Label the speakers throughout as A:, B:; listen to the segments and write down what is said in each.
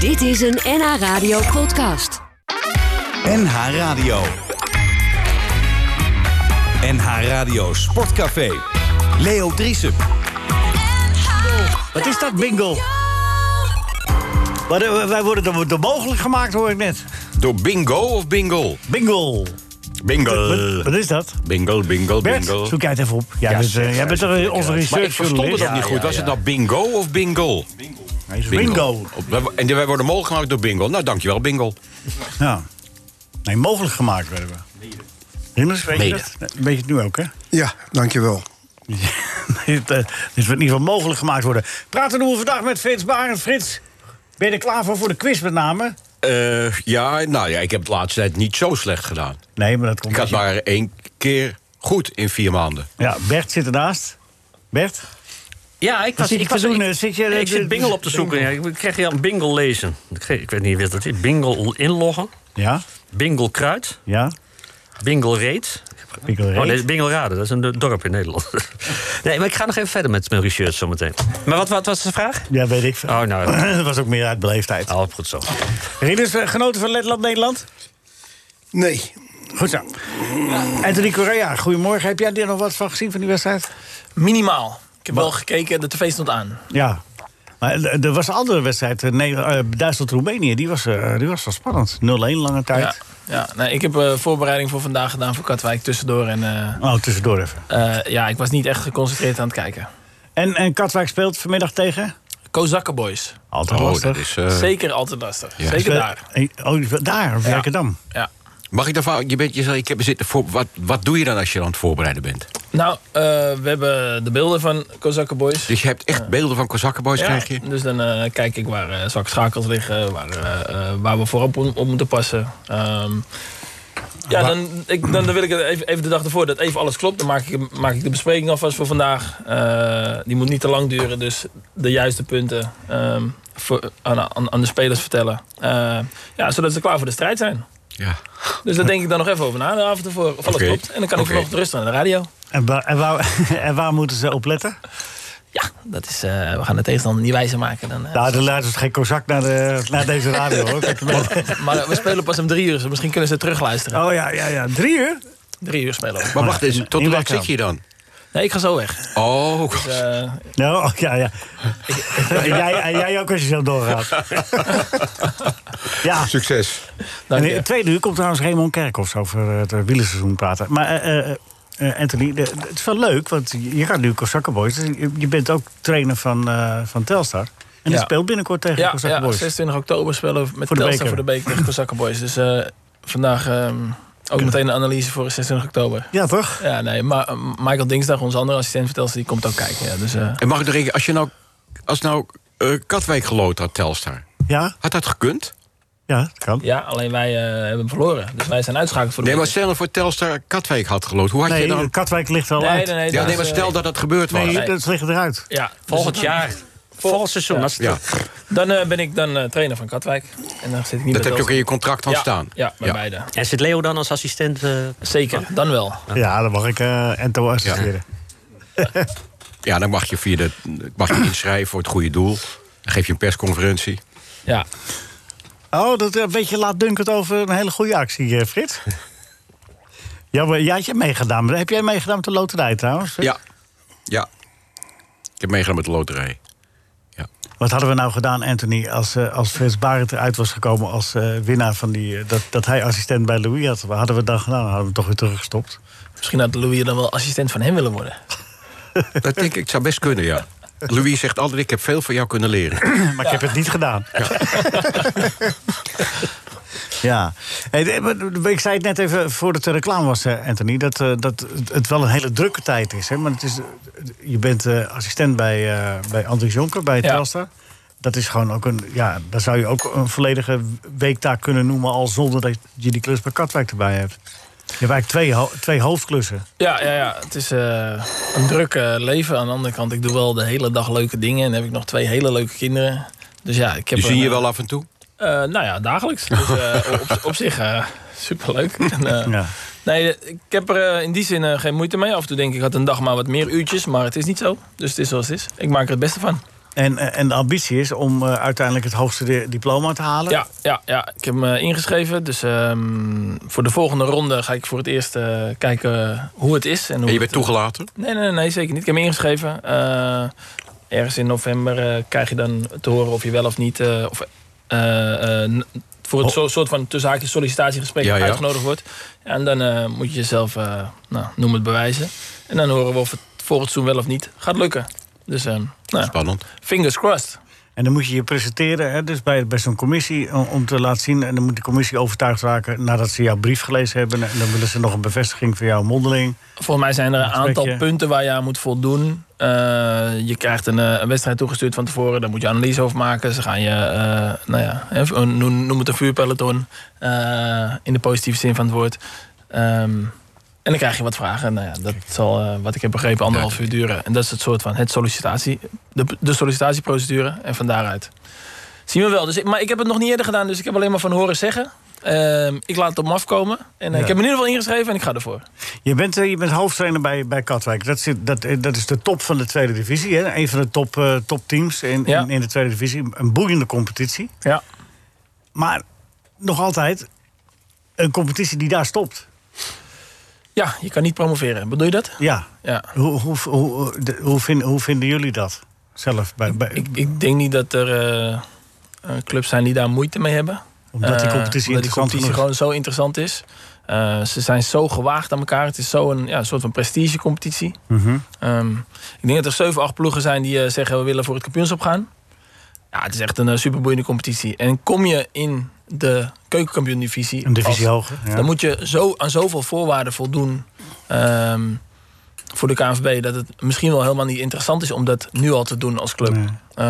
A: Dit is een NH Radio podcast.
B: NH Radio. NH Radio Sportcafé. Leo Driessen.
C: Wat is dat, bingo? Wat, eh, wij worden door, door mogelijk gemaakt, hoor ik net.
D: Door bingo of bingo?
C: Bingo. Wat,
D: Oh. Bingo.
C: wat is dat?
D: Bingo, bingo,
C: Bert,
D: bingo.
C: zoek jij het even op. Ja, dus, eh, jij bent toch eh, onze
D: Maar ik verstond het
C: researchjournalist?
D: ook niet goed. Was het nou bingo of bingo?
C: Ja, bingo.
D: Op- wij- En wij worden mogelijk gemaakt door bingo. Nou, dankjewel, bingo.
C: Ja. Nee, mogelijk gemaakt werden we. Riemers, weet je
D: Mede.
C: dat? Een beetje nu ook, hè?
E: Ja, dankjewel.
C: Dit eh, dit wordt in ieder geval mogelijk gemaakt worden. Praten doen we vandaag met Frits Barend. Frits, ben je er klaar voor voor de quiz met name?
D: Eh, ja, nou ja, ik heb de laatste tijd niet zo slecht gedaan.
C: Nee, maar dat komt...
D: Ik had
C: niet.
D: maar één keer goed in vier maanden.
C: Ja, Bert zit ernaast. Bert?
F: Ja, ik was...
C: zit je
F: ik
C: te
F: was,
C: doen?
F: ik,
C: Zit je-
F: ik zit bingo op te zoeken. Ja, ik kreeg hier een bingo lezen. Ik, ge- ik weet niet wie dat is. Bingo inloggen.
C: Ja?
F: Bingo kruid.
C: Ja?
F: Bingo reet.
C: Pikkel
F: Oh,
C: Reed?
F: nee, Bingo raden. Dat is een do- dorp in Nederland. nee, maar ik ga nog even verder met mijn research zometeen. Maar wat, wat was de vraag?
C: Ja, weet ik.
F: Oh, nou...
C: dat was ook meer uit beleefdheid.
F: Oh, goed zo.
C: Rieders, eh, genoten van Letland, Nederland?
E: Nee,
C: Goed zo. Anthony Correa, goedemorgen. Heb jij er nog wat van gezien van die wedstrijd?
G: Minimaal. Ik heb wel gekeken, de tv stond aan.
C: Ja. Maar er er was een andere wedstrijd, eh, nee, eh, Duitsland-Roemenië. Die, was, eh, die was wel spannend. 0-1 lange
G: Ja,
C: tijd.
G: ja. Nee, ik heb eh, voorbereiding voor vandaag gedaan voor Katwijk tussendoor. En eh,
C: Oh, tussendoor even.
G: eh, ja, ik was niet echt geconcentreerd aan het kijken.
C: En, en Katwijk speelt vanmiddag tegen?
G: Kozakken Boys.
C: Altijd
D: Oh,
C: lastig.
D: dat is... eh,
G: Zeker altijd lastig.
D: Ja.
G: Zeker
C: Speel-
G: daar.
C: Eh, Oh, daar, op
G: Ja.
C: Werkendam.
G: Ja.
D: Mag ik daarvan? Je bent, je, zei, ik heb zitten voor, wat, wat doe je dan als je aan het voorbereiden bent?
G: Nou, eh, we hebben de beelden van Kozakken Boys.
D: Dus je hebt echt beelden van Kozakkenboys,
G: Ja,
D: krijg je?
G: Dus dan eh, kijk ik waar eh zwakke schakels liggen, waar, eh, eh, waar we voorop om, op moeten passen. Ehm, ja, dan, ik, dan wil ik het even, even de dag ervoor dat even alles klopt. Dan maak ik, maak ik de bespreking alvast voor vandaag. Eh, die moet niet te lang duren, dus de juiste punten ehm, voor, aan, aan, aan de spelers vertellen. Eh, ja, zodat ze klaar voor de strijd zijn.
D: Ja.
G: Dus daar denk ik dan nog even over na de avond ervoor. Of alles
D: Oké.
G: klopt. En dan kan ik
D: Oké.
G: vanochtend rustig naar de radio.
C: En, waar- en, waar, en waar moeten ze op letten?
G: Ja, dat is, eh, we gaan de tegenstander niet wijzer maken. Dan, eh,
C: Nou, de luistert geen kozak naar, de, naar deze radio, hoor. Kijk maar.
G: Maar we spelen pas om drie uur, dus misschien kunnen ze terugluisteren.
C: Oh ja, ja, ja. Drie uur?
G: Drie uur spelen we.
D: Maar wacht eens,
C: in-
D: tot
C: in
D: hoe laat
C: Werkendam.
D: zit je dan?
G: Nee, ik ga zo weg.
D: Oh,
G: Dus, eh,
C: Nou, oh, ja, ja. En jij, en jij ook als je zo doorgaat. ja.
D: succes.
G: dank
C: En in
G: je.
C: het tweede uur komt trouwens Raymond Kerkhoff over het eh, wielerseizoen praten. Maar eh, eh, eh, Anthony, de- de- het is wel leuk, want je je gaat nu Kozakken Boys. Dus je- Je bent ook trainer van, eh, van Telstar. En je
G: Ja.
C: speelt binnenkort tegen
G: Ja,
C: Kozakken
G: ja,
C: Boys.
G: 26 oktober spelen we met
C: Voor de beker.
G: Telstar voor de beker tegen Kozakken Boys. Dus eh, vandaag ehm, ook meteen een analyse voor 26 oktober.
C: Ja, toch?
G: Ja, nee, maar eh, Michael Dingsdag, onze andere assistent van Telstar, die komt ook kijken. Ja, dus, eh,
D: En mag ik nog even, als je nou, als nou eh, Katwijk geloot had, Telstar,
C: Ja,
D: had dat gekund?
C: ja dat kan.
G: ja, alleen wij eh, hebben verloren. Dus wij zijn uitschakeld voor de
D: Nee, maar
G: beker.
D: stel nou voor Telstar Katwijk had geloot. Hoe had je
C: nee,
D: dan...
C: Katwijk ligt wel
G: Nee,
C: uit.
G: nee, nee.
D: Ja,
G: dat
D: nee,
G: is,
D: maar
G: eh,
D: stel dat dat gebeurd was.
C: Nee,
G: Nee.
C: dat ligt eruit.
G: Ja,
F: Volgend
G: dus-
F: jaar. Volgend seizoen. Dat is
D: Ja,
G: Dan eh, ben ik dan eh, trainer van Katwijk. En dan zit ik niet bij
D: dat heb je ook in
G: Telstar.
D: je contract aan
G: ja,
D: staan.
G: Ja, bij
D: Ja.
G: beide.
F: En zit Leo dan als assistent? eh,
G: Zeker, dan wel.
C: Ja, dan mag ik eh Ento assisteren.
D: Ja, dan mag je, via de, mag je inschrijven voor het goede doel. Dan geef je een persconferentie.
G: Ja,
C: Oh, dat eh, een beetje laatdunkend over een hele goede actie, eh, Frits. ja, maar jij had je meegedaan. Heb jij meegedaan met de loterij trouwens?
D: Ja. Ja. Ik heb meegedaan met de loterij.
C: Wat hadden we nou gedaan, Anthony, als, eh, als Frits Barend eruit was gekomen als eh, winnaar van die... eh, dat, dat hij assistent bij Louis had. Wat hadden we dan gedaan? Hadden we hem toch weer teruggestopt?
G: misschien had Louis dan wel assistent van hem willen worden.
D: Dat denk ik, het zou best kunnen, ja. Louis zegt altijd, ik heb veel van jou kunnen leren.
C: Maar ik heb het niet gedaan. Ja. Hey, de- maar de- ik zei het net even voordat de reclame was, eh, Anthony... dat, eh, dat het- het wel een hele drukke tijd is. Hè? Maar het is, eh, je bent eh, assistent bij, eh bij Andries Jonker, bij
G: Ja.
C: Telstar. Dat is gewoon ook een... Ja, daar zou je ook een volledige weektaak kunnen noemen... al zonder dat je die klus bij Katwijk erbij hebt. Je hebt eigenlijk twee, ho- twee hoofdklussen.
G: Ja, ja, ja. het is eh, een druk eh, leven. Aan de andere kant, ik doe wel de hele dag leuke dingen. En heb ik nog twee hele leuke kinderen. Dus ja, ik heb...
D: Die zie
G: een,
D: je
G: eh,
D: wel af en toe.
G: eh, nou ja, dagelijks. Dus eh, op, op zich eh, superleuk. En, eh,
C: Ja.
G: Nee, ik heb er eh, in die zin eh, geen moeite mee. Af en toe denk ik, ik had een dag maar wat meer uurtjes. Maar het is niet zo. Dus het is zoals het is. Ik maak er het beste van.
C: En, eh, en de ambitie is om eh, uiteindelijk het hoogste di- diploma te halen.
G: Ja, ja, ja, ik heb me ingeschreven. Dus ehm, voor de volgende ronde ga ik voor het eerst eh, kijken hoe het is. En, hoe het-
D: En je
G: eh,
D: bent toegelaten?
G: Nee, nee, nee, zeker niet. Ik heb me ingeschreven. Eh, ergens in november eh, krijg je dan te horen of je wel of niet... eh, of, eh, eh, n- voor het zo- soort van tussen haakjes sollicitatiegesprek
D: Oh. Ja, ja.
G: uitgenodigd wordt. En dan eh, moet je jezelf, eh, nou, noem het bewijzen. En dan horen we of het volgend seizoen wel of niet gaat lukken. Dus, ehm, nou,
D: Spannend.
G: fingers crossed.
C: En dan moet je je presenteren, hè, dus bij, bij zo'n commissie, om, om te laten zien. En dan moet die commissie overtuigd raken nadat ze jouw brief gelezen hebben. En dan willen ze nog een bevestiging van jouw mondeling.
G: Volgens mij zijn er een aantal
C: gesprekje.
G: punten waar je aan moet voldoen. Eh, je krijgt een, eh, een wedstrijd toegestuurd van tevoren. Daar moet je analyse over maken. Ze gaan je, eh, nou ja, hè, een- noem, noem het een vuurpeloton. eh, in de positieve zin van het woord. Ehm, en dan krijg je wat vragen. Nou ja, dat zal, eh, wat ik heb begrepen, anderhalf uur duren. En dat is het soort van het sollicitatie, de, de sollicitatieprocedure. En van daaruit zien we wel. Dus ik, maar ik heb het nog niet eerder gedaan. Dus ik heb alleen maar van horen zeggen. Ehm, ik laat het op me afkomen. En eh,
C: Ja.
G: ik heb me in ieder geval ingeschreven en ik ga ervoor.
C: Je bent, eh, je bent hoofdtrainer bij, bij Katwijk. Dat, zit, dat, eh, dat is de top van de tweede divisie. Hè? Een van de top, eh, topteams in,
G: Ja.
C: in, in de tweede divisie. Een boeiende competitie.
G: Ja.
C: Maar nog altijd een competitie die daar stopt.
G: Ja, je kan niet promoveren. Bedoel je dat?
C: Ja.
G: Ja.
C: Hoe, hoe, hoe, de- hoe, vind, hoe vinden jullie dat zelf? Bij, bij,
G: Ik, ik denk niet dat er eh, eh, clubs zijn die daar moeite mee hebben.
C: omdat die
G: Eh,
C: competitie
G: omdat die
C: interessant
G: competitie
C: genoeg is.
G: gewoon zo interessant is. Eh, ze zijn zo gewaagd aan elkaar. Het is zo'n ja, soort van prestigecompetitie.
C: Mhm.
G: Ehm, ik denk dat er 7, 8 ploegen zijn die eh, zeggen we willen voor het kampioenschap gaan. Ja, het is echt een eh, superboeiende competitie. En kom je in de keukenkampioen-divisie...
C: Een divisie
G: als-
C: hoger. Ja.
G: Dan moet je zo aan zoveel voorwaarden voldoen ehm, voor de KNVB... dat het misschien wel helemaal niet interessant is om dat nu al te doen als club.
C: Nee.
G: Eh,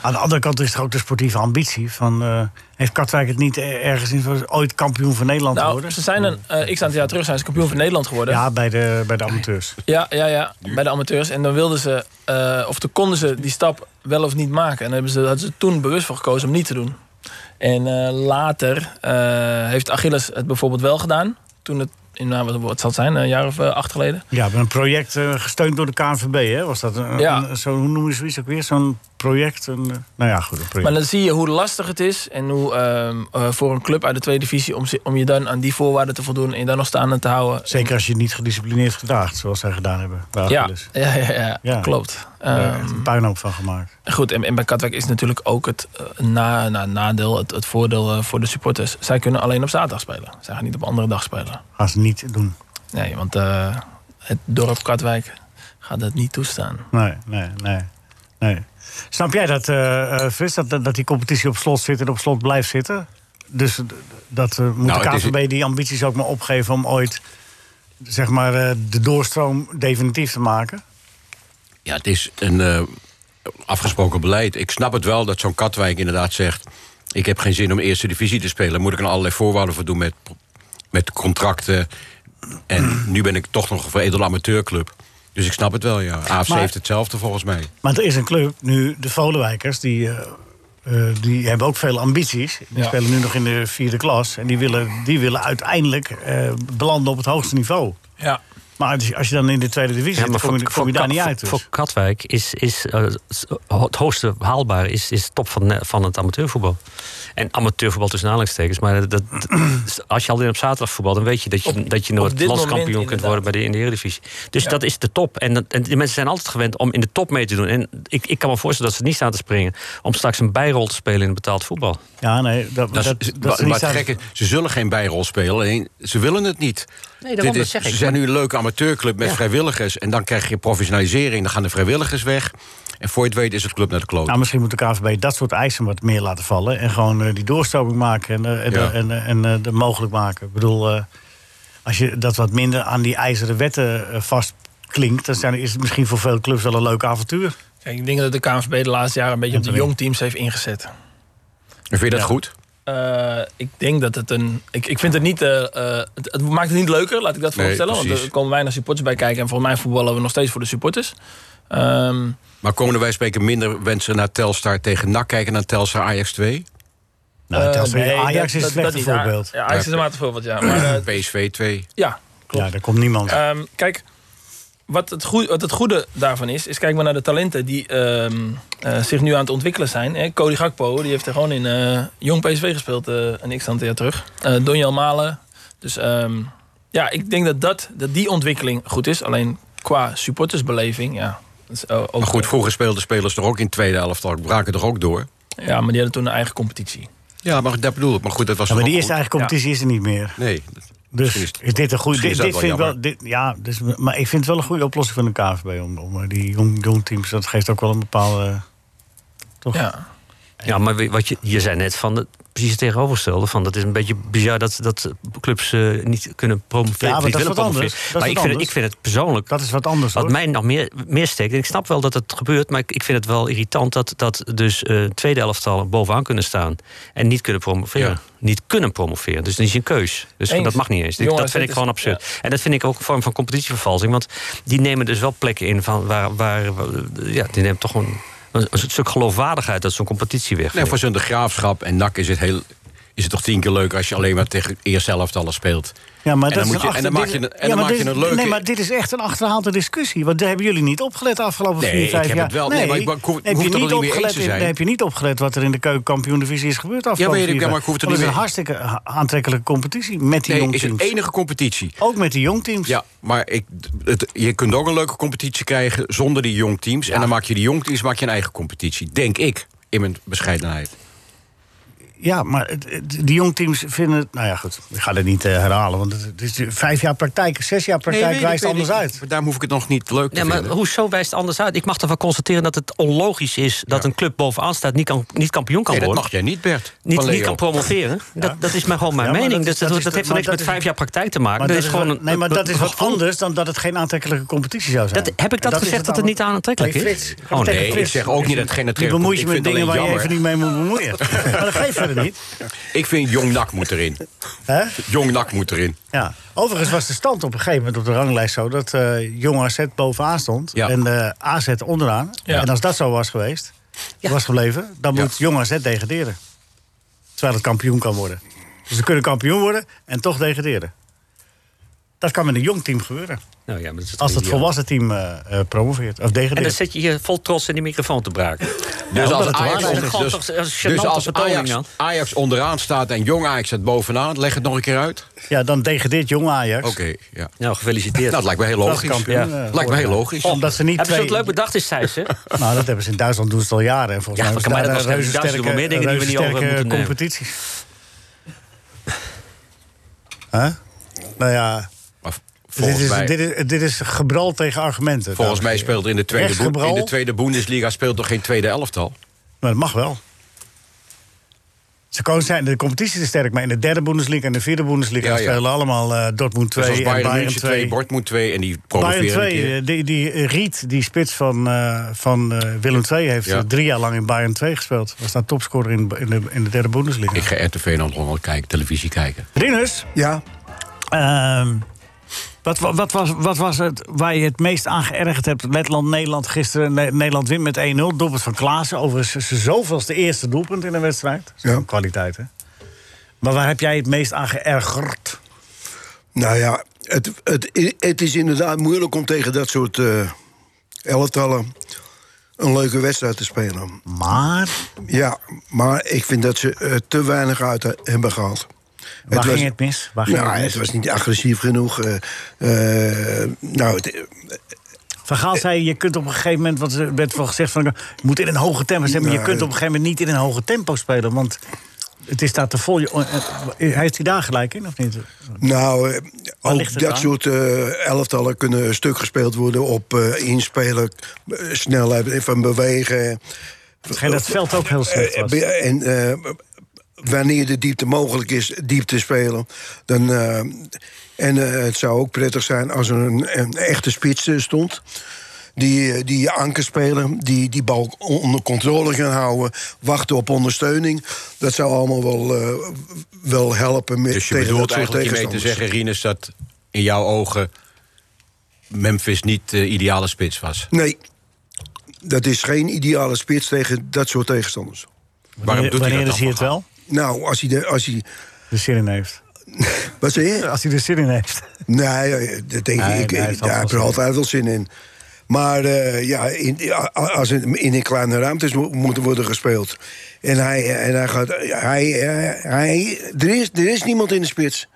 C: Aan de andere kant is er ook de sportieve ambitie. Van, eh, heeft Katwijk het niet eh, ergens in van ooit kampioen van Nederland
G: nou,
C: geworden?
G: ze zijn een, eh x aantal jaar terug zijn ze kampioen van Nederland geworden.
C: Ja, bij de, bij de amateurs.
G: Ja, ja, ja, bij de amateurs. En dan wilden ze, eh, of dan konden ze die stap wel of niet maken. En daar hebben ze, hadden ze toen bewust voor gekozen om niet te doen. En eh, later eh, heeft Achilles het bijvoorbeeld wel gedaan. Toen het, in, nou, wat, wat zal het zijn, een jaar of eh, acht geleden.
C: Ja, met een project eh, gesteund door de KNVB. Hè? Was dat een,
G: Ja.
C: een- Eh, zo, hoe noemen ze zoiets ook weer? Zo'n project? Een, eh, nou ja, goed, een project.
G: Maar dan zie je hoe lastig het is. En hoe ehm, eh, voor een club uit de tweede divisie om, ze- om je dan aan die voorwaarden te voldoen. En je dan nog staande te houden.
C: Zeker als je niet gedisciplineerd gedraagt, zoals zij gedaan hebben. bij
G: Ja,
C: Achilles.
G: ja, ja, ja,
C: Ja.
G: klopt.
C: Daar
G: Ehm,
C: echt een puinhoop van gemaakt.
G: Goed, en, en bij Katwijk is natuurlijk ook het eh, na, na, nadeel, het, het voordeel eh, voor de supporters. Zij kunnen alleen op zaterdag spelen. Zij gaan niet op andere dag spelen.
C: Gaan ze niet doen.
G: Nee, want eh, het dorp Katwijk gaat dat niet toestaan.
C: Nee, nee, nee. nee. Snap jij dat, eh eh, Frits, dat, dat dat die competitie op slot zit en op slot blijft zitten? Dus d- dat eh, moet
D: Nou,
C: de
D: het is-
C: KVB die ambities ook maar opgeven om ooit zeg maar, eh, de doorstroom definitief te maken?
D: Ja, het is een eh, afgesproken beleid. Ik snap het wel dat zo'n Katwijk inderdaad zegt... ik heb geen zin om eerste divisie te spelen. Moet ik er allerlei voorwaarden voor doen met, met contracten. En nu ben ik toch nog een edel amateurclub. Dus ik snap het wel, ja. AFC
C: Maar-
D: heeft hetzelfde volgens mij.
C: Maar er is een club, nu de Volenwijkers, die, eh, eh, die hebben ook veel ambities. Die
G: Ja.
C: spelen nu nog in de vierde klas. En die willen, die willen uiteindelijk eh, belanden op het hoogste niveau.
G: Ja,
C: Maar als je, als je dan in de tweede divisie zit, kom je, kom je daar
F: Kat-
C: niet uit.
F: voor-
C: dus.
F: voor Katwijk is, is eh, s- het hoogste haalbaar is, is top van, eh, van het amateurvoetbal. En amateurvoetbal tussen aanhalingstekens. Maar dat, dat- als je alleen op zaterdag voetbalt, dan weet je dat je,
G: Op-
F: dat je
G: op
F: nooit
G: dit moment
F: landskampioen kunt worden bij de, in de Eredivisie. Dus
G: Ja.
F: dat is de top. En, dat, en die mensen zijn altijd gewend om in de top mee te doen. En ik, ik kan me voorstellen dat ze niet staan te springen om straks een bijrol te spelen in het betaald voetbal.
C: Ja, nee, dat,
D: Dat,
C: dat,
D: is-
C: dat,
D: wa-
C: ze niet
D: wat
C: zouden-
D: gek is, ze zullen geen bijrol spelen. alleen Ze willen het niet.
F: daarom,
D: Dit
F: dat
D: is,
F: zeg ik.
D: ze zijn nu een leuke amateurclub met
F: Ja.
D: vrijwilligers. En dan krijg je professionalisering. Dan gaan de vrijwilligers weg. En voor je het weet is het club naar de kloot.
C: Nou, misschien moet de KVB dat soort eisen wat meer laten vallen. En gewoon eh, die doorstroming maken en, eh, en,
D: Ja.
C: en, eh, en, eh, dat mogelijk maken. Ik bedoel, eh, als je dat wat minder aan die ijzeren wetten eh, vastklinkt... dan zijn, is het misschien voor veel clubs wel een leuk avontuur.
G: kijk, ik denk dat de KNVB de laatste jaren een beetje op de
C: Anthony.
G: jong teams heeft ingezet.
D: Vind je dat goed?
G: Eh, ik denk dat het een. Ik, ik vind het niet. eh, eh, het, het maakt het niet leuker, laat ik dat
D: Nee,
G: voorstellen. want er
D: precies.
G: komen weinig supporters bij kijken. En volgens mij voetballen we nog steeds voor de supporters. Ehm,
D: Maar komen wij spreken minder mensen naar Telstar tegen NAC kijken naar Telstar Ajax 2?
C: Nou,
G: eh,
C: Telstra-
G: nee,
C: Ajax
G: dat-
C: is een
G: dat- dat
C: slecht
G: niet.
C: voorbeeld.
G: Ja, Ajax is een matig voorbeeld, ja. Maar, eh,
D: PSV 2?
G: ja,
C: Ja,
G: klopt.
C: daar komt niemand.
G: Ehm, kijk, wat het, goede, wat het goede daarvan is, is kijk maar naar de talenten die ehm, eh, zich nu aan het ontwikkelen zijn. Hè. Cody Gakpo, die heeft er gewoon in eh, jong PSV gespeeld, eh, een x aantal jaar terug. Eh Donjel Malen. Dus ehm, ja, ik denk dat, dat, dat die ontwikkeling goed is. Alleen qua supportersbeleving, ja. dat is, eh, ook,
D: Maar goed, vroeger speelden spelers toch ook in tweede elftal. Braken er ook door.
G: Ja, maar die hadden toen een eigen competitie.
D: Ja, maar dat bedoel ik. Maar goed, dat was
C: Ja, maar
D: toch
C: die
D: ook
C: eerste eigen
D: goed.
C: competitie is er niet meer.
D: Nee.
C: Dus
D: Misschien
C: is,
D: is-
C: dit een goede.
D: misschien
C: Dit,
D: is dat
C: dit
D: wel
C: vind ik wel.
D: jammer.
C: Dit, ja, dus, maar ik vind het wel een goede oplossing van de KVB om, om eh, die jong, jong teams. Dat geeft ook wel een bepaalde. eh, Toch?
G: Ja.
F: Ja, maar weet- wat je, je zei net van het- precies het tegenovergestelde. Van, dat is een beetje bizar dat, dat clubs eh, niet kunnen promoveren.
C: Ja, maar
F: niet
C: dat is
F: willen
C: wat
F: promoveren.
C: anders. Dat is
F: Maar
C: wat
F: ik vind, het-
C: anders.
F: ik vind het persoonlijk.
C: Dat is wat anders.
F: Wat
C: hoor.
F: mij nog meer, meer steekt, en ik snap wel dat het gebeurt, maar ik, ik vind het wel irritant dat, dat dus eh tweede elftallen bovenaan kunnen staan en niet kunnen promoveren.
D: Ja.
F: Niet kunnen promoveren. Dus dat is een keus. Dus
G: Eens.
F: dat mag niet eens. Dit-
G: Jongens,
F: dat vind
G: dit
F: ik gewoon
G: is-
F: absurd. En dat vind ik ook een vorm van competitievervalsing, want die nemen dus wel plekken in van waar, waar waar- ja, die nemen toch gewoon een, een stuk geloofwaardigheid uit zo'n competitie weg.
D: Nee, voor zo'n de graafschap en NAC is het heel... Is het toch tien keer leuker als je alleen maar tegen eerst elftallen speelt?
C: Ja, maar
D: En
C: dat
D: dan
C: is
D: moet je-
C: een
D: en dan maak je
C: dit-
D: een- en dan
C: maar
D: maak je
C: dit-
D: een leuke-
C: Nee, maar dit is echt een achterhaalde discussie. Want daar hebben jullie niet opgelet de afgelopen
D: Nee,
C: vier,
D: ik
C: vijf
D: heb
C: jaar.
D: het wel- nee, maar ik ben- ik hoef-
C: heb
D: hoef
C: je
D: er
C: niet
D: wel niet mee
C: opgelet
D: eens te
C: in-
D: zijn.
C: nee, heb je niet opgelet wat er in de keukenkampioendivisie is gebeurd de afgelopen
D: weet ik,
C: vier,
D: ja, maar
C: vijf-
D: ik hoef er
C: Want
D: niet
C: Het is een
D: mee-
C: hartstikke ha- aantrekkelijke competitie met die
D: Nee, is
C: jongteams.
D: het enige competitie.
C: Ook met die jongteams.
D: Ja, maar ik, het- je kunt ook een leuke competitie krijgen zonder die jongteams. En dan maak je die jongteams maak je een eigen competitie. Denk ik, in mijn bescheidenheid.
C: Ja, maar het- het- die jongteams vinden het... Nou ja, goed, ik ga dat niet eh, herhalen. Want het het is vijf jaar praktijk, zes jaar praktijk wijst anders uit.
D: Daarom hoef ik het nog niet leuk te
F: Nee, maar
D: vinden.
F: hoezo wijst het anders uit? Ik mag ervan constateren dat het onlogisch is dat een club bovenaan staat niet, kan, niet kampioen kan
D: Nee, dat
F: worden.
D: mag jij niet, Bert.
F: niet,
D: van
F: niet
D: Leo.
F: kan promoveren. Dat, dat is maar gewoon mijn
C: Ja, maar
F: mening. Dus
C: dat
F: Dat,
C: is- dat is
F: dat- dat
C: de-
F: heeft wel
C: maar
F: niks met
C: dat
F: vijf
C: is-
F: jaar praktijk te maken.
C: Maar
F: Dat,
C: dat
F: is gewoon
C: wat-
F: een,
C: nee, maar
F: een-
C: dat is
F: een
C: wat
F: gevoel.
C: anders dan dat het geen aantrekkelijke competitie zou zijn.
F: Dat- heb ik dat
C: is
F: gezegd dat het niet aantrekkelijk
C: Nee,
F: is?
C: Frits,
F: Oh, nee,
C: tegen
D: ik
C: Frits.
D: zeg ook niet dat het geen
C: Je
D: aantrekkelijk-
C: bemoeit je
D: ik
C: met
D: vind het
C: dingen waar
D: alleen
C: je even
D: jammer.
C: niet mee moet bemoeien. maar dat geeft verder niet.
D: Ik vind Jong Nak moet erin.
C: Hè?
D: Jong Nak moet erin.
C: Ja. Overigens was de stand op een gegeven moment op de ranglijst zo... dat eh Jong AZ bovenaan stond
D: Ja.
C: en eh, AZ onderaan.
G: Ja.
C: En als dat zo was geweest, was gebleven... dan
D: Ja.
C: moet Jong AZ degraderen. Terwijl het kampioen kan worden. Dus ze kunnen kampioen worden en toch degraderen. Dat kan met een jong team gebeuren.
F: Nou ja, maar dat is toch
C: Als het
F: ideaal.
C: volwassen team eh, eh, promoveert of
F: En dan
C: degradeert.
F: zit je hier vol trots in die microfoon te braken.
D: Dus
C: omdat
D: als
C: het de
D: Ajax,
C: waarheid
F: is.
D: onder-
F: Dat is
D: dus,
F: toch een gênante
D: dus als
F: vertoning
D: Ajax,
F: dan?
D: Ajax onderaan staat en Jong Ajax staat bovenaan... leg het nog een keer uit.
C: Ja, dan degradeert jong Ajax.
D: Oké, ja.
F: Nou, gefeliciteerd.
D: Nou, dat lijkt me heel logisch.
C: Landskampioen,
F: ja.
C: eh,
D: Lijkt me heel logisch.
C: Omdat ze niet
F: Hebben ze
C: twee...
F: wat leuk bedacht is, zei ze.
C: Nou, dat hebben ze in Duitsland doen ze het al jaren. En volgens
F: Ja,
C: mij
F: voor mij
C: hebben
F: dat
C: ze
F: was-
C: daar
F: in Duitsland doen we meer dingen die we niet over
C: reuzesterke
F: moeten nemen.
C: competities. Hè? Nou ja,
D: Maar v-
C: dit
D: volgens
C: is,
D: mij...
C: dit, is, dit is gebral tegen argumenten.
D: Volgens mij
C: dames en heren.
D: speelt in de tweede,
C: Echt
D: Boe- in de
C: gebral?
D: tweede Bundesliga speelt toch geen tweede elftal?
C: Maar dat mag wel. Ze komen zijn in de competitie te sterk, maar in de derde Bundesliga en de vierde Bundesliga
D: Ja, ja.
C: spelen allemaal eh, Dortmund 2
D: Dus als
C: en Bayern
D: Bayern München
C: 2.
D: 2, Dortmund 2 en die
C: Bayern
D: promoveren een
C: 2,
D: keer.
C: eh, die, die eh, Riet, die spits van, eh, van eh, Willem II, heeft
D: Ja.
C: eh, drie jaar lang in Bayern 2 gespeeld. Was daar topscorer in, in, de, in de derde Bundesliga.
D: Ik ga RTV Noord-Holland kijken, televisie kijken.
C: Rinus,
E: Ja,
C: ehm, wat, wa- wat, was, wat was het waar je het meest aan geërgerd hebt? Letland-Nederland gisteren. Ne- Nederland wint met 1-0. Doelpunt van Klaassen. Overigens z- zoveelste eerste doelpunt in een wedstrijd. Dat is
E: Ja.
C: ook kwaliteit, hè? Maar waar heb jij het meest aan geërgerd?
E: nou ja, het, het, i- het is inderdaad moeilijk om tegen dat soort eh elftallen een leuke wedstrijd te spelen.
C: Maar
E: Ja, maar ik vind dat ze eh, te weinig uit hebben gehaald.
C: waar
E: was-
C: ging het mis? Waar ging
E: nou,
C: het mis?
E: het was niet agressief genoeg. eh, eh, nou, het,
C: Van Gaal zei, je kunt op een gegeven moment, wat er werd wel gezegd, van, je moet in een hoge tempo spelen. Maar je
E: Nee.
C: kunt op een gegeven moment niet in een hoge tempo spelen. Want het is daar te vol. Je- eh, Heeft hij daar gelijk in, of niet?
E: Nou, eh,
C: ligt
E: ook
C: het
E: dat
C: aan?
E: soort eh, elftallen kunnen stuk gespeeld worden op eh, inspelen, eh, snelheid van bewegen.
C: Hetgeen dat het veld ook heel slecht
E: Eh,
C: was.
E: be- en eh, wanneer de diepte mogelijk is, diepte spelen. Dan, eh, en eh, het zou ook prettig zijn als er een, een echte spits eh, stond. Die, eh, die anker spelen, die die bal on- onder controle gaan houden, wachten op ondersteuning. Dat zou allemaal wel, eh, wel helpen met,
D: Dus je
E: tegen
D: bedoelt
E: dat soort
D: eigenlijk mee te
E: tegenstanders.
D: zeggen, Rinus, dat in jouw ogen Memphis niet de ideale spits was.
E: Nee, dat is geen ideale spits tegen dat soort tegenstanders.
D: Waarom doet hij
C: Wanneer
D: dat
C: is hij
D: dan?
C: het wel?
E: Nou, als hij, de, als hij
C: De zin in heeft.
E: Wat zei je?
C: Als hij er zin in heeft.
E: Nee, dat denk
C: Nee,
E: ik,
C: nee,
E: ik,
C: het zal
E: daar heb ik
C: wel
E: er altijd wel zin in. Maar eh, ja, in, a- als in, in een kleine ruimtes mo- moet worden gespeeld. En hij, eh, en hij gaat. Hij, eh, hij, er, is, er is niemand in de spits.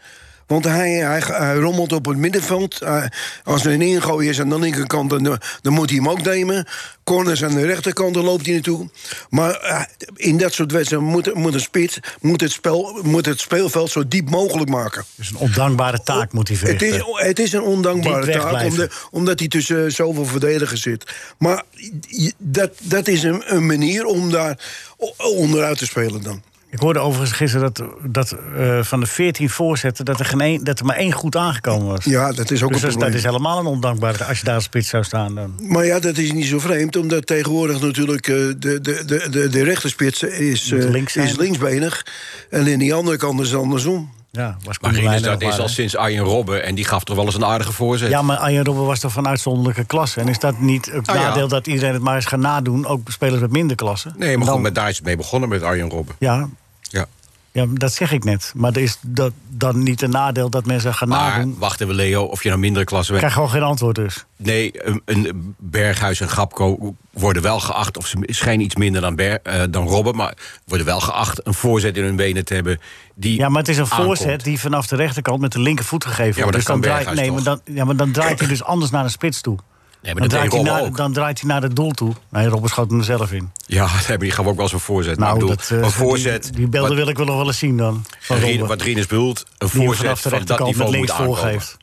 E: Want hij, hij, hij rommelt op het middenveld. Eh, als er een ingooi is aan de linkerkant, dan, dan moet hij hem ook nemen. Corners aan de rechterkant, dan loopt hij naartoe. Maar eh, in dat soort wedstrijden moet, moet een spits moet het, spel, moet het speelveld zo diep mogelijk maken.
C: Dus een ondankbare taak moet hij
E: Het
C: verrichten.
E: is, het is een ondankbare
C: Diep weg
E: taak,
C: blijven.
E: omdat, omdat hij tussen zoveel verdedigers zit. Maar je- dat, dat is een, een manier om daar o- onderuit te spelen dan.
C: Ik hoorde overigens gisteren dat, dat eh, van de 14 voorzetten... Dat er, geen één- dat er maar één goed aangekomen was.
E: Ja, dat is ook
C: dus
E: een
C: dat,
E: probleem.
C: dat is helemaal een ondankbare taak. Als je daar als spits zou staan, dan...
E: Maar ja, dat is niet zo vreemd, omdat tegenwoordig natuurlijk eh, de, de, de, de, de rechterspits is,
C: Moet
E: eh,
C: links zijn.
E: is linksbenig. En in die andere kant is het andersom.
C: Ja, was
D: Maar
C: Koemelijn
D: Rinus,
C: er nog
D: dat is
C: maar,
D: al
C: hè?
D: sinds Arjen Robben. En die gaf toch wel eens een aardige voorzet.
C: Ja, maar Arjen Robben was toch van uitzonderlijke klasse. En is dat niet het
D: Ah, ja.
C: nadeel dat iedereen het maar eens gaat nadoen? Ook spelers met minder klasse.
D: Nee, maar
C: Dan-
D: goed, maar daar is het mee begonnen met Arjen Robben.
C: Ja,
D: Ja.
C: ja, dat zeg ik net. Maar er is dat dan niet een nadeel dat mensen gaan
D: Maar
C: nadoen?
D: wachten we, Leo, of je nou mindere klasse
C: Ik
D: bent.
C: krijg gewoon geen antwoord dus.
D: Nee, een, een Berghuis en Gapko worden wel geacht... of ze schijnen iets minder dan, Ber, eh, dan Robben... maar worden wel geacht een voorzet in hun benen te hebben... Die
C: Ja, maar het is een
D: aankomt.
C: voorzet die vanaf de rechterkant met de linkervoet gegeven
D: Ja, maar
C: wordt.
D: dat
C: dus dan
D: kan
C: draait,
D: Berghuis
C: nee, maar dan, ja, maar dan draait hij dus anders naar de spits toe.
D: Nee, maar
C: Dan
D: dat deed
C: draait, hij
D: Robben
C: naar,
D: ook.
C: dan draait hij naar het doel toe. Nee, Robben schoot hem er zelf in.
D: Ja, nee, maar die gaf ook wel eens een voorzet. maar ik bedoel,
C: dat, eh,
D: een voorzet...
C: die, die beelden
D: wat,
C: wil ik wel nog wel eens zien dan. Van
D: Rien-
C: Robben.
D: wat Rinus bedoelt, een
C: die hem vanaf
D: voorzet
C: de
D: van dat
C: rechterkant met
D: niveau moet
C: links
D: aankomen.
C: voorgeeft.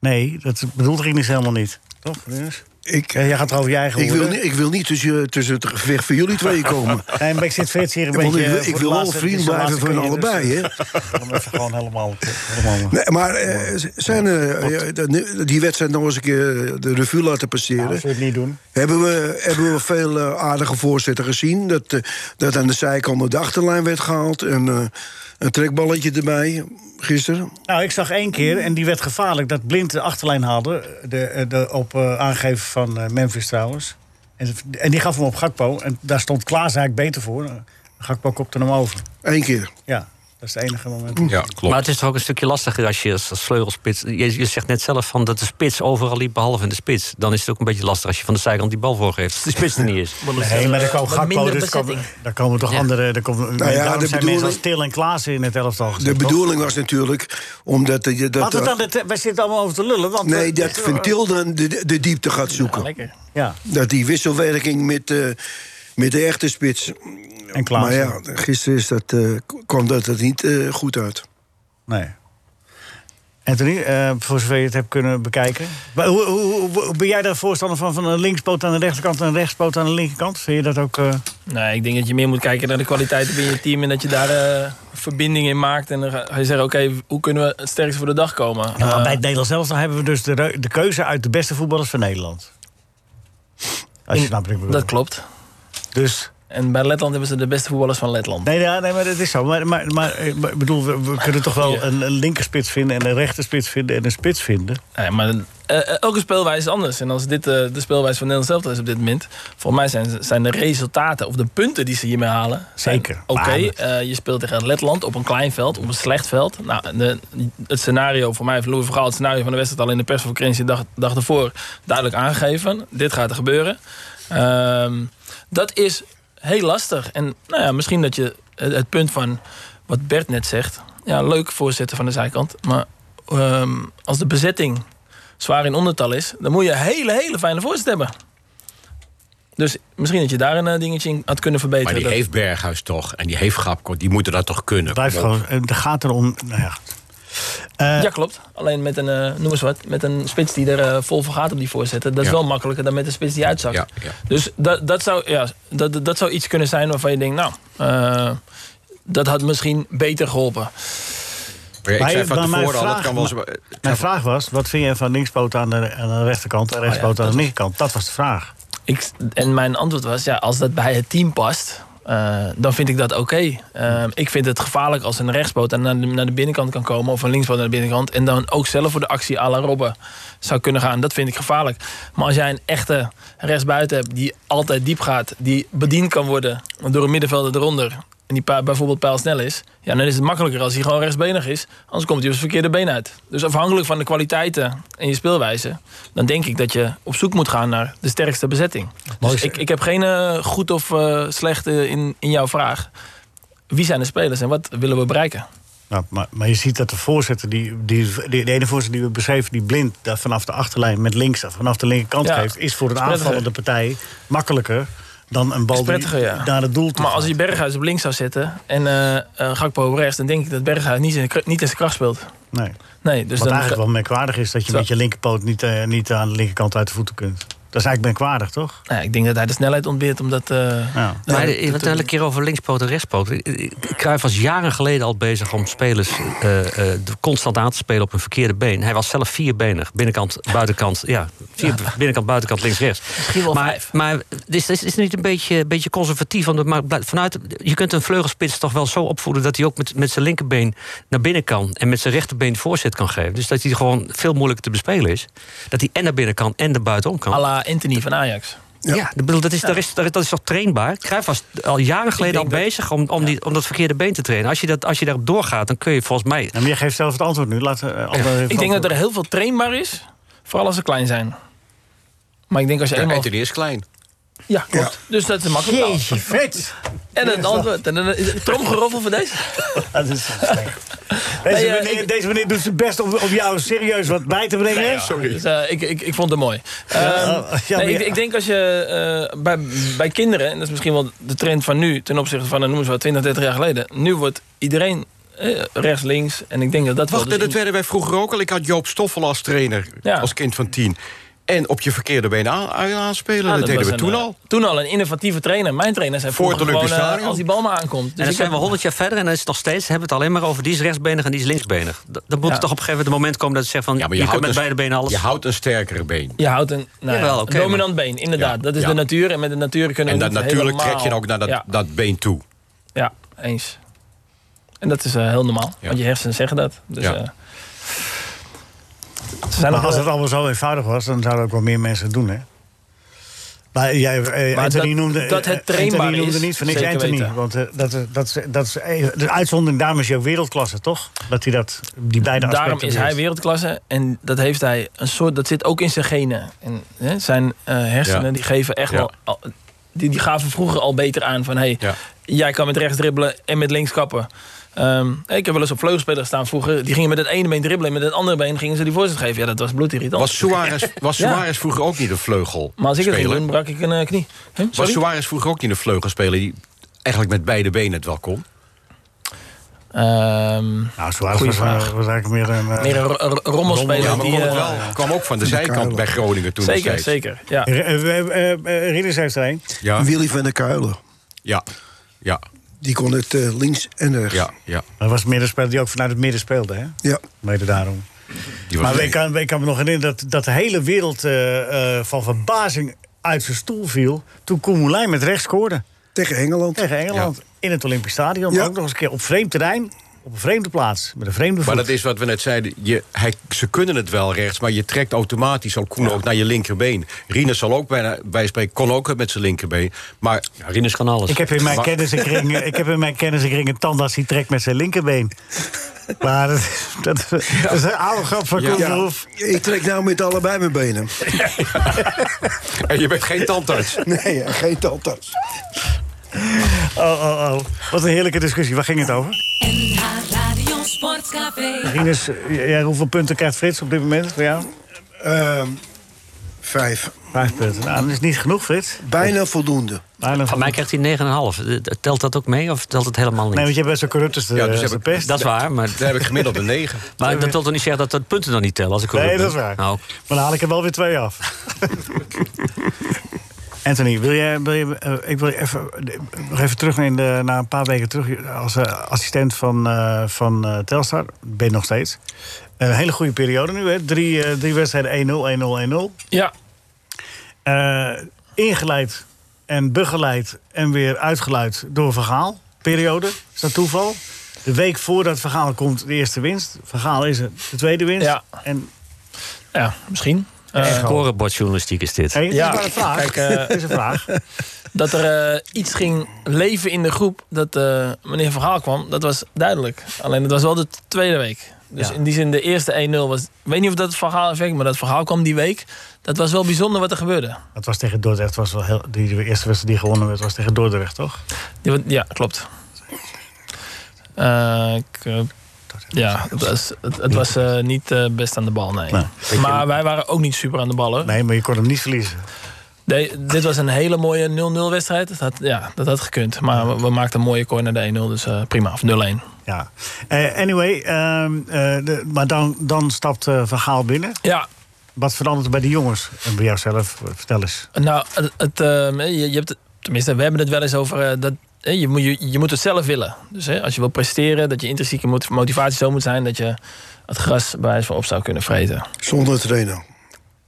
C: Nee, dat bedoelt Rinus helemaal niet. Toch, Rinus?
E: Ik,
C: Ja, jij gaat over je eigen
E: ik, wil,
C: woorden.
E: niet- ik wil niet tussen, tussen het gevecht van jullie twee komen.
C: Nee, maar ik zit steeds hier een
E: Want ik
C: beetje...
E: wil-
C: eh,
E: ik
C: voor
E: wil
C: de
E: wel
C: laatste-
E: vriend
C: het is de
E: blijven
C: laatste
E: van allebei,
C: keer, dus, eh, Dan even gewoon helemaal... helemaal
E: Nee, maar eh, z- zijn er, eh, de- die wedstrijd nog eens een keer eh, de revue laten
C: Ja,
E: passeren?
C: dat zul je het niet doen.
E: Hebben we, hebben we veel eh, aardige voorzetten gezien. Dat, eh, dat aan de zijkant de achterlijn werd gehaald. En eh, een trekballetje erbij gisteren.
C: Nou, ik zag één keer, en die werd gevaarlijk, dat Blind de achterlijn haalde. De, de, op eh, aangeven van eh, Memphis trouwens. En, en die gaf hem op Gakpo. En daar stond Klaas eigenlijk beter voor. Eh, Gakpo kopte hem over.
E: Eén keer.
C: Ja, dat is het enige moment.
D: Ja, klopt.
F: Maar het is toch ook een stukje lastiger als je als, als vleugelspits... Je, je zegt net zelf van dat de spits overal liep, behalve in de spits. Dan is het ook een beetje lastig als je van de zijkant die bal voorgeeft. Als de spits er niet is.
C: Nee, maar daar kwam Gakpo,
H: minder
C: dus komen, daar komen toch andere... Daar komen, nou
E: ja,
C: daarom
E: de
C: zijn mensen als
E: bedoeling-
C: Til en Klaas in het elftal gezet,
E: De
C: toch?
E: bedoeling was natuurlijk omdat... je dat, eh,
C: Laten we dan, eh, het- wij zitten allemaal over te lullen. Want
E: nee,
C: we- Ah,
E: dat Van Til dan de, de diepte gaat zoeken.
G: Lekker.
C: Ja,
E: Dat die wisselwerking met, eh, met de echte spits.
C: en Klaas.
E: Maar ja, gisteren is dat, eh, kwam dat er niet eh, goed uit.
C: Nee. Anthony, eh voor zover je het hebt kunnen bekijken. Maar hoe, hoe, hoe- hoe- ben jij daar voorstander van? Van een linkspoot aan de rechterkant en een rechtspoot aan de linkerkant? Vind je dat ook... eh,
G: Nee, ik denk dat je meer moet kijken naar de kwaliteiten binnen je team. En dat je daar eh, verbinding in maakt. En dan ga ga je zeggen, oké, hoe kunnen we het sterkste voor de dag komen?
C: Ja, maar
G: Eh,
C: bij het Nederlands elftal hebben we dus de, reu- de keuze uit de beste voetballers van Nederland. Als je
G: In-
C: snapt wat ik bedoel.
G: dat klopt.
C: Dus,
G: En bij Letland hebben ze de beste voetballers van Letland.
C: nee, ja, nee, maar dat is zo. Maar, maar, maar eh, maar ik bedoel, we, we kunnen toch wel een, een linkerspits vinden... en een rechterspits vinden en een spits vinden.
G: Nee, maar eh, eh, elke speelwijze is anders. En als dit eh, de speelwijze van Nederland zelf is op dit moment... volgens mij zijn, ze- zijn de resultaten of de punten die ze hiermee halen... zijn
C: Zeker.
G: Oké,
C: Maar-
G: eh, je speelt tegen Letland op een klein veld, op een slecht veld. Nou, de, het scenario voor mij, van Louis van Gaal, het scenario van de wedstrijd... al in de persconferentie de dag, dag ervoor duidelijk aangegeven. Dit gaat er gebeuren. Ehm, dat is heel lastig. En nou ja, misschien dat je het, het punt van wat Bert net zegt... Ja, leuk voorzetten van de zijkant. Maar ehm, als de bezetting zwaar in ondertal is... dan moet je hele, hele fijne voorzet hebben. Dus misschien dat je daar een eh, dingetje in had kunnen verbeteren.
D: Maar die
G: Dat-
D: heeft Berghuis toch. En die heeft Gapko. Die moeten dat toch kunnen.
C: Het blijft
D: Kom op.
C: gewoon... Het gaat erom... Nou ja. Eh,
G: Ja, klopt. Alleen met een, eh, noem eens wat, met een spits die er eh, vol voor gaat op die voorzetten. Dat is
D: Ja.
G: wel makkelijker dan met een spits die uitzakt.
D: Ja, ja.
G: Dus dat, dat, zou, ja, dat, dat- dat zou iets kunnen zijn waarvan je denkt, nou, eh, dat had misschien beter geholpen.
D: Maar
C: Maar
D: ja, ik zei
C: je-
D: van
C: maar mijn
D: tevoren al, dat
C: vraag-
D: kan wel eens...
C: Mijn vraag was, wat vind je van linkspoot aan de, aan de rechterkant
G: Oh
C: en rechtspoot aan de linkerkant? Dat was de vraag.
G: Ik, en mijn antwoord was, ja, als dat bij het team past, eh, dan vind ik dat oké. Eh, ik vind het gevaarlijk als een rechtsboot aan- naar de, naar de binnenkant kan komen... of een linksboot naar de binnenkant... en dan ook zelf voor de actie à la Robben zou kunnen gaan. Dat vind ik gevaarlijk. Maar als jij een echte rechtsbuiten hebt die altijd diep gaat... die bediend kan worden door een middenvelder eronder... en die pa- bijvoorbeeld pijlsnel is, ja, dan is het makkelijker als hij gewoon rechtsbenig is. Anders komt hij op zijn verkeerde been uit. Dus afhankelijk van de kwaliteiten en je speelwijze, dan denk ik dat je op zoek moet gaan naar de sterkste bezetting. Dus ik, ik heb geen eh, goed of eh, slecht eh, in, in jouw vraag. Wie zijn de spelers en wat willen we bereiken?
C: Nou, maar, maar je ziet dat de voorzitter, die, die, die- de ene voorzitter die we beschreven, die blind daar vanaf de achterlijn met links, vanaf de linkerkant
G: Ja,
C: geeft, is voor een
G: is prettiger.
C: aanvallende partij makkelijker dan een bal
G: Is prettiger,
C: die
G: ja.
C: naar het doel toe
G: Maar als
C: gaat.
G: je Berghuis op links zou zetten en eh, eh, Gakpo op rechts, dan denk ik dat Berghuis niet in, niet in zijn kracht speelt.
C: Nee.
G: Nee, dus
C: Wat
G: dan,
C: eigenlijk wel merkwaardig is, dat je
G: Zo.
C: met je linkerpoot niet, eh, niet aan de linkerkant uit de voeten kunt. Dat is eigenlijk merkwaardig, toch?
G: Nou, ik denk dat hij de snelheid ontbeert omdat. eh,
C: Ja.
G: Ja,
F: Maar
G: dat-
F: je hebt het elke keer over linkspoot en rechtspoot. Cruijff was jaren geleden al bezig om spelers eh, eh, de- constant aan te spelen op hun verkeerde been. Hij was zelf vierbenig. Binnenkant, buitenkant. Ja, vier, binnenkant, buitenkant, links, rechts.
G: Misschien wel
F: maar,
G: vijf.
F: Maar is, is, is het niet een beetje, een beetje conservatief? Want het maakt- blijft vanuit, je kunt een vleugelspits toch wel zo opvoeden... dat hij ook met, met zijn linkerbeen naar binnen kan... en met zijn rechterbeen de voorzet kan geven. Dus dat hij gewoon veel moeilijker te bespelen is. Dat hij en naar binnen kan en naar buitenom kan.
G: à la Anthony van Ajax.
F: Ja, ik bedoel, dat, is, daar is, daar is- dat is toch trainbaar? Cruijff was al jaren geleden al
G: denk dat-
F: bezig om, om, die, om dat verkeerde been te trainen. Als je, dat, als je daarop doorgaat, dan kun je volgens mij...
C: Ja, maar je geeft zelf het antwoord nu. Laat, eh, Aldo even
G: Ik denk dat
C: antwoorden.
G: er heel veel trainbaar is, vooral als ze klein zijn. Maar ik denk als je eenmaal...
D: Anthony is klein.
G: Ja, klopt. Dus dat is makkelijk.
C: Jeetje, vet!
G: En het antwoord. En dan is het tromgeroffel voor deze.
C: Dat is zo slecht. Deze,
G: Nee, eh,
C: meneer,
G: ik-
C: deze meneer doet zijn best om, om jou serieus wat bij te brengen.
G: Dus, eh, ik, ik, ik vond het mooi. Ehm,
C: oh, ja,
G: nee,
C: maar
G: ik,
C: ja.
G: ik denk als je eh, bij, bij kinderen, en dat is misschien wel de trend van nu ten opzichte van, eh, noem eens wat, 20, 30 jaar geleden. Nu wordt iedereen eh, rechts, links. En ik denk dat dat wel
D: Wacht,
G: dus
D: dat
G: in-
D: werden wij vroeger ook al. Ik had Joop Stoffel als trainer,
G: Ja.
D: als kind van tien. En op je verkeerde been aan- aanspelen,
G: Ja,
D: dat, deden
G: was
D: we
G: een,
D: toen
G: eh,
D: al.
G: Toen al een innovatieve trainer. Mijn trainer zei
D: Voor het
G: vroeger gewoon
D: Olympisch
G: eh,
D: Stadion.
G: als die bal maar aankomt. Dus
F: en dan
G: ik
F: zijn
G: heb-
F: we honderd jaar verder en dan is het nog steeds... hebben we het alleen maar over die is rechtsbenig en die is linksbenig. D- Dan moet
G: Ja.
F: het toch op een gegeven moment het moment komen dat je zegt van... je, kunt met
D: een-
F: beide benen alles...
D: Je houdt een sterkere been.
G: Je houdt een, nou ja,
F: Jawel,
G: een
F: oké,
G: dominant been, inderdaad.
D: Ja,
G: dat is
D: ja.
G: de natuur en met de natuur kunnen
D: En
G: we
D: dan
G: niet
D: natuurlijk
G: helemaal-
D: trek je ook naar dat,
G: Ja,
D: dat been toe.
G: ja, eens. En dat is eh, heel normaal,
D: Ja.
G: want je hersenen zeggen dat. Dus,
D: Ja.
G: eh, ze zijn
C: Maar
G: nog
C: als
G: wel-
C: het allemaal zo eenvoudig was, dan zouden ook wel meer mensen het doen, hè? Maar jij, eh,
G: Maar
C: Anthony
G: dat-
C: noemde,
G: dat het
C: eh, Anthony
G: trainbaar
C: noemde
G: is,
C: niet voor niks
G: zeker
C: Anthony.
G: weten.
C: Want eh, dat, is- dat, is- dat, is- eh, de uitzondering, daarom is hij ook wereldklasse, toch? Dat hij dat, die beide
G: Daarom
C: aspecten
G: is hij
C: beheerst.
G: wereldklasse en dat heeft hij een soort, dat zit ook in zijn genen. En hè, zijn eh, hersenen
D: Ja.
G: die geven echt
D: Ja.
G: wel, al- die, die gaven vroeger al beter aan van hey,
D: Ja.
G: jij kan met rechts dribbelen en met links kappen. Ehm, ik heb wel eens op vleugelspelers staan vroeger, die gingen met het ene been dribbelen en met het andere been gingen ze die voorzet geven. Ja, dat was bloedirritant.
D: Was Suarez, was
G: Ja.
D: Suarez vroeger ook niet een vleugel?
G: maar als ik het ging
D: speler?
G: doen, brak ik een eh, knie. Huh,
D: Was
G: sorry?
D: Suarez vroeger ook niet een vleugelspeler die eigenlijk met beide benen het wel kon?
G: Ehm,
C: Nou, Suarez
G: Goeie
C: was, eh,
G: vraag.
C: was eigenlijk meer een... eh,
G: meer een ro- ro- rommelspeler
D: Ja, maar
G: die...
D: kon het
G: eh,
D: wel, kwam ook van de zijkant
E: Kuilen.
D: bij Groningen toen nog
G: Zeker,
D: steeds.
G: zeker. Ja.
C: eh, eh, eh, eh, Ridders heeft er één.
D: Ja,
E: Willy van der Kuilen.
D: ja, ja,
E: Die kon het eh, links en rechts.
D: ja, ja.
C: Dat was een middenspeler die ook vanuit het midden speelde, hè?
E: Ja.
C: Mede daarom.
D: Die was
C: Maar ik kan, ik kan me nog herinneren dat, dat de hele wereld eh, eh, van verbazing uit zijn stoel viel... toen Koen Moulijn met rechts scoorde.
E: Tegen Engeland.
C: Tegen Engeland. In het Olympisch Stadion.
E: Ja.
C: Maar ook nog eens een keer op vreemd terrein. Op een vreemde plaats. Met een vreemde voet.
D: Maar dat is wat we net zeiden. Je, hij, ze kunnen het wel rechts, maar je trekt automatisch al Koen ook naar je linkerbeen. Rinus zal ook bijna bijspreken, kon ook met zijn linkerbeen. Maar
F: Ja, Rinus kan alles.
C: Ik heb in mijn
D: Maar-
C: kennissenkring, eh, ik heb in mijn kennissenkring een tandarts die trekt met zijn linkerbeen. Maar dat, dat, dat is een oude grap van Koen
E: Ja,
C: Verhoef.
E: ik trek nou met allebei mijn benen.
D: en je bent geen tandarts.
E: Nee, eh, geen tandarts.
C: Oh, oh, oh. Wat een heerlijke discussie. Waar ging het over?
A: NH Radio Sportcafé.
C: Rinus, jij, hoeveel punten krijgt Frits op dit moment voor jou?
E: Ehm, vijf.
C: Vijf punten. Nou, dat is niet genoeg, Frits.
E: Bijna voldoende.
C: Maar dan-
F: Van mij krijgt hij 9,5. Eh, Telt dat ook mee of telt het helemaal niet?
C: Nee, want jij bent zo corrupt als de,
D: Ja, dus
C: als
D: heb
C: de
D: ik-
C: pest.
F: dat is waar, maar,
D: Daar heb ik gemiddeld een 9.
F: maar dat wil toch niet zeggen dat de punten dan niet tellen? Als ik
C: nee,
F: corrupt
C: dat is
F: ben?
C: waar.
F: Nou,
C: Maar dan haal ik er wel weer twee af. Anthony, wil jij, wil je, eh, ik wil je even, nog even terug in de, na een paar weken terug. Als eh, assistent van, eh, van eh, Telstar, ben je nog steeds. Eh, Een hele goede periode nu, hè? Drie, eh, drie wedstrijden 1-0, 1-0, 1-0.
G: ja,
C: Eh, ingeleid en begeleid en weer uitgeleid door Vergaal. Periode, is dat toeval? De week voordat Vergaal komt, de eerste winst. Vergaal is het, de tweede winst.
G: Ja.
C: En
G: ja, misschien.
F: eh,
G: Eh,
F: Scorebordjournalistiek is dit.
C: Eh, Hey, het
G: Ja,
C: is maar een vraag.
G: kijk, eh,
C: het is een vraag.
G: Dat er eh, iets ging leven in de groep dat eh, meneer Verhaal kwam, dat was duidelijk. Alleen dat was wel de tweede week. Dus
C: Ja.
G: in die zin, de eerste 1-0 was... Ik weet niet of dat het verhaal effect, maar dat verhaal kwam die week. Dat was wel bijzonder wat er gebeurde.
C: Dat was tegen Dordrecht. Was wel heel, die, die eerste wedstrijd die gewonnen werd was tegen Dordrecht, toch?
G: Die wa- Ja, klopt. Eh, ik, eh, ja, het was, het, het was eh, niet eh, best aan de bal, nee.
C: Ah, Nee.
G: Maar wij waren ook niet super aan de bal, hoor.
C: Nee, maar je kon hem niet verliezen.
G: Nee, dit was een hele mooie 0-0 wedstrijd. Dat had, ja, dat had gekund. Maar we, we maakten een mooie corner de 1-0, dus eh, prima. Of 0-1.
C: Ja. Eh, anyway, ehm, eh, de- maar dan, dan stapt eh, Van Gaal binnen.
G: Ja,
C: Wat verandert er bij de jongens en bij jouzelf? Vertel eens.
G: nou, het, het, ehm, je, je hebt, het- tenminste, we hebben het wel eens over eh, dat eh, je, moet, je, je moet het zelf willen. Dus hè, als je wil presteren, dat je intrinsieke mot- motivatie zo moet zijn dat je het gras bij wijze van op zou kunnen vreten.
E: Zonder trainer.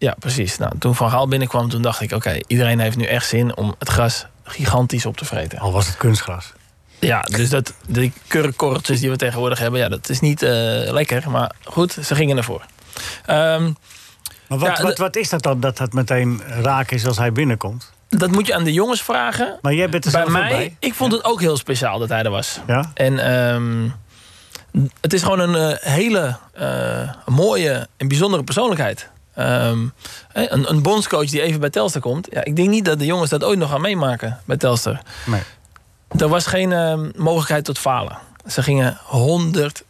G: Ja, precies. Nou, toen Van Gaal binnenkwam, toen dacht ik... oké, iedereen heeft nu echt zin om het gras gigantisch op te vreten.
C: Al was het kunstgras.
G: Ja, dus dat, die kurkkorreltjes die we tegenwoordig hebben... ja, dat is niet eh, lekker, maar goed, ze gingen ervoor. Ehm,
C: Maar wat,
G: Ja,
C: wat,
G: de-
C: wat is dat dan dat dat meteen raak is als hij binnenkomt?
G: dat moet je aan de jongens vragen.
C: Maar jij bent er
G: Bij
C: zelf ook
G: mij,
C: bij.
G: ik vond het ook heel speciaal dat hij er was.
C: Ja?
G: En ehm, het is gewoon een eh, hele eh, mooie en bijzondere persoonlijkheid. Ehm, hè, een, een bondscoach die even bij Telstar komt. Ja, ik denk niet dat de jongens dat ooit nog gaan meemaken bij Telstar.
C: Nee.
G: Er was geen ehm, mogelijkheid tot falen. Ze gingen 100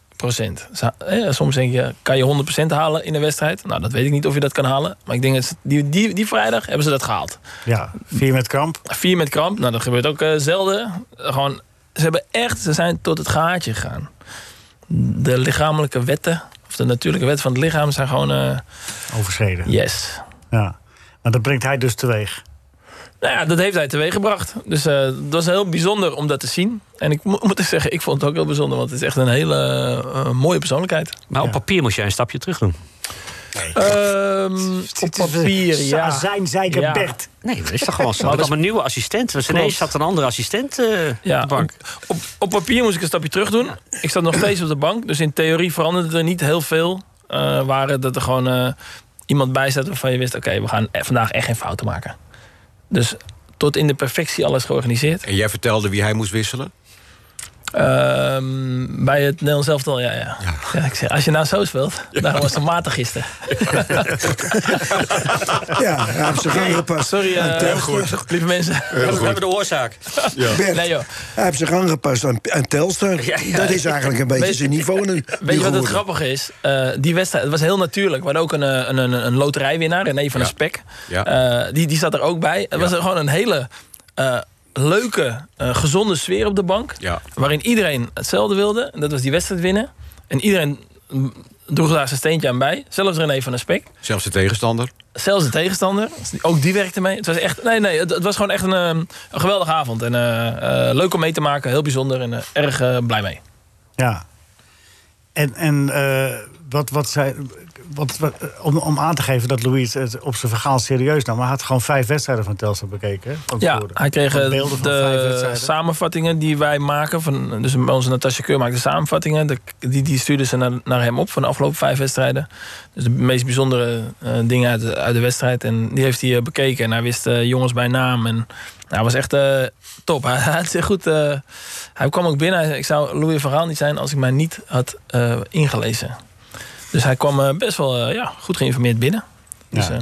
G: Ze- hè, soms denk je, kan je 100 halen in een wedstrijd? Nou, dat weet ik niet of je dat kan halen. Maar ik denk, dat ze- die, die, die vrijdag hebben ze dat gehaald.
C: ja. Vier met kramp.
G: Vier met kramp, nou dat gebeurt ook eh, zelden. Gewoon, ze hebben echt, ze zijn tot het gaatje gegaan. De lichamelijke wetten, of de natuurlijke wetten van het lichaam zijn gewoon eh,
C: Overschreden.
G: yes.
C: Ja. Maar dat brengt hij dus teweeg.
G: Nou ja, dat heeft hij teweeggebracht. Dus eh het was heel bijzonder om dat te zien. En ik mo- moet zeggen, ik vond het ook heel bijzonder, want het is echt een hele eh, mooie persoonlijkheid.
F: Maar op
C: Ja.
F: papier moest jij een stapje terug doen.
G: Ehm, op papier, ja.
C: Zijn zeiken
G: Ja.
C: Bert.
F: Nee, dat is toch gewoon zo.
G: Maar
F: Maar
G: dat-
F: een nieuwe assistent. Dus
G: Klopt.
F: ineens zat een andere assistent eh
G: Ja,
F: op de bank.
G: Op, op, op papier moest ik een stapje terug doen. Ik zat nog steeds op de bank. Dus in theorie veranderde er niet heel veel. Eh, waren dat er gewoon eh, iemand bij zat waarvan je wist... oké, we gaan e- vandaag echt geen fouten maken. Dus tot in de perfectie alles georganiseerd.
D: En jij vertelde wie hij moest wisselen?
G: Ehm, bij het Nederlands elftal, ja. ja. ja. ik zeg, als je nou zo speelt, daarom was het matig gisteren.
E: Ja, hij heeft zich aangepast.
G: Sorry, eh,
E: aan Telstar.
G: lieve mensen.
F: We hebben de oorzaak.
E: Bert,
G: Nee joh.
E: hij heeft zich aangepast aan, aan Telstar. Dat is eigenlijk een beetje
G: Weet-
E: zijn niveau nu.
G: Weet je wat het
E: geworden.
G: grappige is? Eh, die wedstrijd, het was heel natuurlijk. We hadden ook een, eh, een, een, een loterijwinnaar, René van
D: Ja.
G: de Spek.
D: Ja.
G: Eh, die, die zat er ook bij. Het was gewoon een hele eh, leuke, eh, gezonde sfeer op de bank.
D: Ja.
G: Waarin iedereen hetzelfde wilde. En dat was die wedstrijd winnen. En iedereen mm, droeg daar zijn steentje aan bij. Zelfs René van de Spek.
D: Zelfs de tegenstander?
G: Zelfs de tegenstander. Ook die werkte mee. Het was, echt, nee, nee, het, het was gewoon echt een, eh, een geweldige avond. En eh, eh, leuk om mee te maken. Heel bijzonder. En eh, erg eh, blij mee.
C: Ja. En, en eh, wat, wat zij. Wat, wat- eh, om, om aan te geven dat Louis het op zijn verhaal serieus nam. Maar hij had gewoon vijf wedstrijden van Telstar bekeken. hè, van
G: Ja,
C: tevoren.
G: hij kreeg
C: Van
G: eh,
C: beelden van vijf
G: de
C: wedstrijden.
G: samenvattingen die wij maken. Van, dus onze Natasja Keur maakt de samenvattingen. De- die, die stuurde ze naar, naar hem op van de afgelopen vijf wedstrijden. Dus de meest bijzondere eh, dingen uit, de- uit de wedstrijd. En die heeft hij eh, bekeken. En hij wist eh, jongens bij naam. En nou, hij was echt eh, top. Hij, had zich goed, eh, hij kwam ook binnen. Hij zei, ik zou Louis Verhaal niet zijn als ik mij niet had eh, ingelezen. Dus hij kwam eh, best wel eh, ja, goed geïnformeerd binnen. Dus,
C: Ja.
G: eh,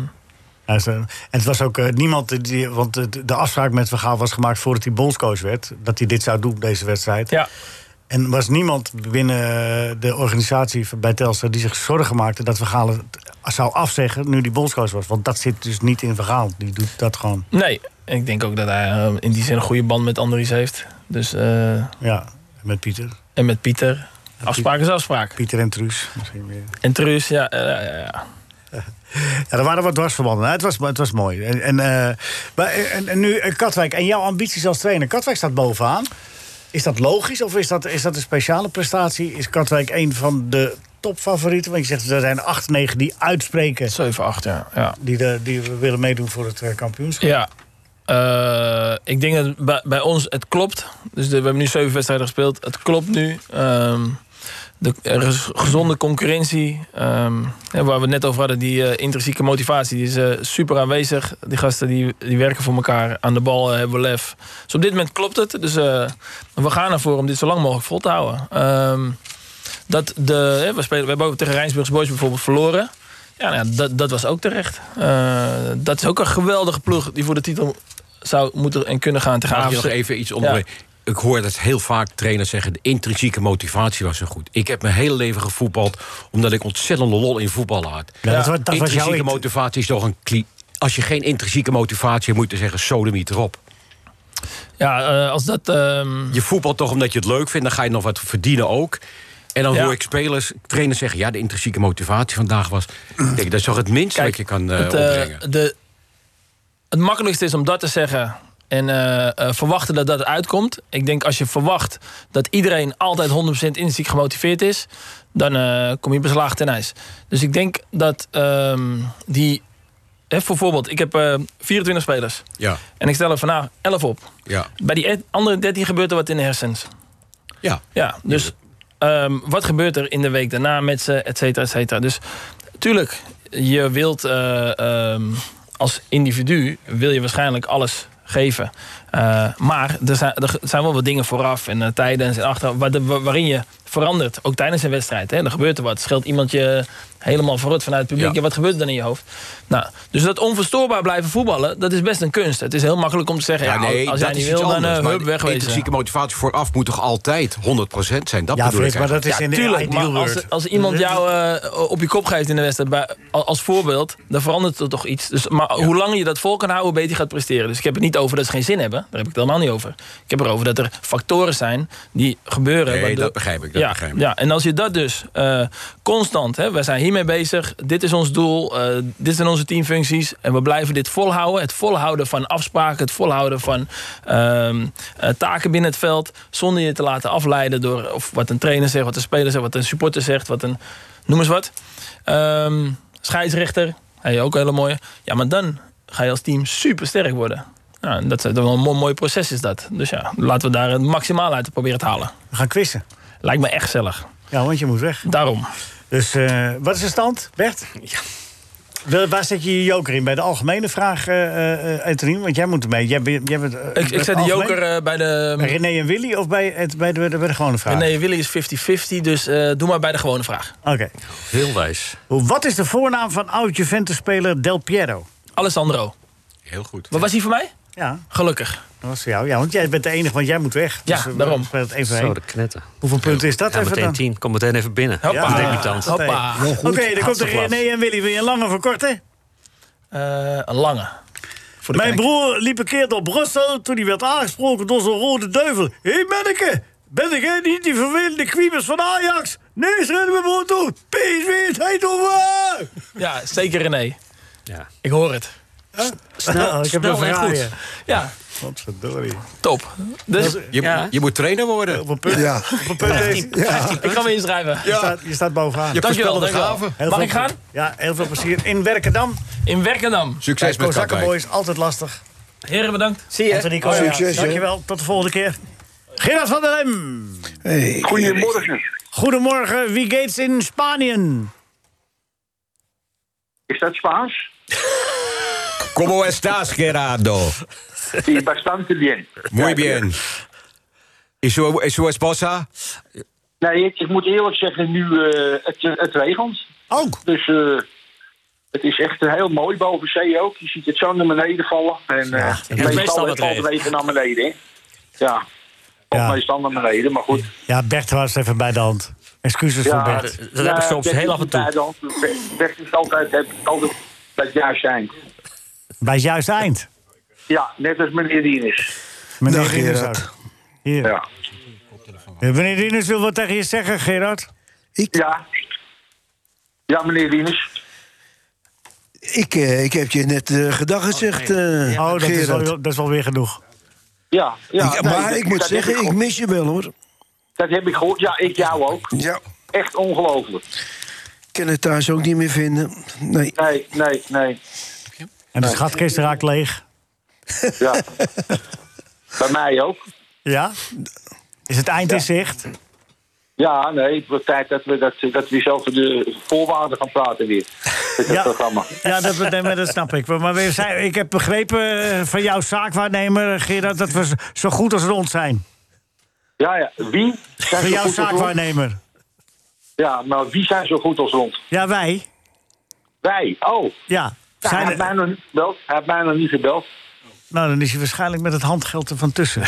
C: Ja, ze- en het was ook eh, niemand. Die, want de, de afspraak met Vergaal was gemaakt voordat hij bondscoach werd. Dat hij dit zou doen, deze wedstrijd.
G: ja.
C: En er was niemand binnen de organisatie bij Telstar die zich zorgen maakte dat Vergaal het zou afzeggen nu die bondscoach was. Want dat zit dus niet in Vergaal. Die doet dat gewoon.
G: Nee, en ik denk ook dat hij eh, in die zin een goede band met Andries heeft. Dus, eh,
C: Ja, met Pieter.
G: en met Pieter. Afspraak is afspraak.
C: Pieter en Truus. Misschien weer.
G: En Truus, ja, eh, ja, ja, ja.
C: Ja, er waren wat dwarsverbanden. Nou, het, was, het was mooi. En, en, eh, maar, en, en nu eh, Katwijk en jouw ambities als trainer. Katwijk staat bovenaan. Is dat logisch of is dat, is dat een speciale prestatie? Is Katwijk een van de topfavorieten? Want je zegt er zijn acht, negen die uitspreken
G: 7, 8, ja. ja.
C: die, de, die we willen meedoen voor het eh, kampioenschap.
G: Ja. Eh, ik denk dat bij, bij ons het klopt. Dus de- we hebben nu zeven wedstrijden gespeeld. Het klopt nu. Ehm, de, er is gezonde concurrentie. ehm, hè, waar we het net over hadden, die eh, intrinsieke motivatie. Die is eh, super aanwezig. Die gasten die, die werken voor elkaar. Aan de bal eh, hebben we lef. Dus op dit moment klopt het. Dus eh, we gaan ervoor om dit zo lang mogelijk vol te houden. Ehm, dat de, hè, we, spelen, we hebben ook tegen Rijnsburgs Boys bijvoorbeeld verloren. Ja, nou ja, dat, dat was ook terecht. Eh, dat is ook een geweldige ploeg die voor de titel zou moeten en kunnen gaan tegen
D: Mag je nog
G: AFC.
D: even iets onderbreken? Ik hoor dat heel vaak trainers zeggen... de intrinsieke motivatie was zo goed. Ik heb mijn hele leven gevoetbald... omdat ik ontzettende lol in voetballen had.
C: Ja, dat was- dat was jouw
D: intrinsieke
C: int-
D: motivatie is toch een... kli- Als je geen intrinsieke motivatie hebt, moet je zeggen... sodemiet erop.
G: Ja, eh, als dat... ehm,
D: Je voetbalt toch omdat je het leuk vindt... dan ga je nog wat verdienen ook... En dan
G: Ja.
D: hoor ik spelers, trainers zeggen... ja, de intrinsieke motivatie vandaag was... Ik denk, dat is toch het minste wat je kan eh,
G: het, eh,
D: opbrengen.
G: de, het makkelijkste is om dat te zeggen. En eh, eh, verwachten dat dat uitkomt. Ik denk als je verwacht dat iedereen altijd 100% intrinsiek gemotiveerd is, dan eh, kom je beslaagd ten ijs. Dus ik denk dat ehm, die. Hè, bijvoorbeeld, ik heb eh, 24 spelers.
D: Ja,
G: En ik stel er vandaag 11 op.
D: ja,
G: Bij die e- andere 13 gebeurt er wat in de hersens.
D: ja.
G: Ja, dus ehm, wat gebeurt er in de week daarna met ze, et cetera, et cetera. Dus tuurlijk, je wilt eh, ehm, als individu wil je waarschijnlijk alles geven. Eh, maar er zijn, er zijn wel wat dingen vooraf en eh, tijden en achter waar de- wa- waarin je verandert. Ook tijdens een wedstrijd. Hè, er gebeurt er wat. Scheelt iemand je helemaal verrot vanuit het publiek.
D: Ja.
G: Ja, wat gebeurt er dan in je hoofd? Nou, dus dat onverstoorbaar blijven voetballen, dat is best een kunst. Het is heel makkelijk om te zeggen, ja, als jij
D: dat
G: niet
D: is iets
G: wil, dan
D: anders,
G: eh,
D: maar
G: hup,
D: de
G: wegwezen.
D: Intrinsieke motivatie vooraf moet toch altijd 100% zijn? Dat
C: Ja,
D: bedoel
C: Frits,
D: ik
C: maar dat
D: eigenlijk.
C: is in de
G: Tuurlijk, maar
C: ideal
G: als,
C: world.
G: als iemand
C: Dat-
G: jou eh, op je kop geeft in de wedstrijd bij- al- als voorbeeld, dan verandert er toch iets. Dus, maar hoe langer je dat vol kan houden, hoe beter je gaat presteren. Dus ik heb het niet over dat ze geen zin hebben. Daar heb ik het helemaal niet over. Ik heb erover dat er factoren zijn die gebeuren.
D: Nee,
G: waardoor-
D: dat begrijp ik, dat
G: ja,
D: begrijp ik.
G: Ja, en als je dat dus eh, constant, hè, we zijn hiermee bezig, dit is ons doel, eh, dit zijn onze teamfuncties en we blijven dit volhouden. Het volhouden van afspraken, het volhouden van ehm, eh, taken binnen het veld, zonder je te laten afleiden door of wat een trainer zegt, wat een speler zegt, wat een supporter zegt, wat een, noem eens wat. Ehm, scheidsrechter, hey, ook een hele mooie. Ja, maar dan ga je als team super sterk worden. Ja, en dat is wel een mooi, mooi proces is dat. Dus ja, laten we daar het maximaal uit proberen te halen.
C: We gaan quizzen.
G: Lijkt me echt gezellig.
C: Ja, want je moet weg.
G: Daarom.
C: Dus eh, wat is de stand, Bert? Wel, Waar zet je je joker in? Bij de algemene vraag, eh eh, eh, Anthony? Want jij moet ermee. Jij, bent- jij bent, eh,
G: Ik, ik
C: het
G: zet de
C: algemeen-
G: joker eh, bij
C: Bij
G: de...
C: René en Willy of bij, het, bij, de, bij de gewone vraag?
G: Nee, Willy is 50-50, dus eh, doe maar bij de gewone vraag.
C: Oké.
F: Heel wijs.
C: Wat is de voornaam van oud-Juventus-speler Del Piero?
G: Alessandro.
D: Heel goed.
G: Wat was hij voor mij?
C: Ja,
G: Gelukkig.
C: dat was voor jou. Ja, want jij bent de enige, want jij moet weg.
G: Ja,
C: eh, we
G: daarom.
C: spelen het even
F: Zo,
C: heen.
F: de knetten.
C: Hoeveel punten is dat
F: Ja,
C: even
F: meteen
C: dan?
F: tien. Kom meteen even binnen.
G: Hoppa.
C: Ja,
F: Debutant.
C: dat deed.
G: Hoppa.
C: Oké, dan komt er
F: Hartstikke
C: René en Willy. Wil je een lange of een korte?
G: Eh, een lange. Voor de
C: Mijn
G: kijk.
C: broer liep een keer door Brussel toen hij werd aangesproken door zo'n rode duivel. Hé, hey, manneke, ben jij niet die vervelende kwiebers van Ajax? Nee, schrijf me broer toe. PSV is Eindhoven!
G: Ja, zeker René.
F: Ja.
G: Ik hoor het.
C: Snel, ik heb
G: Snel
C: een
G: en
C: verhaal.
G: goed. Ja,
C: Wat verdorie.
G: top. Dus
D: Je,
F: Ja.
D: je moet trainer worden.
C: Op een punt,
E: Ja.
C: op een punt deze.
G: ik kan me inschrijven.
C: Je, staat, je staat bovenaan.
D: Je hebt
G: Dankjewel,
D: voorspelde
G: dankjewel.
D: gaven.
C: Heel
G: Mag
C: veel
G: ik gaan?
C: plezier. Ja, heel veel plezier. In Werkendam.
G: In Werkendam.
D: Succes met Katwijk.
C: Kozakkenboys, altijd lastig.
G: Heren, bedankt.
F: Zie je?
C: Anthony Koos,
E: Succes, hè.
C: dankjewel. Tot de volgende keer. Gerard van der Lem.
E: Hey.
H: Goedemorgen.
C: Goedemorgen, wie gates in Spanje?
H: Is dat Spaans?
D: Como estás, Gerardo?
H: Die bastante bien.
D: Muy bien. Is su, eh, is su esposa?
H: Nee, ik, ik moet eerlijk zeggen, nu eh, het, het regent.
C: Ook.
H: Dus eh, het is echt heel mooi boven zee ook. Je ziet het zo naar beneden vallen. En eh
F: is meestal
H: meestal
F: wat
H: het valt
F: regent.
H: regen naar beneden. hè. Ja, of
C: Ja.
H: meestal naar beneden, maar goed.
C: Ja, Bert was even bij de hand. Excuses voor
H: Ja,
C: Bert.
F: dat heb ik soms
H: Bert is
F: heel af en
H: niet
F: toe.
H: bij de hand. Bert is altijd, heb ik altijd dat juist zijn.
C: Bij het juiste eind.
H: Ja, net als meneer Dienis.
C: Meneer
E: Dag,
C: Rinus
E: Gerard.
C: ook. Hier.
H: Ja.
C: Eh, Meneer Rinus wil wat tegen je zeggen, Gerard.
H: Ja. ja, meneer Dienis.
E: Ik, eh, ik heb je net eh gedag gezegd, eh,
C: Oh, dat is,
E: Gerard.
C: wel, dat is wel weer genoeg.
H: Ja, ja.
E: Ik-
H: nee,
E: maar
H: dat-
E: ik moet
H: dat heb
E: zeggen, ik
H: gehoord.
E: mis je wel, hoor.
H: Dat heb ik gehoord. Ja, ik jou ook.
E: Ja.
H: Echt ongelooflijk.
E: Ik kan het thuis ook niet meer vinden. Nee.
H: Nee, nee, nee.
C: En de schatkist raakt leeg.
H: Ja. Bij mij ook.
C: Ja? Is het eind in zicht?
H: Ja, nee, het wordt tijd dat we, dat, dat we zelf de voorwaarden gaan praten weer. Met dat
C: Ja.
H: programma.
C: Ja, dat, nee, maar dat snap ik. Maar- Maar we zijn, ik heb begrepen eh, van jouw zaakwaarnemer, Gerard, dat we z- zo goed als rond zijn.
H: Ja, ja. Wie zijn
C: Van
H: zo
C: jouw
H: goed als rond?
C: zaakwaarnemer.
H: Ja, maar wie zijn zo goed als rond?
C: Ja, wij.
H: Wij. Oh,
C: Ja.
H: ja, hij,
C: Zijn
H: heeft mij
C: er-
H: nog niet gebeld. hij heeft mij nog niet gebeld.
C: nou, dan is hij waarschijnlijk met het handgeld er van tussen.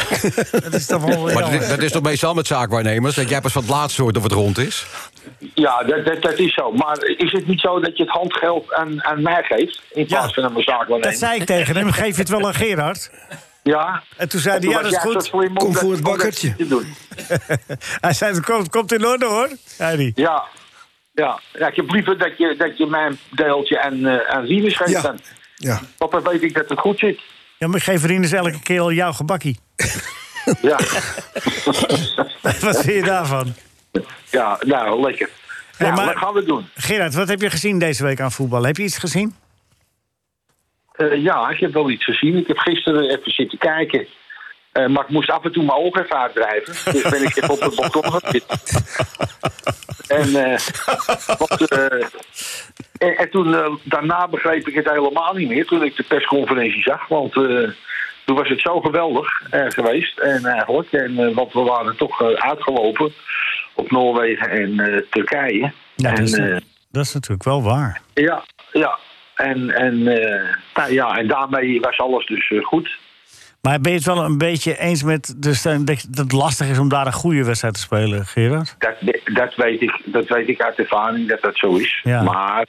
C: dat is toch
G: Oh,
C: wel
D: Maar
C: jammer.
D: dat- dat is toch meestal met zaakwaarnemers? Dat jij pas van het laatste hoort of het rond is?
H: Ja, dat, dat, dat is zo. Maar is het niet zo dat je het handgeld aan, aan mij geeft? In plaats van aan mijn zaakwaarnemer?
C: Dat zei ik tegen hem. Geef je het wel aan Gerard?
H: Ja.
C: En toen zei hij,
H: Toen
C: ja,
H: was
C: dat is
H: jij tot
C: goed.
H: voor je mond
E: Kom voor
H: dat-
E: het
H: dat
E: bakkertje.
H: te doen.
C: Hij zei, het komt, komt in orde, hoor. Zei hij.
H: Ja. Ja. ja, ik heb liever dat je, dat je mijn deeltje aan, eh aan Riemers geeft.
E: Ja.
H: dan.
E: Ja.
H: Want dan weet ik dat het goed zit.
C: Ja, maar ik geef Rien eens elke keer al jouw gebakkie.
H: Ja,
C: Wat vind je daarvan?
H: ja nou, lekker.
C: Hey,
H: ja,
C: maar-
H: wat gaan we doen?
C: Gerard, wat heb je gezien deze week aan voetbal? Heb je iets gezien?
H: Eh, ja, ik heb wel iets gezien. Ik heb gisteren even zitten kijken. Eh, maar ik moest af en toe mijn ogen even uitdrijven. Dus ben ik even op het balkon gaan zitten. En, eh, want, eh, en, en toen, eh, daarna begreep ik het helemaal niet meer toen ik de persconferentie zag. Want eh, toen was het zo geweldig eh, geweest. En eigenlijk, en, eh, want we waren toch eh, uitgelopen op Noorwegen en eh, Turkije.
C: Ja, dus,
H: en,
C: dat is,
H: eh,
C: dat is natuurlijk wel waar.
H: ja, ja. En, en, eh, nou ja, en daarmee was alles dus eh, goed.
C: Maar ben je het wel een beetje eens met de stelling dat dat het lastig is om daar een goede wedstrijd te spelen, Gerard?
H: Dat, dat, weet ik, dat weet ik uit ervaring dat dat zo is.
C: Ja.
H: Maar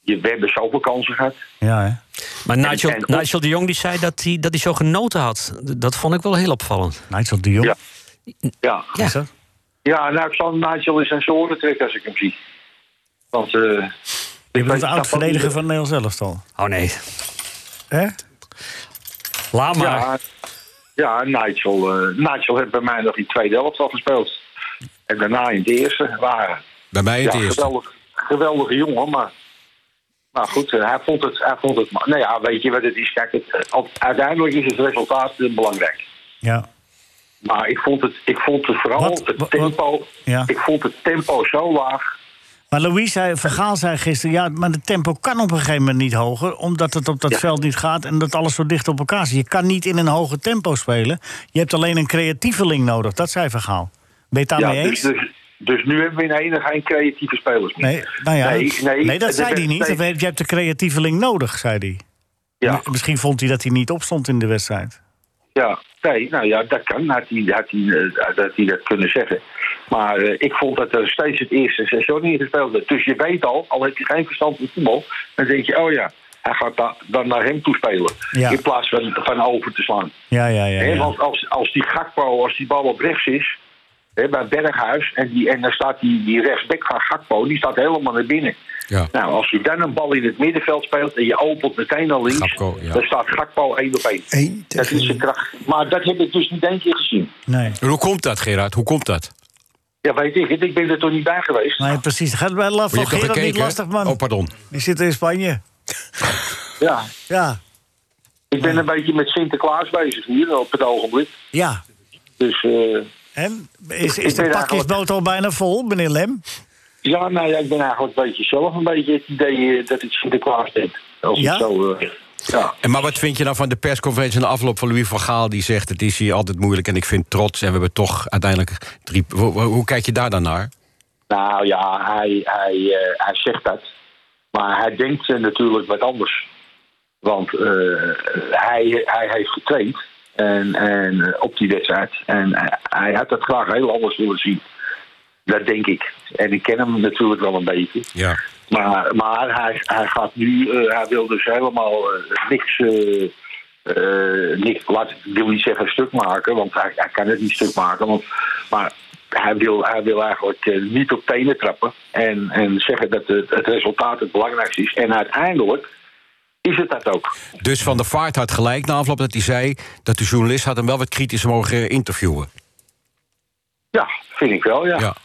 H: je, we hebben zoveel kansen gehad.
C: Ja, hè?
F: Maar Nigel,
H: en op-
F: Nigel de Jong die zei dat hij, dat hij zo genoten had. D- Dat vond ik wel heel opvallend.
C: Nigel de Jong.
H: Ja. Ja,
F: Ja.
C: Is dat?
H: ja nou, ik zal Nigel in zijn zoren trekken als ik hem zie. Want eh,
C: Je bent
H: weet-
C: de oud-verdediger van Nederlands elftal.
F: Oh nee,
C: Hè?
F: laat maar.
H: ja, ja Nigel, eh, Nigel heeft bij mij nog in de tweede helft al gespeeld. En daarna in de eerste waren.
D: Bij mij het
H: ja,
D: eerste.
H: Geweldig, geweldige jongen, maar. Maar goed, eh, hij vond het. Hij vond het maar- nou ja, weet je wat het is? Kijk, het, eh, al- uiteindelijk is het resultaat eh, belangrijk.
C: Ja.
H: Maar ik vond het, ik vond het vooral
C: Wat- wa-
H: het tempo.
C: Ja.
H: Ik vond het tempo zo laag.
C: Maar Louis zei, Vergaal zei gisteren, ja, maar het tempo kan op een gegeven moment niet hoger, omdat het op dat
H: Ja.
C: veld niet gaat en dat alles zo dicht op elkaar zit. Je kan niet in een hoger tempo spelen. Je hebt alleen een creatieveling nodig. Dat zei Vergaal. Ben je het
H: ja,
C: daarmee
H: dus,
C: eens?
H: dus, dus nu hebben we in één geen creatieve spelers meer.
C: Nee, nou ja,
H: Nee,
C: dat,
H: nee,
C: nee, dat
H: dat
C: zei
H: werd-
C: hij niet.
H: nee.
C: Je hebt de creatieveling nodig, zei hij.
H: Ja,
C: M- Misschien vond hij dat hij niet opstond in de wedstrijd.
H: ja, nee, nou ja, dat kan. Had hij, had hij, eh, dat, hij dat kunnen zeggen. Maar eh, ik vond dat er steeds het eerste seizoen in gespeeld werd. Dus je weet al, al heb je geen verstand van voetbal, dan denk je, oh ja, hij gaat da- dan naar hem toe spelen.
C: Ja.
H: In plaats van, van over te slaan.
C: Ja, ja, ja.
H: Hè,
C: ja.
H: want als, als die Gakpo, als die bal op rechts is, hè, bij Berghuis, en, die, en dan staat die, die rechtsbek van Gakpo, die staat helemaal naar binnen.
D: Ja.
H: Nou, als je dan een bal in het middenveld speelt en je opent meteen naar links,
D: Gakpo, ja.
H: dan staat Gakpo één op één.
E: Eén
H: Dat
E: tegen
H: is zijn kracht. Maar dat heb ik dus niet één keer gezien.
C: Nee.
D: En hoe komt dat, Gerard? Hoe komt dat?
H: Ja, weet ik het. Ik ben er toch niet bij geweest.
C: Nee, precies. Gaat bij La-
D: Maar
C: van Gerard niet
D: hè?
C: lastig, man.
D: Oh, pardon.
C: Die zitten in Spanje.
H: Ja,
C: Ja,
H: ik ben een beetje met Sinterklaas bezig hier op het ogenblik.
C: ja.
H: Dus eh,
C: En is,
H: Ik
C: is de
H: weet
C: pakjesboot al bijna vol, meneer Lem?
H: ja, nou ja, ik ben eigenlijk een beetje zelf een beetje het idee eh, dat ik Sinterklaas ben. Als
C: Ja?
H: ik zo... eh, ja.
D: En maar wat vind je nou van de persconferentie in de afloop van Louis van Gaal? Die zegt, het is hier altijd moeilijk en ik vind trots. En we hebben toch uiteindelijk drie... Hoe, hoe- hoe kijk je daar dan naar?
H: Nou ja, hij, hij, eh, hij zegt dat. Maar hij denkt eh, natuurlijk wat anders. Want eh, hij, hij heeft getraind en, en, eh, op die wedstrijd. En hij, hij had dat graag heel anders willen zien. Dat denk ik. En ik ken hem natuurlijk wel een beetje.
D: Ja.
H: Maar, maar hij, hij gaat nu, eh, hij wil dus helemaal eh, niks, eh, eh, niks laat, ik wil niet zeggen stuk maken, want hij, hij kan het niet stuk maken. Want, maar hij wil, hij wil eigenlijk eh, niet op tenen trappen en, en zeggen dat het, het resultaat het belangrijkste is. En uiteindelijk is het dat ook.
D: Dus Van der Vaart had gelijk na afloop dat hij zei... dat de journalist had hem wel wat kritisch mogen interviewen.
H: Ja, vind ik wel, ja.
D: Ja.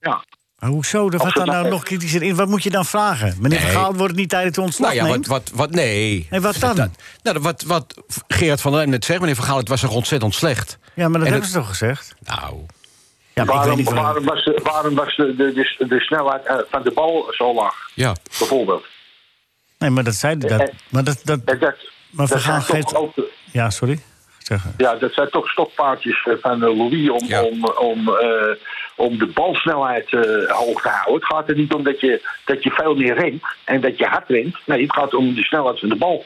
H: ja.
C: Maar hoezo? Dat
H: Als
C: gaat
H: het
C: daar nou
H: nou-
C: nog kritischer in. Wat moet je dan vragen? Meneer
D: Nee.
C: Van Gaal wordt het niet tijdens de ontslag
D: Nou ja, wat,
C: neemt?
D: wat, wat nee.
C: Nee, wat dan?
D: Dat- nou, wat, wat Gerard van der Lem net zegt, meneer Van Gaal... het was toch ontzettend slecht?
C: Ja, maar dat
D: En
C: hebben
D: het-
C: ze toch gezegd?
D: Nou,
C: Ja, maar ik weet
H: waarom,
C: niet waarom.
H: waarom was, waarom was de, de, de, de snelheid eh, van de bal zo laag,
D: Ja.
H: bijvoorbeeld?
C: Nee, maar dat zei hij. Dat,
H: Eh,
C: maar dat, dat,
H: En dat,
C: maar
H: dat
C: Vergaal
H: zijn toch
C: geeft...
H: ook-
C: Ja, sorry. Zeg,
H: Ja, dat zijn toch stokpaardjes eh, van eh, Louis om,
D: Ja.
H: om, om, eh, om de balsnelheid eh, hoog te houden. Het gaat er niet om dat je, dat je veel meer rent en dat je hard rent. Nee, het gaat om de snelheid van de bal.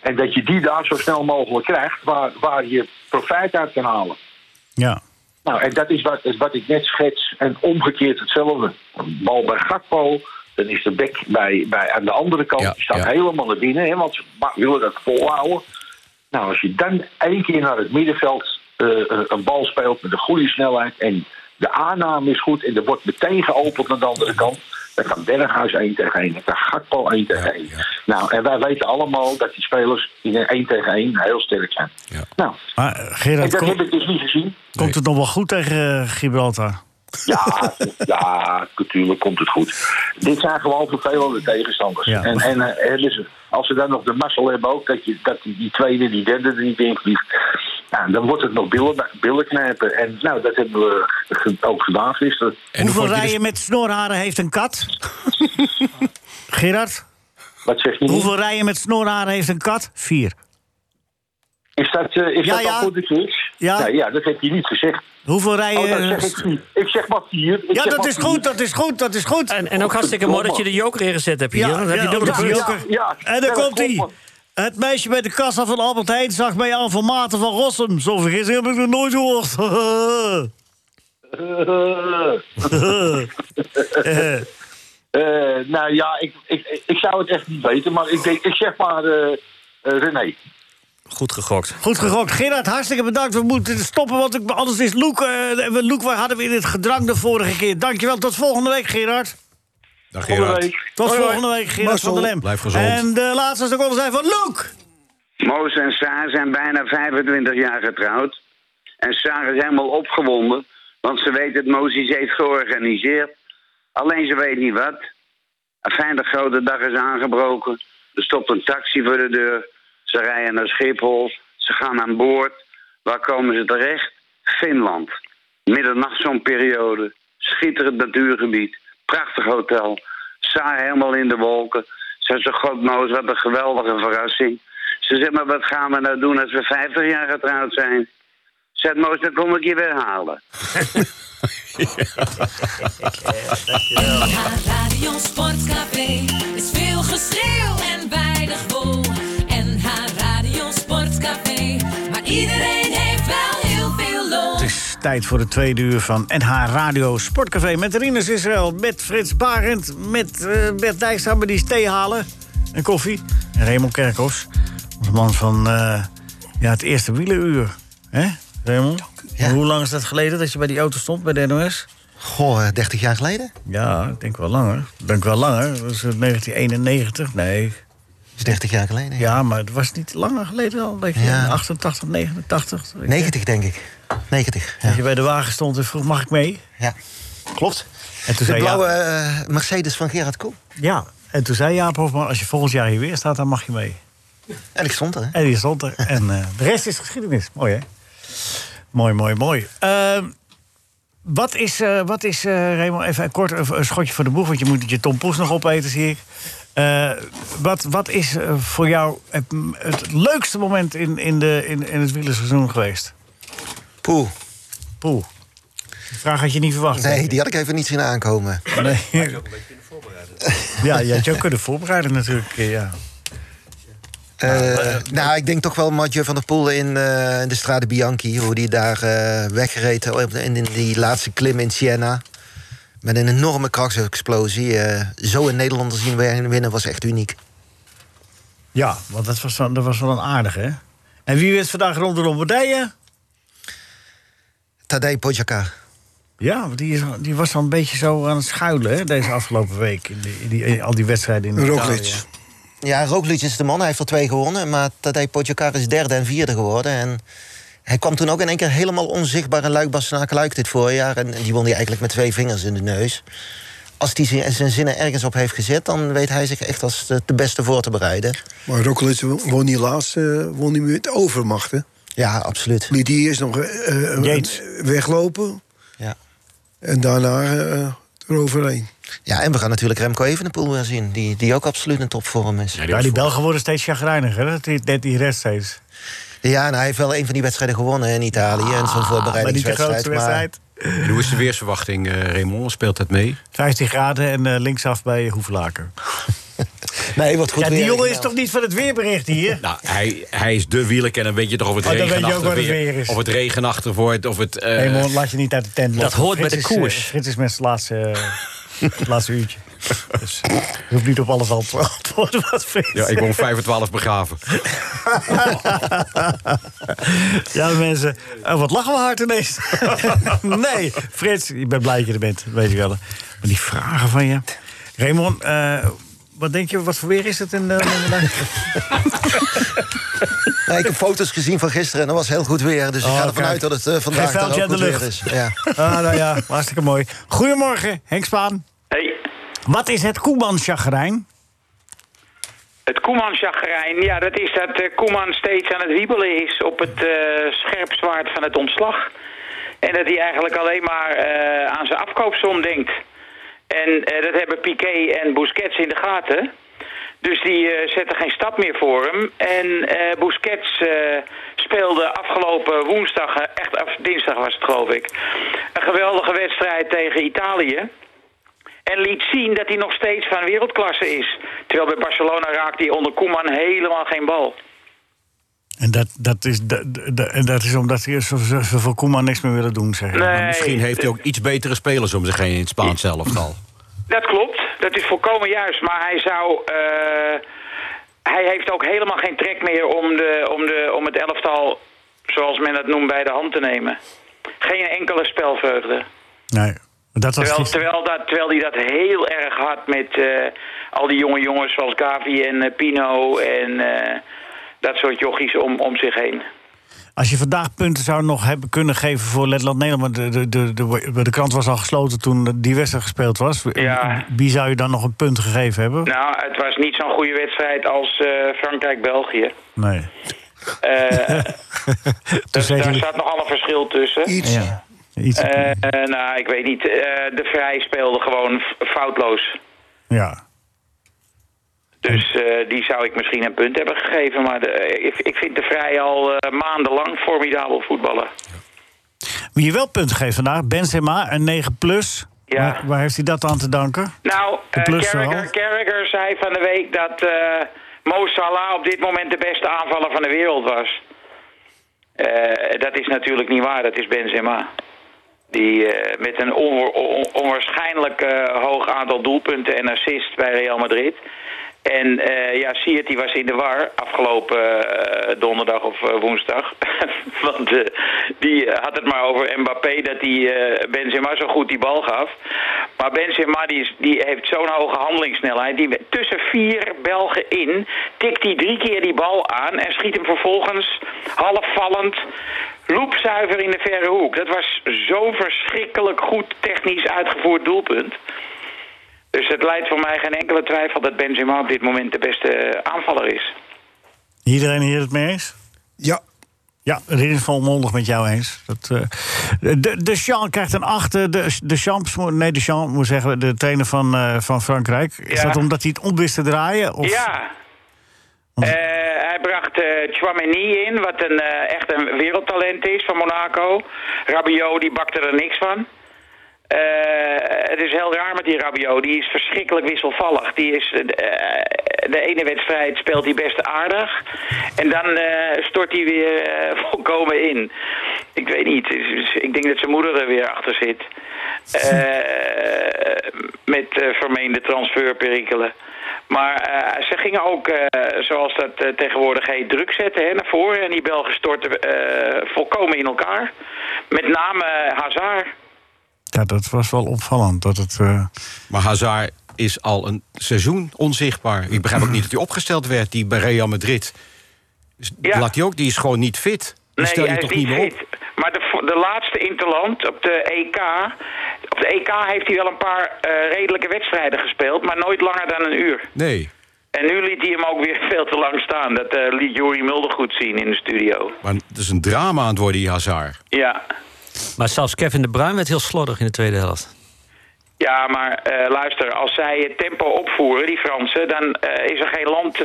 H: En dat je die daar zo snel mogelijk krijgt waar, waar je profijt uit kan halen.
C: ja.
H: Nou, en dat is wat, is wat ik net schets. En omgekeerd hetzelfde. Een bal bij Gakpo, dan is de bek bij, bij, aan de andere kant.
D: Ja,
H: die staat
D: ja.
H: helemaal naar binnen, hè, want ze ma- willen dat volhouden. Nou, als je dan één keer naar het middenveld eh, eh, een bal speelt met een goede snelheid... en de aanname is goed en er wordt meteen geopend aan de andere kant... dan kan Berghuis één tegen één, dan kan Gakpo één tegen één. Nou, en wij weten allemaal dat die spelers in een één tegen één heel sterk zijn.
D: Ja.
H: Nou,
C: Maar eh, Gerard,
H: en dat
C: kom-
H: heb ik dus niet gezien.
C: komt het nog wel goed tegen eh, Gibraltar?
H: Ja, ja, natuurlijk komt het goed. Dit zijn gewoon vervelende tegenstanders.
C: Ja.
H: En, en eh, hebben ze- als ze dan nog de mazzel hebben ook, dat, je, dat die, die tweede en die derde er niet in vliegt. Nou, dan wordt het nog billen, billen knijpen. En nou, dat hebben we ge- ook gedaan gisteren.
D: En hoe
C: Hoeveel
D: vond je
C: rijen
D: de,
C: met snorharen heeft een kat? Gerard,
H: Wat zeg je nu?
C: hoeveel rijen met snorharen heeft een kat? Vier.
H: Is dat, eh, is
C: Ja,
H: dat
C: ja.
H: al goed, de quiz?
C: Ja.
H: Nee, ja, dat heb je niet gezegd.
C: Hoeveel rijen...
H: Oh, dat zeg ik niet. Ik zeg maar vier. Ik
C: ja,
H: zeg
C: dat
H: maar
C: is
H: vier.
C: goed, dat is goed, dat is goed.
F: En, en ook hartstikke mooi dat je de joker ingezet hebt hier.
C: Ja,
F: dan heb je
C: ja,
F: dubbele
C: dat is
F: punten.
C: joker.
H: ja,
C: en dan
H: ja, dat
C: komt hij.
H: klopt,
C: Het meisje bij de kassa van Albert Heijn zag mij aan van Maarten van Rossum. Zo'n vergissing heb ik nog nooit gehoord.
H: Eh, Eh, nou ja, ik, ik, ik zou het echt niet weten, maar ik, denk, ik zeg maar eh, eh, René.
F: Goed gegokt.
C: Goed gegokt. Gerard, hartstikke bedankt. We moeten stoppen, want ik- anders is Loek... eh, we- Loek, waar hadden we in het gedrang de vorige keer? Dankjewel, tot volgende week, Gerard.
D: dag
H: Volgende
D: Gerard.
H: week.
C: Tot
H: Hoi, hoi.
C: volgende week, Gerard
E: Marcel,
C: van der Lem.
D: blijf gezond.
C: En de laatste seconde zijn van Loek.
I: Moos en Saar zijn bijna 25 jaar getrouwd. En Saar is helemaal opgewonden, want ze weet dat Moos iets heeft georganiseerd. Alleen ze weet niet wat. Afijn, de grote dag is aangebroken. Er stopt een taxi voor de deur. Ze rijden naar Schiphol. Ze gaan aan boord. Waar komen ze terecht? Finland. Middernacht zo'n periode. Schitterend natuurgebied. Prachtig hotel. Saar helemaal in de wolken. Ze zegt, god knows, wat een geweldige verrassing. Ze zegt, maar wat gaan we nou doen als we 50 jaar getrouwd zijn? Zet Moos, dan kom ik je weer halen.
A: NH Radio Sportcafé is veel geschreeuw en weinig wol. NH Radio Sportcafé, maar iedereen heeft wel heel veel lol.
C: Het is tijd voor de tweede uur van NH Radio Sportcafé. Met Rinus Israël, met Frits Barend, met eh, Bert Dijkstra... maar die is thee halen en koffie. En Raymond Kerkhoffs, onze man van eh, ja, het eerste wielenuur. hè, Raymond?
J: Ja.
C: Hoe lang is dat geleden dat je bij die auto stond, bij de NOS?
J: Goh, eh, 30 jaar geleden?
C: Ja, ik denk wel langer. Ik denk wel langer. Dat was het 1991, nee.
J: is 30 jaar geleden. ja.
C: Ja, maar het was niet langer geleden al. Denk je,
J: Ja.
C: 88, 89. weet je.
J: 90 denk ik. 90,
C: Dat
J: ja.
C: je bij de wagen stond en vroeg, mag ik mee?
J: ja. Klopt.
C: En toen
J: De
C: zei je.
J: blauwe eh, Mercedes van Gerard Koel.
C: Ja, en toen zei Jaap Hofman, als je volgend jaar hier weer staat, dan mag je mee.
J: En ik stond er, hè.
C: En die stond er. En eh, de rest is geschiedenis. Mooi, hè? Mooi, mooi, mooi. Ehm, wat is, eh, wat is eh Raymond, even kort een, een schotje voor de boeg... want je moet je tompoes nog opeten, zie ik. Eh, wat, wat is eh, voor jou het, het leukste moment in, in, de, in, in het wielerseizoen geweest?
J: Poeh.
C: Poeh. Die vraag had je niet verwacht. denk
J: Nee,
C: ik.
J: die had ik even niet zien aankomen.
C: Nee. Ja, je had je ook kunnen voorbereiden natuurlijk. eh, Ja.
J: Eh, nou, ik denk toch wel Mathieu van der Poel in, eh, in de Strade Bianchi. Hoe die daar eh, wegreed op- in, in die laatste klim in Siena. Met een enorme krachtsexplosie. Eh, zo een Nederlander zien win- winnen was echt uniek.
C: Ja, want dat was, wel- dat was wel een aardige, hè? En wie wint vandaag rond de Lombardije?
J: Tadej Pogacar.
C: Ja, want die, is, die was al een beetje zo aan het schuilen, hè? Deze afgelopen week. In die, in die- in al die wedstrijden in Italië.
E: Roglic.
J: Ja, Roglic is de man. Hij heeft er twee gewonnen. Maar Tadej Pogacar is derde en vierde geworden. En hij kwam toen ook in één keer helemaal onzichtbaar in luik Bastenaken luik dit voorjaar. En, en die won hij eigenlijk met twee vingers in de neus. Als hij zijn, zijn zinnen ergens op heeft gezet... dan weet hij zich echt als de, de beste voor te bereiden.
E: Maar Roglic won die laatste, eh, won die met overmacht, hè?
J: Ja, absoluut.
E: Liet die eerst nog eh, eh,
C: Yates.
E: weglopen.
J: Ja.
E: En daarna eh, eroverheen.
J: Ja, en we gaan natuurlijk Remco Evenepoel weer zien. Die, die ook absoluut in topvorm is.
C: Ja, die Belgen worden steeds chagrijniger, hè? dat die, dat die rest steeds.
J: Ja, en hij heeft wel een van die wedstrijden gewonnen in Italië. en zo'n
C: Ah, Maar niet de
J: voorbereidingswedstrijd.
C: grootste wedstrijd.
D: En hoe is de weersverwachting, eh, Raymond? Speelt dat mee?
C: 15 graden en eh, linksaf bij Hoevelaken.
J: maar- nee, wat goed
C: Ja,
J: weer.
C: die jongen is
J: Nou,
C: toch niet van het weerbericht hier?
D: Nou, hij, hij is de wielerkenner. Weet je toch of het
C: Oh, dan weet je ook
D: regenachtig
C: wat het weer is.
D: Of het regenachtig wordt, of het... eh,
C: Nee, man, laat je niet uit de tent lokken.
F: hoort bij
C: Frits
F: de
C: is,
F: koers.
C: eh, Frits is met zijn laatste, eh, het laatste uurtje. Dus je hoeft niet op alles al te antwoorden wat Frits
D: ja, ik woon 5 voor 12 begraven.
C: Ja, mensen. eh, wat lachen we hard ineens. nee, Frits, ik ben blij dat je er bent. Weet je wel. Maar die vragen van je. Raymond, eh, wat denk je, wat voor weer is het in eh, Londen?
J: nee, ik heb foto's gezien van gisteren en dat was heel goed weer. Dus
C: Oh,
J: ik ga ervan
C: kijk.
J: uit dat het eh, vandaag
C: vuiltje
J: daar ook
C: aan de
J: goed weer is.
C: lucht.
J: Ja.
C: ah, nou ja, hartstikke mooi. Goedemorgen, Henk Spaan.
K: Hey,
C: Wat is het Koeman-chagrijn?
K: het Koeman-chagrijn, ja, dat is dat eh, Koeman steeds aan het wiebelen is op het eh scherp zwaard van het ontslag. En dat hij eigenlijk alleen maar eh, aan zijn afkoopsom denkt. En eh, dat hebben Piqué en Busquets in de gaten. Dus die eh, zetten geen stap meer voor hem. En eh, Busquets eh, speelde afgelopen woensdag, eh, echt, of dinsdag was het geloof ik, een geweldige wedstrijd tegen Italië. En liet zien dat hij nog steeds van wereldklasse is. Terwijl bij Barcelona raakt hij onder Koeman helemaal geen bal.
C: En dat, dat, is, dat, dat- en dat is omdat ze, ze, ze voor Koeman niks meer willen doen, zeg je.
K: Nee,
D: Misschien heeft hij ook iets betere spelers om zich heen in het Spaans elftal.
K: dat klopt. Dat is volkomen juist. Maar hij zou... eh, hij heeft ook helemaal geen trek meer om, de, om, de, om het elftal, zoals men dat noemt, bij de hand te nemen. Geen enkele spelvreugde.
C: Nee, dat was
K: Terwijl,
C: gisteren.
K: terwijl, dat, terwijl die dat heel erg hard met eh, al die jonge jongens zoals Gavi en eh, Pino en eh, dat soort jochies om, om zich heen.
C: Als je vandaag punten zou nog hebben kunnen geven voor Letland-Nederland... maar de, de, de, de, de krant was al gesloten toen die wedstrijd gespeeld was.
K: Ja.
C: Wie zou je dan nog een punt gegeven hebben?
K: Nou, het was niet zo'n goede wedstrijd als eh, Frankrijk-België.
C: Nee.
K: Eh,
C: Toen
K: daar
C: zei hij-
K: staat nogal een verschil tussen.
E: Iets.
C: Ja, iets,
K: Eh, eh, nou, ik weet niet. Eh, de Vrij speelde gewoon f- foutloos.
C: ja.
K: Dus eh, die zou ik misschien een punt hebben gegeven. Maar de, eh, ik, ik vind de Vrij al eh, maandenlang formidabel voetballen.
C: Wie je wel punt geeft vandaag, Benzema, een 9 plus.
K: Ja.
C: Waar, waar heeft hij dat aan te danken?
K: Nou, eh,
C: plus
K: Carragher,
C: wel.
K: Carragher zei van de week dat eh Mo Salah op dit moment de beste aanvaller van de wereld was. Eh, dat is natuurlijk niet waar, dat is Benzema. Die eh, met een onwa- on- onwaarschijnlijk eh, hoog aantal doelpunten en assists bij Real Madrid. En eh ja, Siert die was in de war afgelopen eh, donderdag of eh, woensdag. Want eh, die eh, had het maar over Mbappé dat die eh, Benzema zo goed die bal gaf. Maar Benzema die, is, die heeft zo'n hoge handelingssnelheid. Die, tussen vier Belgen in tikt hij drie keer die bal aan en schiet hem vervolgens halfvallend loepzuiver in de verre hoek. Dat was zo'n verschrikkelijk goed technisch uitgevoerd doelpunt. Dus het leidt voor mij geen enkele twijfel dat Benzema op dit moment de beste eh, aanvaller is.
C: Iedereen hier het mee eens?
E: Ja,
C: Ja, het is volmondig met jou eens. Dat, eh, de, de Champ krijgt een achter. De, de Champs, moet- nee, de Champ moet zeggen, de trainer van, eh, van Frankrijk. Is
K: Ja.
C: dat omdat hij het om wist te draaien? Of?
K: Ja. Eh, hij bracht eh Chouameni in, wat een, eh, echt een wereldtalent is van Monaco. Rabiot, die bakte er niks van. Eh, het is heel raar met die Rabiot. Die is verschrikkelijk wisselvallig. Die is, eh, de ene wedstrijd speelt hij best aardig. En dan eh, stort hij weer eh, volkomen in. Ik weet niet. Dus Ik denk dat zijn moeder er weer achter zit. Eh, met eh, vermeende transferperikelen. Maar eh, ze gingen ook, eh, zoals dat eh, tegenwoordig heet, druk zetten hè, naar voren. En die Belgen stortten eh, volkomen in elkaar. Met name eh, Hazard.
C: Ja, dat was wel opvallend. Dat het, eh,
D: Maar Hazard is al een seizoen onzichtbaar. Ik begrijp ook niet dat hij opgesteld werd, die bij Real Madrid. Dus
K: Ja.
D: Laat hij ook, die is gewoon niet fit. Die stel je
K: hij
D: toch
K: is
D: niet meer op?
K: fit. Maar de, vo- de laatste Interland op de EK. Op de EK heeft hij wel een paar eh, redelijke wedstrijden gespeeld, maar nooit langer dan een uur.
D: Nee,
K: En nu liet hij hem ook weer veel te lang staan. Dat eh, liet Jury Mulder goed zien in de studio.
D: maar het is een drama aan het worden, die Hazard.
K: Ja.
F: Maar zelfs Kevin de Bruin werd heel slordig in de tweede helft.
K: Ja, maar eh, luister, als zij het tempo opvoeren, die Fransen, dan eh, is er geen land eh,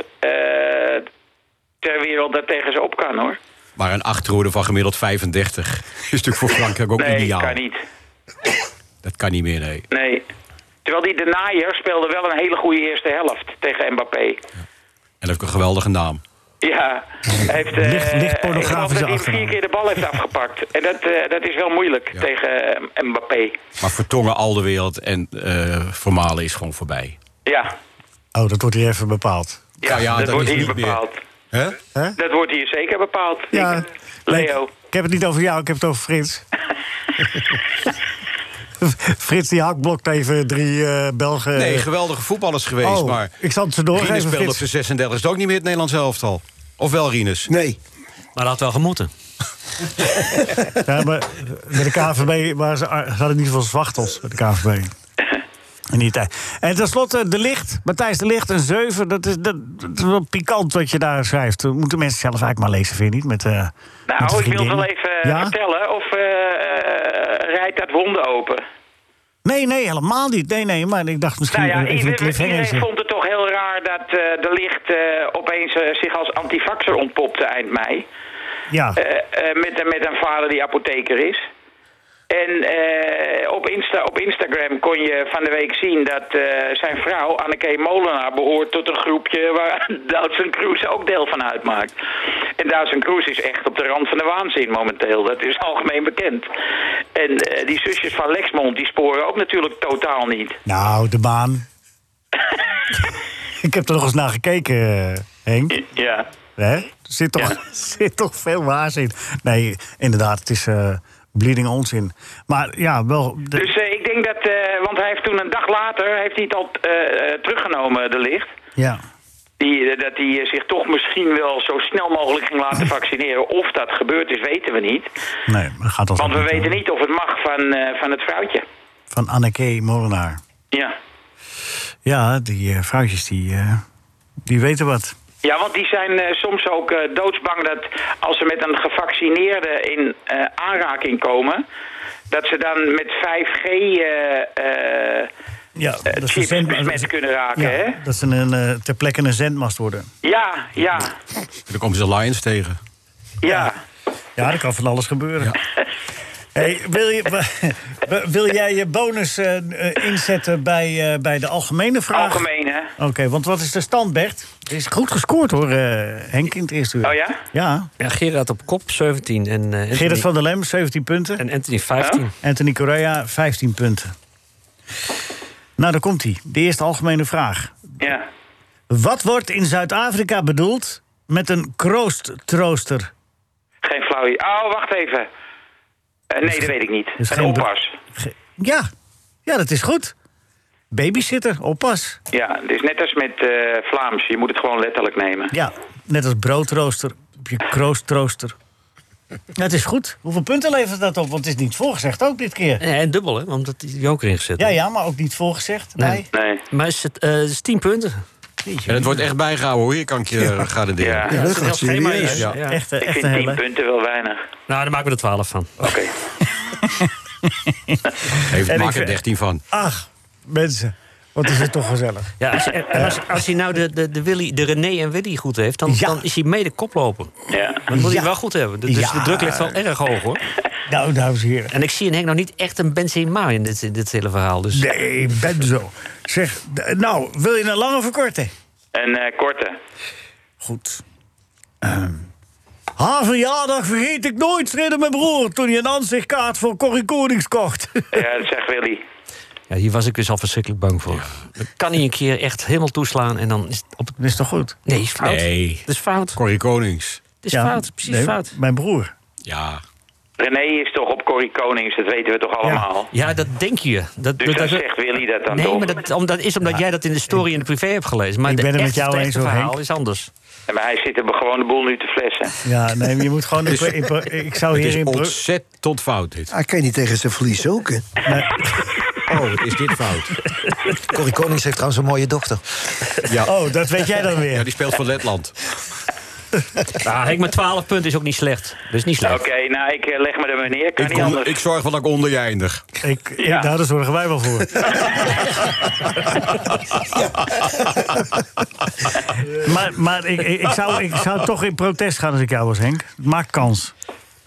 K: ter wereld dat tegen ze op kan hoor.
D: Maar een achterhoede van gemiddeld 35 is natuurlijk voor Frankrijk ook
K: nee,
D: ideaal.
K: kan niet.
D: Dat kan niet meer, nee.
K: Nee. Terwijl die De Naaier speelde wel een hele goede eerste helft tegen Mbappé.
D: En heeft een geweldige naam.
K: Ja, hij heeft, eh,
D: Licht- licht
K: ik geloof
D: pornografische
K: dat hij vier
D: achternaam.
K: keer de bal heeft afgepakt. En dat, eh, dat is wel moeilijk tegen eh, Mbappé.
D: Maar vertongen al de wereld en eh formalen is gewoon voorbij.
K: Ja,
C: Oh, dat wordt hier even bepaald.
K: ja, dat, wordt hier bepaald.
D: Hè?
K: Dat wordt hier zeker bepaald.
C: Ja,
K: Ik- Leo.
C: Ik heb het niet over jou, ik heb het over Frits. Frits die hakblokt even drie eh, Belgen.
D: Nee, geweldige voetballers geweest,
C: Oh,
D: maar...
C: ik zal het ze doorgeven,
D: Rinus speelde op
C: Frits.
D: zijn 36 e ook niet meer het Nederlands elftal. Of wel, Rinus?
E: Nee.
F: Maar dat had wel gemoeten.
C: Ja, maar met de KVB waren ze, ze hadden niet veel zwachtels met de KVB. In die tijd. En tenslotte De Licht, Matthijs De Licht, een 7. Dat is, dat, dat is wel pikant wat je daar schrijft. Dat moeten mensen zelf eigenlijk maar lezen, vind je niet? Met, eh, met
K: Nou,
C: een
K: ik wil het
C: vriendin.
K: wel even eh,
C: Ja?
K: vertellen of eh, eh, rijdt dat wonden open.
C: Nee, nee, helemaal niet. Nee, nee, maar ik dacht misschien
K: Nou ja,
C: even een
K: iedereen,
C: cliffhanger.
K: iedereen
C: zetten.
K: vond het toch heel raar dat eh, de licht eh, opeens eh, zich als antifaxer ontpopte eind mei.
C: Ja.
K: Eh, eh, met, een- met een vader die apotheker is. En eh, op, Insta, op Instagram kon je van de week zien dat eh, zijn vrouw, Anneke Molenaar, behoort tot een groepje waar Dawson Cruz ook deel van uitmaakt. En Dawson Cruz is echt op de rand van de waanzin momenteel. Dat is algemeen bekend. En eh, die zusjes van Lexmond, die sporen ook natuurlijk totaal niet.
C: Nou, de baan. ik heb er nog eens naar gekeken, eh, Henk.
K: Ja.
C: Hè? Er zit toch, zit toch veel waars in. Nee, inderdaad, het is eh bleeding onzin. Maar ja, wel... de-
K: Dus eh, ik denk dat, eh, want hij heeft toen een dag later, heeft hij het al eh, eh, teruggenomen, de licht.
C: ja.
K: Die, eh, dat hij eh, zich toch misschien wel zo snel mogelijk ging laten vaccineren. Of dat gebeurd is, weten we niet.
C: Nee, maar dat gaat toch
K: Want we
C: niet,
K: weten
C: hoor.
K: niet of het mag van, eh, van het vrouwtje.
C: Van Anneke Molenaar.
K: Ja.
C: Ja, die eh, vrouwtjes, die, eh, die weten wat.
K: ja, want die zijn eh, soms ook eh, doodsbang dat als ze met een gevaccineerde in eh, aanraking komen... dat ze dan met 5G... eh, eh,
C: Ja, dat
K: chips
C: zend-
K: besmet kunnen raken,
C: ja,
K: hè?
C: Dat ze een, eh, ter plekke een zendmast worden.
K: Ja, ja,
D: Dan komen ze Lions tegen.
K: ja.
C: Ja, er kan van alles gebeuren. Hey, wil, je, w- wil jij je bonus eh, eh, inzetten bij, eh, bij de algemene vraag?
K: Algemeen, hè?
C: Oké, want wat is de stand, Bert? Er is goed gescoord hoor, eh, Henk, in het eerste uur.
K: Oh ja?
C: Ja.
F: Ja, Gerard op kop, 17. En, eh, Anthony-
C: Gerrit van der Lem, 17 punten.
F: en Anthony 15.
C: Anthony Correa, 15 punten. Nou, daar komt hij. De eerste algemene vraag.
K: Ja.
C: Wat wordt in Zuid-Afrika bedoeld met een kroosttrooster?
K: Geen flauw idee. Oh, wacht even. Eh, nee, dat weet ik niet.
C: is
K: Een
C: geen be-
K: oppas.
C: Ge- Ja, ja, dat is goed. Babysitter, oppas.
K: Ja, het is net als met eh, Vlaams. Je moet het gewoon letterlijk nemen.
C: Ja, net als broodrooster heb je kroosttrooster. Ja, het is goed. Hoeveel punten levert dat op? Want het is niet voorgezegd ook dit keer.
F: Ja, en dubbel, hè? Want dat is die joker ingezet.
C: Ja, ja, maar ook niet voorgezegd. Nee.
F: Nee.
K: Nee.
F: Maar is het, eh, het is 10 punten.
D: En het wordt echt bijgehouden, hoor. Hier kan ik je garanderen.
K: Ja.
E: Ja, dat
F: een heel
E: gaat
F: schema,
E: serieus.
F: ja.
C: Echt, echt, eh,
K: Ik
C: echt
K: vind
C: een
K: 10
C: hele.
K: punten wel weinig.
F: Nou, daar maken we er 12 van.
K: Oké.
D: Heeft,
C: En ik
D: maak er
C: vind-
D: 13 van.
C: Ach, mensen, wat is het toch gezellig.
F: Ja, als, en als, als hij nou de, de, de, Willy, de René en Willy goed heeft, dan,
C: Ja.
F: dan is hij mede koploper.
K: Ja.
F: Dat moet
C: Ja.
F: hij wel goed hebben. Dus
C: Ja.
F: de druk ligt wel erg hoog, hoor.
C: Nou, dames en heren.
F: En ik zie in Henk nog niet echt een Benzema in dit, in dit hele verhaal. Dus
C: Nee, Benzo. Zeg, d- nou, wil je een lange of een korte?
K: Een eh, korte.
C: Goed. Ehm. Haar verjaardag vergeet ik nooit, schreeuwde mijn broer... toen hij een aanzichtkaart voor Corrie Konings kocht.
K: Ja, dat zegt Willy.
F: ja, hier was ik dus al verschrikkelijk bang voor. Dan kan hij een keer echt helemaal toeslaan en dan is het op het...
C: Dat is toch goed?
F: Nee, is fout.
D: Nee.
F: Dat is fout. Dat
D: Corrie Konings.
F: is
C: Ja,
F: fout. Precies
C: nee,
F: fout.
C: Mijn broer.
D: Ja.
K: René is toch op Corrie Konings, dat weten we toch allemaal?
F: Ja, dat denk je. Dat,
K: Dus
F: dat-
K: dan
F: dat-
K: zegt Willy dat dan
F: nee,
K: toch?
F: maar dat, om, dat is omdat jij dat in de story en de privé hebt gelezen. Maar
C: Ik
F: de
C: ben het met
F: echte-
C: jou
F: het
C: eens,
F: echte
C: hoor,
F: verhaal
C: Henk.
F: is anders.
K: Maar hij zit er gewoon de boel nu te flessen.
C: Ja, nee, maar je moet gewoon... Ik, ik, ik zou
D: Het
C: hier
D: is
C: in Brug-
D: ontzettend fout, dit.
E: Hij kan niet tegen zijn verlies ook. hè.
D: Oh, wat is dit fout?
J: Corrie Konings heeft trouwens een mooie dochter.
D: Ja.
C: Oh, dat weet jij dan weer.
D: Ja, die speelt voor Letland.
F: Nou, Henk, maar 12 punten is ook niet slecht. Dat is niet
K: Oké,
F: slecht.
K: nou, ik eh, leg me er maar neer. Kan
D: Ik,
K: niet
D: kom-
K: anders.
D: ik zorg wel dat ik onder je eindig.
C: Ik, ik- daar zorgen wij wel voor. Maar, maar ik, ik, ik zou, ik zou toch in protest gaan als ik jou was, Henk. Maak kans.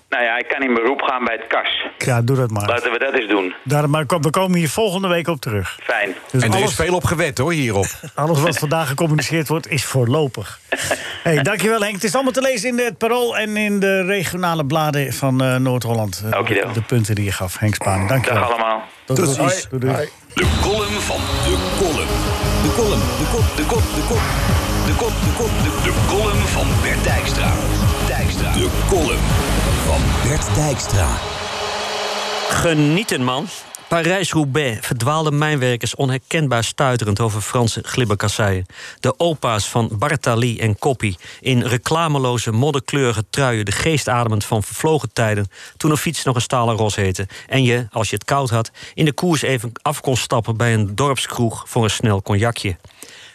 K: Nou ja, ik kan in beroep gaan bij het kas.
C: Ja, doe dat maar.
K: Laten we dat eens doen.
C: Daar, maar kom- we komen hier volgende week op terug.
K: Fijn.
C: Dus
D: en er is
C: alles,
D: veel op gewet hoor, hierop.
C: alles wat vandaag gecommuniceerd wordt, is voorlopig. Hey, dankjewel Henk. Het is allemaal te lezen in het Parool en in de regionale bladen van eh, Noord-Holland. Eh,
K: Okido.
C: de punten die je gaf, Henk Spaan. Dankjewel.
K: Dag allemaal.
C: Tot,
B: Tot
C: ziens.
B: ziens.
C: Doei, doei.
B: De column van de column. De column, de kop, de kop, de kop. De kop, de kop, de De column van Bert Dijkstra. Dijkstra. De column van Bert Dijkstra.
F: Genieten, man. Parijs-Roubaix verdwaalde mijnwerkers onherkenbaar stuiterend over Franse glibberkasseien. De opa's van Bartali en Coppi in reclameloze, modderkleurige truien, de geest ademend van vervlogen tijden, toen een fiets nog een stalen ros heette. En je, als je het koud had, in de koers even af kon stappen bij een dorpskroeg voor een snel cognacje.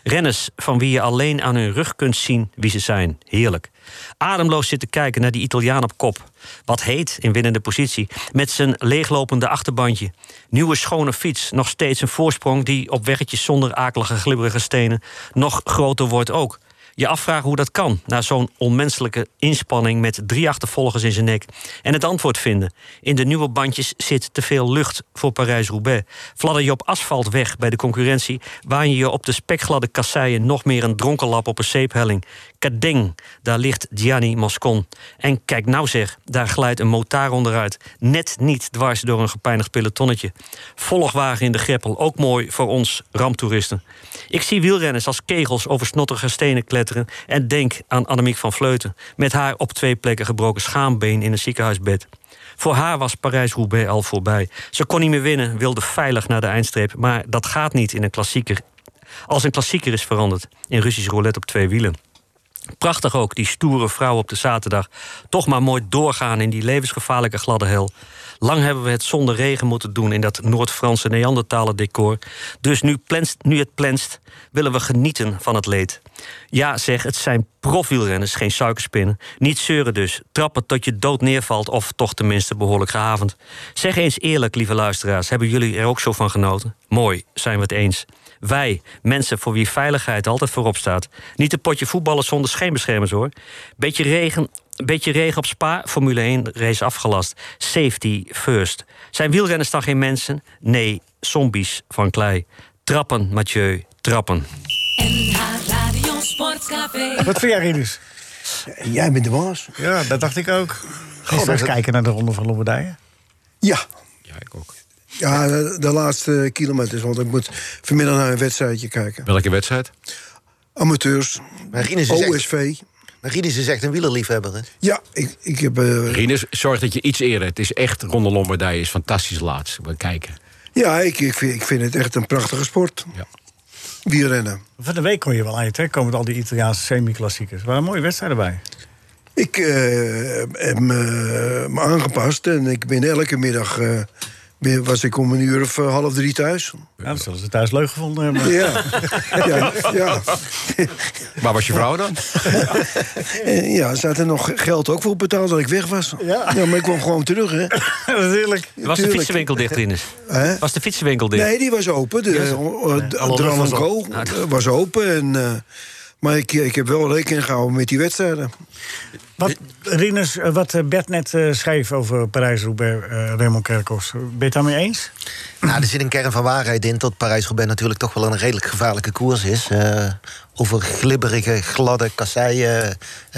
F: Renners van wie je alleen aan hun rug kunt zien wie ze zijn. Heerlijk. Ademloos zitten kijken naar die Italiaan op kop. Wat heet in winnende positie. Met zijn leeglopende achterbandje. Nieuwe schone fiets. Nog steeds een voorsprong die op weggetjes zonder akelige glibberige stenen nog groter wordt ook. Je afvragen hoe dat kan, na zo'n onmenselijke inspanning met drie achtervolgers in zijn nek. En het antwoord vinden. In de nieuwe bandjes zit te veel lucht voor Parijs-Roubaix. Fladder je op asfalt weg bij de concurrentie, waan je je op de spekgladde kasseien nog meer een dronkenlap op een zeephelling. Kadeng, daar ligt Gianni Moscon. En kijk nou zeg, daar glijdt een motaar onderuit. Net niet dwars door een gepeinigd pelotonnetje. Volgwagen in de greppel, ook mooi voor ons ramptoeristen. Ik zie wielrenners als kegels over snotterige stenen kletteren... en denk aan Annemiek van Vleuten... met haar op twee plekken gebroken schaambeen in een ziekenhuisbed. Voor haar was Parijs-Roubaix al voorbij. Ze kon niet meer winnen, wilde veilig naar de eindstreep... maar dat gaat niet in een klassieker. Als een klassieker is veranderd in Russisch roulette op twee wielen. Prachtig ook, die stoere vrouw op de zaterdag. Toch maar mooi doorgaan in die levensgevaarlijke gladde hel. Lang hebben we het zonder regen moeten doen in dat Noord-Franse Neandertalen decor. Dus nu, plenst, nu het plenst, willen we genieten van het leed. Ja, zeg, het zijn profielrenners, geen suikerspinnen. Niet zeuren dus, trappen tot je dood neervalt of toch tenminste behoorlijk gehavend. Zeg eens eerlijk, lieve luisteraars, hebben jullie er ook zo van genoten? Mooi, zijn we het eens. Wij, mensen voor wie veiligheid altijd voorop staat. Niet een potje voetballen zonder scheenbeschermers hoor. Beetje regen, beetje regen op spa, Formule 1 race afgelast. Safety first. Zijn wielrenners dan geen mensen? Nee, zombies van klei. Trappen, Mathieu, trappen.
A: NH Radio Sportcafé.
C: Wat vind jij, Rinus?
E: Jij bent de baas.
C: Ja, dat dacht ik ook. Ga je straks kijken naar de Ronde van Lombardije?
E: Ja.
D: Ja, ik ook.
E: Ja, de, de laatste kilometers. Want ik moet vanmiddag naar een wedstrijdje kijken.
D: Welke wedstrijd?
E: Amateurs.
J: Maar Rinus is, echt,
E: OSV.
J: maar Rinus is echt een wielerliefhebber. Hè?
E: Ja, ik, ik heb... eh,
D: Rinus, zorg dat je iets eerder. Het is echt Ronde Lombardije is fantastisch laatst. We kijken.
E: ja, ik, ik, vind, ik vind het echt een prachtige sport.
D: Ja.
E: Wielrennen.
C: Van de week kon je wel uit, hè? Komen met al die Italiaanse semi-klassiekers. Waar een mooie wedstrijden bij.
E: Ik eh, heb me, me aangepast en ik ben elke middag... eh, ben- was ik om een uur of eh, half drie thuis.
C: Nou, dat zullen ze thuis leuk gevonden hebben.
E: Ja, ja, ja.
D: Waar was je vrouw dan?
E: En ja, ze hadden nog geld ook voor betaald dat ik weg was. Ja. maar ik kwam gewoon terug, hè.
C: Natuurlijk.
F: Was de
E: Tuurlijk.
F: fietsenwinkel dicht, Rinus?
E: Hè?
F: Was de fietsenwinkel dicht? Ah,
E: Nee, die was open. De, eh, eh, de Dran en Co. eh, was open. En, eh, maar ik, ik heb wel rekening gehouden met die wedstrijden.
C: Wat, Rinus, eh, wat eh, Bert net eh, schreef over Parijs-Roubaix, eh Raymond Kerkhoffs. Ben je het daarmee eens?
J: Nou, er zit een kern van waarheid in dat Parijs-Roubaix natuurlijk toch wel een redelijk gevaarlijke koers is. Eh, over glibberige, gladde kasseien. eh,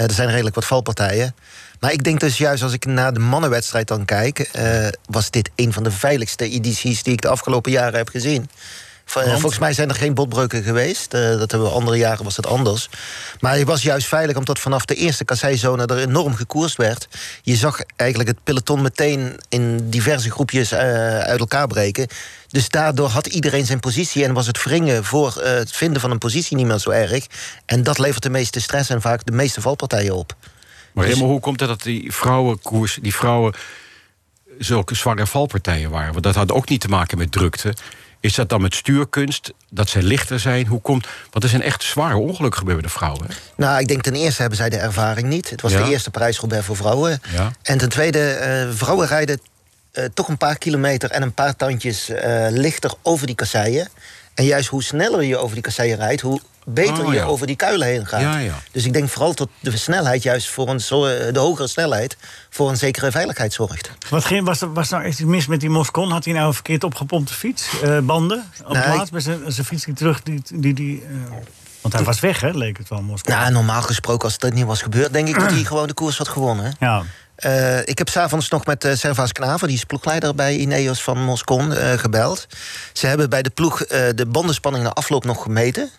J: er zijn redelijk wat valpartijen. Maar ik denk dus juist als ik naar de mannenwedstrijd dan kijk, eh, was dit een van de veiligste edities die ik de afgelopen jaren heb gezien. Vol- Volgens mij zijn er geen botbreuken geweest. Eh, dat hebben we andere jaren was dat anders. Maar het was juist veilig omdat vanaf de eerste kasseizone er enorm gekoerst werd. Je zag eigenlijk het peloton meteen in diverse groepjes eh, uit elkaar breken. Dus daardoor had iedereen zijn positie en was het wringen voor eh, het vinden van een positie niet meer zo erg. En dat levert de meeste stress en vaak de meeste valpartijen op.
D: Maar
J: Dus-
D: helemaal hoe komt het dat die vrouwenkoers, die vrouwen zulke zware valpartijen waren? Want dat had ook niet te maken met drukte. Is dat dan met stuurkunst? Dat zij lichter zijn? Hoe komt... Want er zijn echt zware ongelukken gebeurd bij de vrouwen. hè?
J: Nou, ik denk ten eerste hebben zij de ervaring niet. Het was
D: Ja.
J: de eerste prijsgeber voor vrouwen.
D: Ja.
J: En ten tweede, eh, vrouwen rijden eh, toch een paar kilometer en een paar tandjes eh, lichter over die kasseien. En juist hoe sneller je over die kasseien rijdt, hoe beter
D: Oh,
J: je
D: ja.
J: over die kuilen heen gaat.
D: Ja, ja.
J: Dus ik denk vooral dat de snelheid, juist voor een, zo- eh, de hogere snelheid, voor een zekere veiligheid zorgt.
C: Wat ging, was, er- was nou echt iets mis met die Moscon? Had hij nou een verkeerd opgepompte fiets? eh, banden? Op
J: Nee.
C: plaats bij zijn, zijn fiets die terug... Die, die, die, eh, want hij was weg, hè, leek het wel, Moscon.
J: Nou, normaal gesproken, als dat niet was gebeurd, denk ik dat hij gewoon de koers had gewonnen.
C: Ja.
J: Eh, ik heb s'avonds nog met eh, Servaas Knaven, die is ploegleider bij Ineos van Moscon, eh, gebeld. Ze hebben bij de ploeg eh, de bandenspanning na afloop nog gemeten.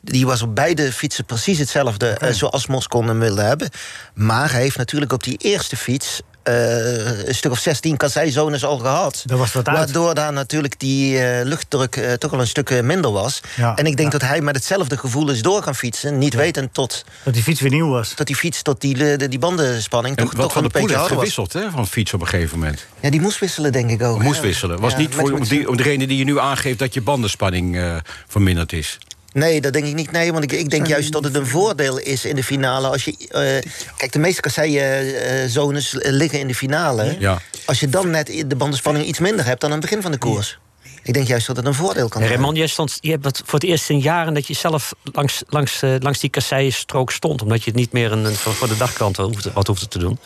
J: Die was op beide fietsen precies hetzelfde eh, zoals Moscon hem wilde hebben. Maar hij heeft natuurlijk op die eerste fiets eh, een stuk of 16 kasseizones al gehad.
C: Er was wat uit.
J: Waardoor daar natuurlijk die eh, luchtdruk eh, toch al een stuk eh, minder was.
C: Ja,
J: en ik denk
C: ja.
J: dat hij met hetzelfde gevoel is door gaan fietsen. Niet wetend tot,
C: Dat die fiets weer nieuw was.
J: dat die fiets, tot die, eh, die bandenspanning
D: En
J: toch,
D: wat
J: toch wel
D: van de
J: een
D: poel
J: beetje
D: heeft
J: harder was.
D: gewisseld hè, van fiets op een gegeven moment.
J: Ja, die moest wisselen, denk ik ook.
D: Moest
J: hè?
D: wisselen. Was
J: Ja,
D: niet
J: met-
D: voor, om,
J: met-
D: die, om de reden die je nu aangeeft dat je bandenspanning eh, verminderd is.
J: Nee, dat denk ik niet. Nee, want ik, ik denk juist dat het een voordeel is in de finale. Als je, eh, kijk, de meeste kasseienzones eh, liggen in de finale.
D: Ja.
J: Als je dan net de bandenspanning iets minder hebt dan aan het begin van de koers. Ik denk juist dat het een voordeel kan zijn.
F: Raymond, jij stond, je hebt dat voor het eerst in jaren dat je zelf langs, langs, eh, langs die kasseienstrook stond. Omdat je het niet meer een, een- voor, voor de dagkant hoefde, wat hoefde te doen.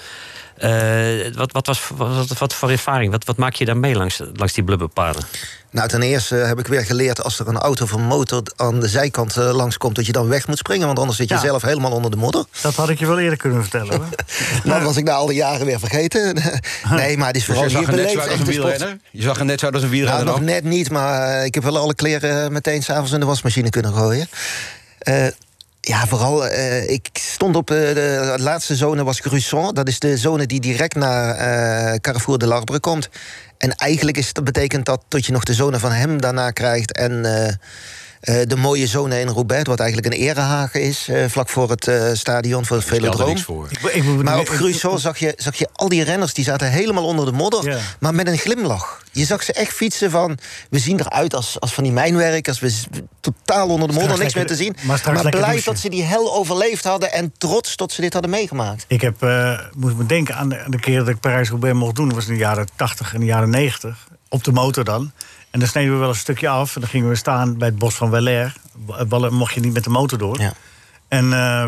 F: Eh, wat, wat, was, wat, wat- wat voor ervaring? Wat, wat maak je daar mee langs, langs die blubberpaden?
J: Nou, ten eerste heb ik weer geleerd... als er een auto of een motor aan de zijkant langs langskomt... dat je dan weg moet springen, want anders zit je
C: Ja.
J: zelf helemaal onder de modder.
C: Dat had ik je wel eerder kunnen vertellen, hoor.
J: Nou, dat was ik na al die jaren weer vergeten. nee, maar het is
D: Dus
J: vooral
D: je zag
J: hier
D: er net zo
J: beleefd.
D: uit als een
J: echte sport.
D: wielrenner? Je zag er net zo uit als een
J: Nou,
D: wielrenner
J: nog
D: dan?
J: net niet, maar eh, ik heb wel alle kleren eh, meteen s'avonds in de wasmachine kunnen gooien. Eh, ja, vooral, eh, ik stond op eh, de laatste zone was Grusson. Dat is de zone die direct na eh, Carrefour de Larbre komt. En eigenlijk is, dat betekent dat dat je nog de zone van hem daarna krijgt... en eh, eh, de mooie zone in Roubaix, wat eigenlijk een erehagen is... eh, vlak voor het eh, stadion, voor het
D: Stel er
J: Velodroom.
D: niks voor.
C: Ik, ik,
J: Maar op
C: ik-
J: Grusso zag je, zag je al die renners, die zaten helemaal onder de modder.
C: Ja.
J: Maar met een glimlach. Je zag ze echt fietsen van, we zien eruit als, als van die mijnwerkers. We z- totaal onder de modder, niks
C: lekker
J: meer te
C: de-
J: zien.
C: maar straks lekker
J: blij
C: douchen.
J: dat ze die hel overleefd hadden en trots dat ze dit hadden meegemaakt.
C: Ik heb, eh, moest me denken aan de, aan de keer dat ik Parijs-Roubaix mocht doen. Dat was in de jaren 80 en de jaren 90. Op de motor dan. En dan sneden we wel een stukje af. En dan gingen we staan bij het bos van Weller. Mocht je niet met de motor door.
J: Ja.
C: En eh,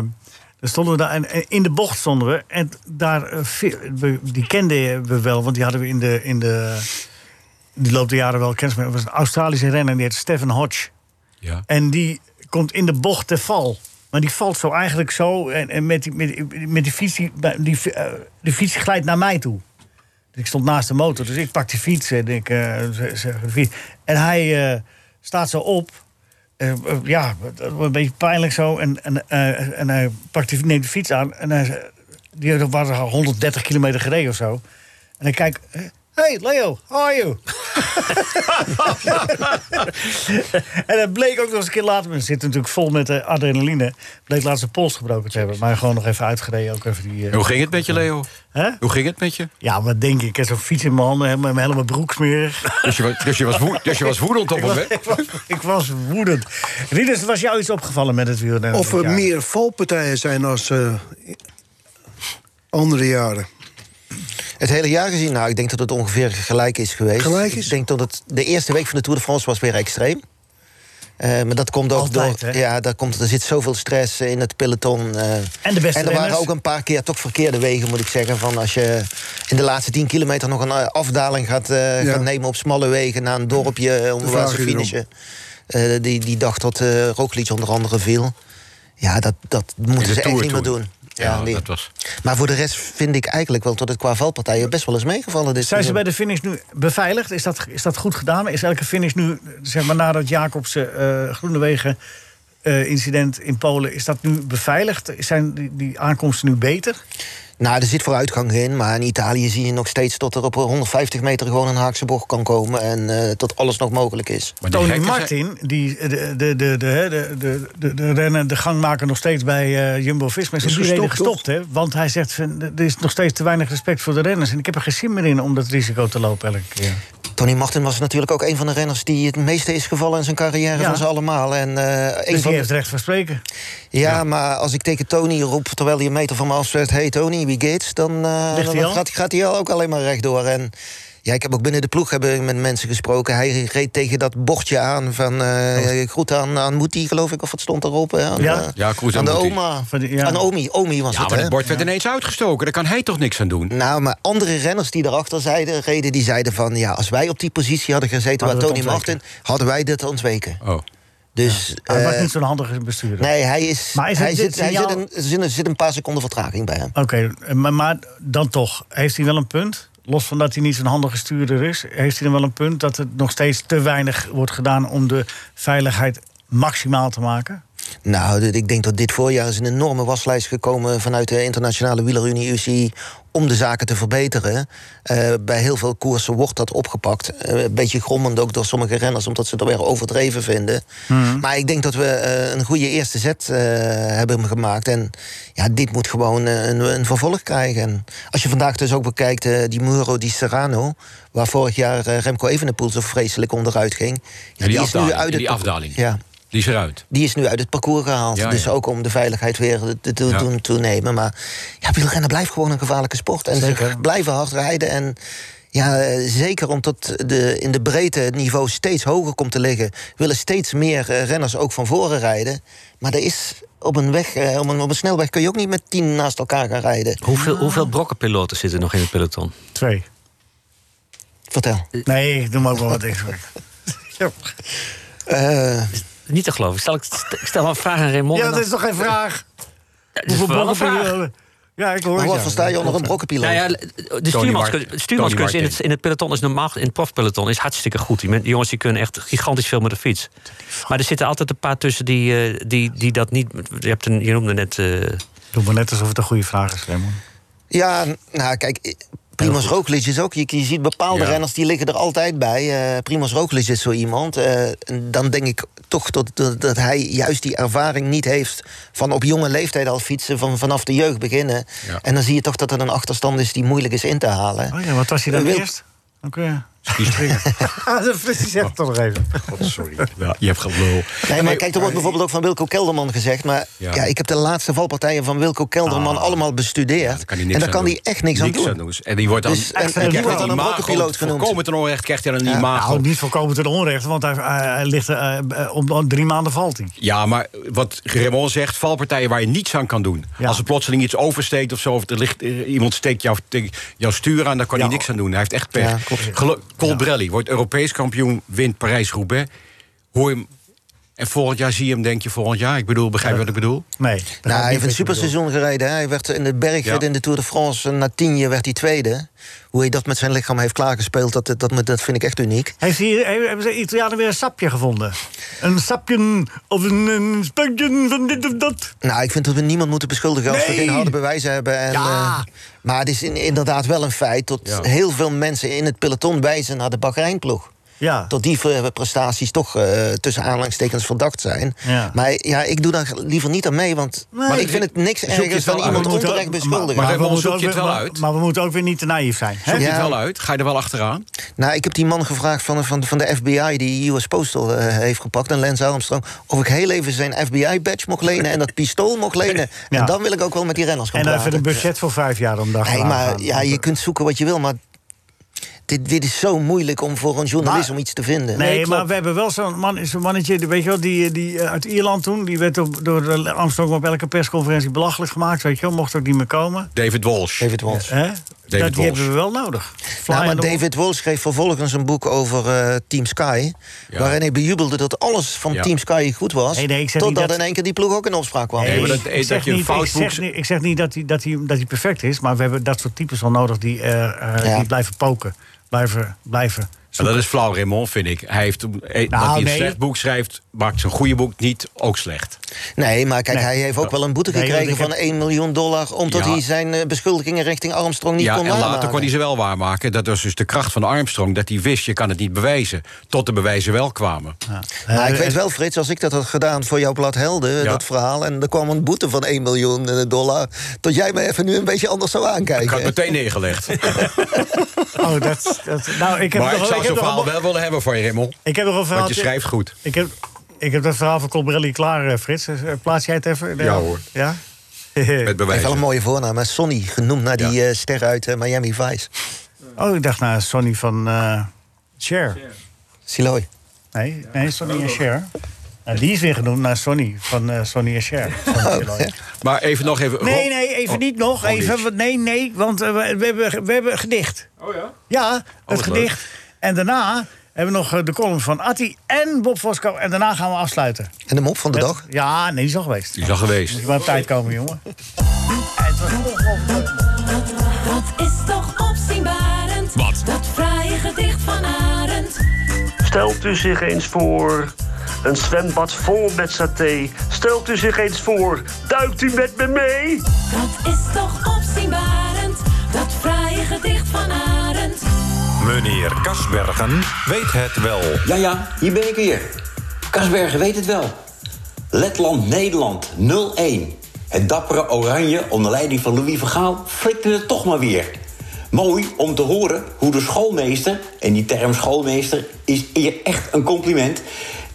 C: dan stonden we daar. En, en in de bocht stonden we. En daar, eh, vi- we- die kenden we wel. Want die hadden we in de... In de die loopt de jaren wel kennis. Maar het was een Australische renner. En die heet Stephen Hodge.
D: Ja.
C: En die komt in de bocht te val. Maar die valt zo eigenlijk zo. En, en met, die, met, met die fiets, die, die, eh, de fiets glijdt naar mij toe. Dus ik stond naast de motor, dus ik pak die fiets en ik eh, zeg zeg de fiets. En hij eh, staat zo op. Eh, eh, ja, een beetje pijnlijk zo. En, en, eh, en hij pakt die, neemt de fiets aan. En hij, ze- die waren 130 kilometer gereden of zo. En ik kijk. eh, Hey Leo, how are you? en dat bleek ook nog eens een keer later. We zitten natuurlijk vol met eh, adrenaline. Bleek laatst zijn pols gebroken te hebben. Maar gewoon nog even uitgereden. Ook even die, eh,
D: En Hoe ging het met je, Leo?
C: hè?
D: Hoe ging het met je?
C: Ja, wat denk je? Ik heb zo'n fiets in mijn handen, helemaal, helemaal broeksmerig.
D: Dus je was, dus je was, woe- dus je was woedend op
C: ik,
D: het
C: was,
D: moment?
C: ik, was, ik was woedend. Rieders, was jou iets opgevallen met het wielrennen?
E: Of
C: dit
E: er
C: jaar?
E: meer valpartijen zijn als eh, andere jaren.
J: Het hele jaar gezien, nou, ik denk dat het ongeveer gelijk is geweest.
E: Gelijk is?
J: Ik denk dat het de eerste week van de Tour de France was weer extreem. Eh, maar dat komt ook
C: Altijd,
J: door.
C: hè?
J: Ja, daar komt, er zit zoveel stress eh, in het peloton. eh.
C: En de beste
J: En er waren
C: renners.
J: ook een paar keer toch verkeerde wegen, moet ik zeggen. Van als je in de laatste 10 kilometer nog een eh, afdaling gaat, eh,
E: Ja.
J: gaat nemen op smalle wegen naar een dorpje eh, om
E: Dan
J: waar
E: vraag
J: ze
E: je erom.
J: finishen. Eh, die, die dag dat eh Roglic onder andere viel. Ja, dat, dat moeten
D: de
J: ze echt
D: Tour
J: niet meer
D: toen.
J: doen.
D: Ja,
J: die-
D: dat was...
J: maar voor de rest vind ik eigenlijk wel dat het qua valpartijen best wel eens meegevallen is.
C: Zijn ze bij de finish nu beveiligd? Is dat, is dat goed gedaan? Is elke finish nu, zeg maar nadat Jacobsen eh Groenewegen eh, incident in Polen, is dat nu beveiligd? Zijn die, die aankomsten nu beter?
J: Nou, er zit vooruitgang in, maar in Italië zie je nog steeds dat er op 150 meter gewoon een haakse bocht kan komen en eh, dat alles nog mogelijk is.
D: Maar die
C: Tony
D: gekken zijn-
C: Martin, die eh, de, de, de, de, hè, de, de, de, de rennen, de gang maken nog steeds bij eh, Jumbo-Visma. Is,
J: Dus
E: Is
C: om die reden
E: gestopt, toch?
C: gestopt, hè? Want hij zegt, van, er is nog steeds te weinig respect voor de renners. En ik heb er geen zin meer in om dat risico te lopen elke keer.
J: Tony Martin was natuurlijk ook een van de renners die het meeste is gevallen in zijn carrière
C: Ja.
J: van ze allemaal. En, eh, een
C: Dus
J: van
C: die
J: de-
C: heeft recht van spreken.
J: ja, maar als ik tegen Tony roep, terwijl hij een meter van me afzet... hey Tony, wie Gates, dan, eh,
C: Ligt hij
J: dan
C: al?
J: gaat, gaat hij al ook alleen maar rechtdoor. En ja, ik heb ook binnen de ploeg hebben met mensen gesproken. Hij reed tegen dat bordje aan van eh groet aan, aan Moetie, geloof ik. Of wat stond erop? hè? Aan,
C: Oh. Ja.
J: eh,
D: Ja, groet
J: aan
D: aan
J: de
D: Moetie.
J: oma.
C: Van die- ja.
J: Aan Omi. Omi was
D: Ja,
J: het,
D: maar
J: hè?
D: het bord werd ineens uitgestoken. Daar kan hij toch niks aan doen?
J: Nou, maar andere renners die erachter zeiden, reden, die zeiden van... ja, als wij op die positie hadden gezeten
C: Hadden
J: waar
C: we
J: Tony
C: het
J: Martin... hadden wij dit ontweken.
D: Oh.
J: Dus...
C: Hij was
J: eh,
C: niet zo'n handige bestuurder.
J: Nee, hij is.
C: Maar is het
J: hij
C: dit
J: zit, hij
C: signaal-
J: zit, een, er zit een- zit een paar seconden vertraging bij hem.
C: Oké, eh, maar, maar dan toch. Heeft hij wel een punt? Los van dat hij niet zo'n handige stuurder is, heeft hij dan wel een punt dat er nog steeds te weinig wordt gedaan om de veiligheid maximaal te maken?
J: Nou, dit- ik denk dat dit voorjaar is een enorme waslijst gekomen vanuit de Internationale Wielerunie UCI om de zaken te verbeteren. Eh, bij heel veel koersen wordt dat opgepakt. Eh, een beetje grommend ook door sommige renners, omdat ze het weer overdreven vinden.
D: Mhm.
J: Maar ik denk dat we eh, een goede eerste zet eh, hebben gemaakt. En ja, dit moet gewoon eh, een, een vervolg krijgen. En als je vandaag dus ook bekijkt, eh, die Muro di Serrano, waar vorig jaar eh, Remco Evenepoel zo vreselijk onderuit ging. Ja,
D: die afdaling,
J: het
D: die
J: parcours.
D: afdaling.
J: Ja
D: Die is eruit.
J: die is nu uit het parcours gehaald.
D: Ja,
J: dus
D: ja.
J: ook om de veiligheid weer te, te
D: Ja.
J: doen toenemen. Maar ja, wielrennen blijft gewoon een gevaarlijke sport. En
C: Zeker.
J: ze blijven hard rijden. En ja, eh, zeker omdat de, in de breedte het niveau steeds hoger komt te liggen... willen steeds meer eh, renners ook van voren rijden. Maar er is op een, weg, eh, op, een, op een snelweg kun je ook niet met tien naast elkaar gaan rijden.
F: Hoeveel, hoeveel brokkenpiloten zitten nog in het peloton?
C: Twee.
J: Vertel.
C: Nee, ik noem ook wel wat extra.
J: Eh,
F: Niet te geloven. Stel, ik, st- ik stel een vraag aan Raymond.
C: Ja,
F: en
C: dat
F: dan-
C: is toch geen vraag?
F: Ja, dit is wel een vraag.
C: brokkenpiloten? Ja, ik hoor
J: maar
C: het.
J: wat
C: ja.
J: versta je onder een brokkenpiloot?
F: Nou ja, de
D: Martin.
F: stuurmanskunst- de stuurmanskunst in
D: Tony
F: het, in het peloton is normaal, in het profpeloton is hartstikke goed. Die, men- die jongens die kunnen echt gigantisch veel met de fiets. Maar er zitten altijd een paar tussen die, eh, die, die dat niet. Je, hebt een, je noemde net. eh,
C: Doe maar net alsof het een goede vraag is, Raymond.
J: Ja, n- nou kijk, eh, Primoz Roglic is ook... Je, je ziet bepaalde
D: Ja.
J: renners, die liggen er altijd bij. Eh, Primoz Roglic is zo iemand. Eh, en dan denk ik toch dat, dat, dat hij juist die ervaring niet heeft... van op jonge leeftijd al fietsen, van, vanaf de jeugd beginnen.
D: Ja.
J: En dan zie je toch dat er een achterstand is die moeilijk is in te halen. Eh,
C: Oh ja, wat was je dan
J: Wil-
C: eerst? Oké. Ah, de Frits die zegt het toch nog even.
D: Sorry. Ja, je hebt gelul.
J: Nee, maar kijk, er wordt bijvoorbeeld ook van Wilco Kelderman gezegd... maar ja.
D: Ja. Ah.
J: ik heb de laatste valpartijen van Wilco Kelderman allemaal bestudeerd.
D: Daar kan hij
J: en
D: niks
J: daar
D: aan
J: kan
D: doen.
J: hij echt niks, aan doen.
D: En die wordt dan,
J: Dus- en-
D: en,
J: en die wordt dan een brokkenpiloot genoemd.
D: Komen ten onrecht krijgt hij dan een imago.
C: Nou, niet voorkomen ten onrechte, want hij, hij, hij ligt eh, eh, om om drie maanden valt hij.
D: Ja, maar wat Raymond zegt, valpartijen waar je niets aan kan doen.
C: Ja.
D: Als er plotseling iets oversteekt of zo, of er ligt, eh, iemand steekt jouw, te- jouw stuur aan, daar kan
C: Ja.
D: hij niks aan doen. Hij heeft echt pech.
J: Ja,
D: Gelu- Colbrelli wordt Europees kampioen, wint Parijs-Roubaix. Hoor je hem, en volgend jaar zie je hem, denk je volgend jaar. Ik bedoel, begrijp je wat ik bedoel?
C: Nee. dat gaat
J: Nou, hij
C: niet
J: heeft een
C: met je bedoel.
J: superseizoen gereden. hè. Hij werd in de bergrit
D: Ja.
J: in de Tour de France. en Na tien jaar werd hij tweede. Hoe hij dat met zijn lichaam heeft klaargespeeld, dat, dat, dat, dat vind ik echt uniek.
C: Heeft hier, he- hebben ze Italianen weer een sapje gevonden? Een sapje of een, een spakje van dit of dat?
J: Nou, ik vind dat we niemand moeten beschuldigen als we
C: Nee!
J: geen harde bewijzen hebben. En,
C: Ja!
J: eh, maar het is in- inderdaad wel een feit dat
D: Ja.
J: heel veel mensen in het peloton wijzen naar de Bahreinploeg.
C: Ja.
J: Dat die eh, prestaties toch eh, tussen aanhalingstekens verdacht zijn.
C: Ja.
J: Maar ja, ik doe daar liever niet aan mee, want
C: Maar
J: ik vind het niks
D: je
J: ergers
D: het
J: dan
D: wel uit.
J: iemand
C: We moeten ook-
J: onterecht beschuldigen.
D: maar- Raymond,
C: we moeten
D: zoek je
C: ook
D: het
C: weer-
D: wel
C: maar-
D: uit?
C: Maar we moeten ook weer niet te naïef zijn. Hè?
D: Zoek je
J: Ja.
D: het wel uit? Ga je er wel achteraan?
J: Nou, ik heb die man gevraagd van, van, van de FBI die US Postal eh, heeft gepakt en Lance Armstrong. Of ik heel even zijn FBI-badge mocht lenen en dat pistool mocht lenen.
C: Ja.
J: En dan wil ik ook wel met die renners gaan
C: En even
J: praten.
C: een budget voor vijf jaar om daar
J: Nee,
C: gedaan te
J: maar
C: gaan.
J: ja, je kunt zoeken wat je wil, maar dit, dit is zo moeilijk om voor een journalist
C: Maar-
J: om iets te vinden.
C: Nee, maar we hebben wel zo'n man, zo'n mannetje, die- weet je wel, die, die eh, uit Ierland toen... die werd op- door de Armstrong op elke persconferentie belachelijk gemaakt, weet je wel. Mocht ook niet meer komen.
D: David Walsh.
J: David Walsh.
C: Hè? dat,
D: Walsh.
C: die hebben we wel nodig.
J: Nou, maar
C: Flying
J: David Walsh schreef vervolgens een boek over eh, Team Sky.
D: Ja.
J: Waarin hij bejubelde dat alles van
D: Ja.
J: Team Sky goed was.
C: Nee, nee, ik zeg niet
J: totdat
C: dat-
J: in één keer die ploeg ook in opspraak kwam.
D: Nee, maar dat-
C: ik, zeg
D: dat je een
C: niet,
D: fout
C: ik, zeg
D: boekt-
C: niet, ik zeg niet dat hij dat hij dat hij perfect is, maar we hebben dat soort types wel nodig die, eh, eh,
J: Ja.
C: die blijven poken. Blijven, blijven
D: Maar
C: zoeken.
D: dat is flauw, Raymond, vind ik. Hij heeft, eh, dat hij een
C: Nou, nee.
D: slecht boek schrijft, maakt zijn goede boek niet ook slecht.
J: Nee, maar kijk, hij heeft ook wel een boete
C: Nee, want
J: gekregen
C: ik
J: van
C: heb-
J: 1 miljoen dollar... omdat
D: Ja.
J: hij zijn eh, beschuldigingen richting Armstrong niet
D: ja,
J: kon
D: en
J: waarmaken.
D: later kon hij ze wel waarmaken. Dat was dus de kracht van Armstrong, dat hij wist, je kan het niet bewijzen. Tot de bewijzen wel kwamen.
J: Maar ik
C: Eh,
J: weet wel, Frits, als ik dat had gedaan voor jouw blad Helden, eh,
D: Ja.
J: dat verhaal... en er kwam een boete van 1 miljoen eh, dollar... dat jij me even nu een beetje anders zou
D: Ik had
J: aankijken.
D: het meteen neergelegd.
C: Oh, dat, dat, nou, ik heb
D: maar
C: nog,
D: ik zou
C: heb
D: zo'n
C: nog
D: verhaal
C: een-
D: wel willen hebben van je, Rimmel.
C: Ik heb nog een verhaal.
D: Want je schrijft goed.
C: Ik heb, ik heb dat verhaal van Colbrelli klaar, eh, Frits. Eh, Plaats jij het even?
D: Ja, hoor.
C: Ja?
D: Met
J: Hij heeft wel
D: bewijzen.
J: een mooie voornaam, hè? Sonny, genoemd naar die
D: Ja.
J: eh, ster uit eh, Miami Vice.
C: oh, ik dacht naar Sonny van eh Cher.
J: Siloy.
C: Nee, nee, Sonny en Cher. Nou, die is weer genoemd naar Sonny van eh Sonny en
J: Oh.
C: Cher.
D: Maar even nog even...
C: Nee,
D: Rob-
C: nee, even
D: Oh,
C: niet nog.
D: gewoon
C: Even,
D: niet.
C: want- nee, nee, want eh, we, we hebben, we hebben een gedicht.
G: Oh ja?
C: Ja, het
D: wat
C: gedicht. En daarna hebben we nog eh, de column van Atti en Bob Fosco. En daarna gaan we afsluiten.
J: En de mop van de
C: Met-
J: dag?
C: Ja, nee, die is al geweest.
D: Die is al geweest.
C: Je moet op tijd komen, jongen.
A: Dat is toch opzienbarend.
B: Wat?
A: Dat fraaie gedicht van Arend.
L: Stelt u zich eens voor een zwembad vol met saté. Stelt u zich eens voor, duikt u met me mee?
A: Dat is toch opzienbarend. Dat fraaie gedicht van Arend.
M: Meneer Kasbergen weet het wel.
B: Ja, ja, hier ben ik weer. Kasbergen weet het wel. Letland-Nederland 0-1. Het dappere Oranje onder leiding van Louis Vergaal flikte het toch maar weer. Mooi om te horen hoe de schoolmeester, en die term schoolmeester is hier echt een compliment,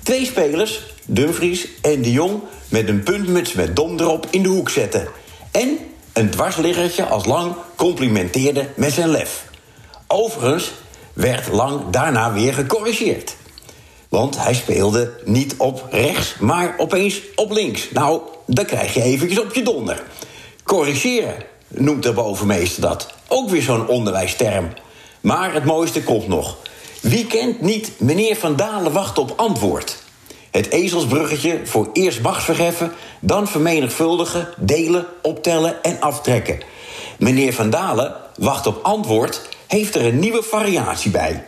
B: twee spelers, Dumfries en de Jong, met een puntmuts met dom erop in de hoek zette. En een dwarsliggertje als lang complimenteerde met zijn lef. Overigens werd lang daarna weer gecorrigeerd. Want hij speelde niet op rechts, maar opeens op links. Nou, dan krijg je eventjes op je donder. Corrigeren noemt de bovenmeester dat. Ook weer zo'n onderwijsterm. Maar het mooiste komt nog. Wie kent niet meneer Van Dalen wacht op antwoord? Het ezelsbruggetje voor eerst machtsverheffen, dan vermenigvuldigen, delen, optellen en aftrekken. Meneer Van Dalen wacht op antwoord, heeft er een nieuwe variatie bij.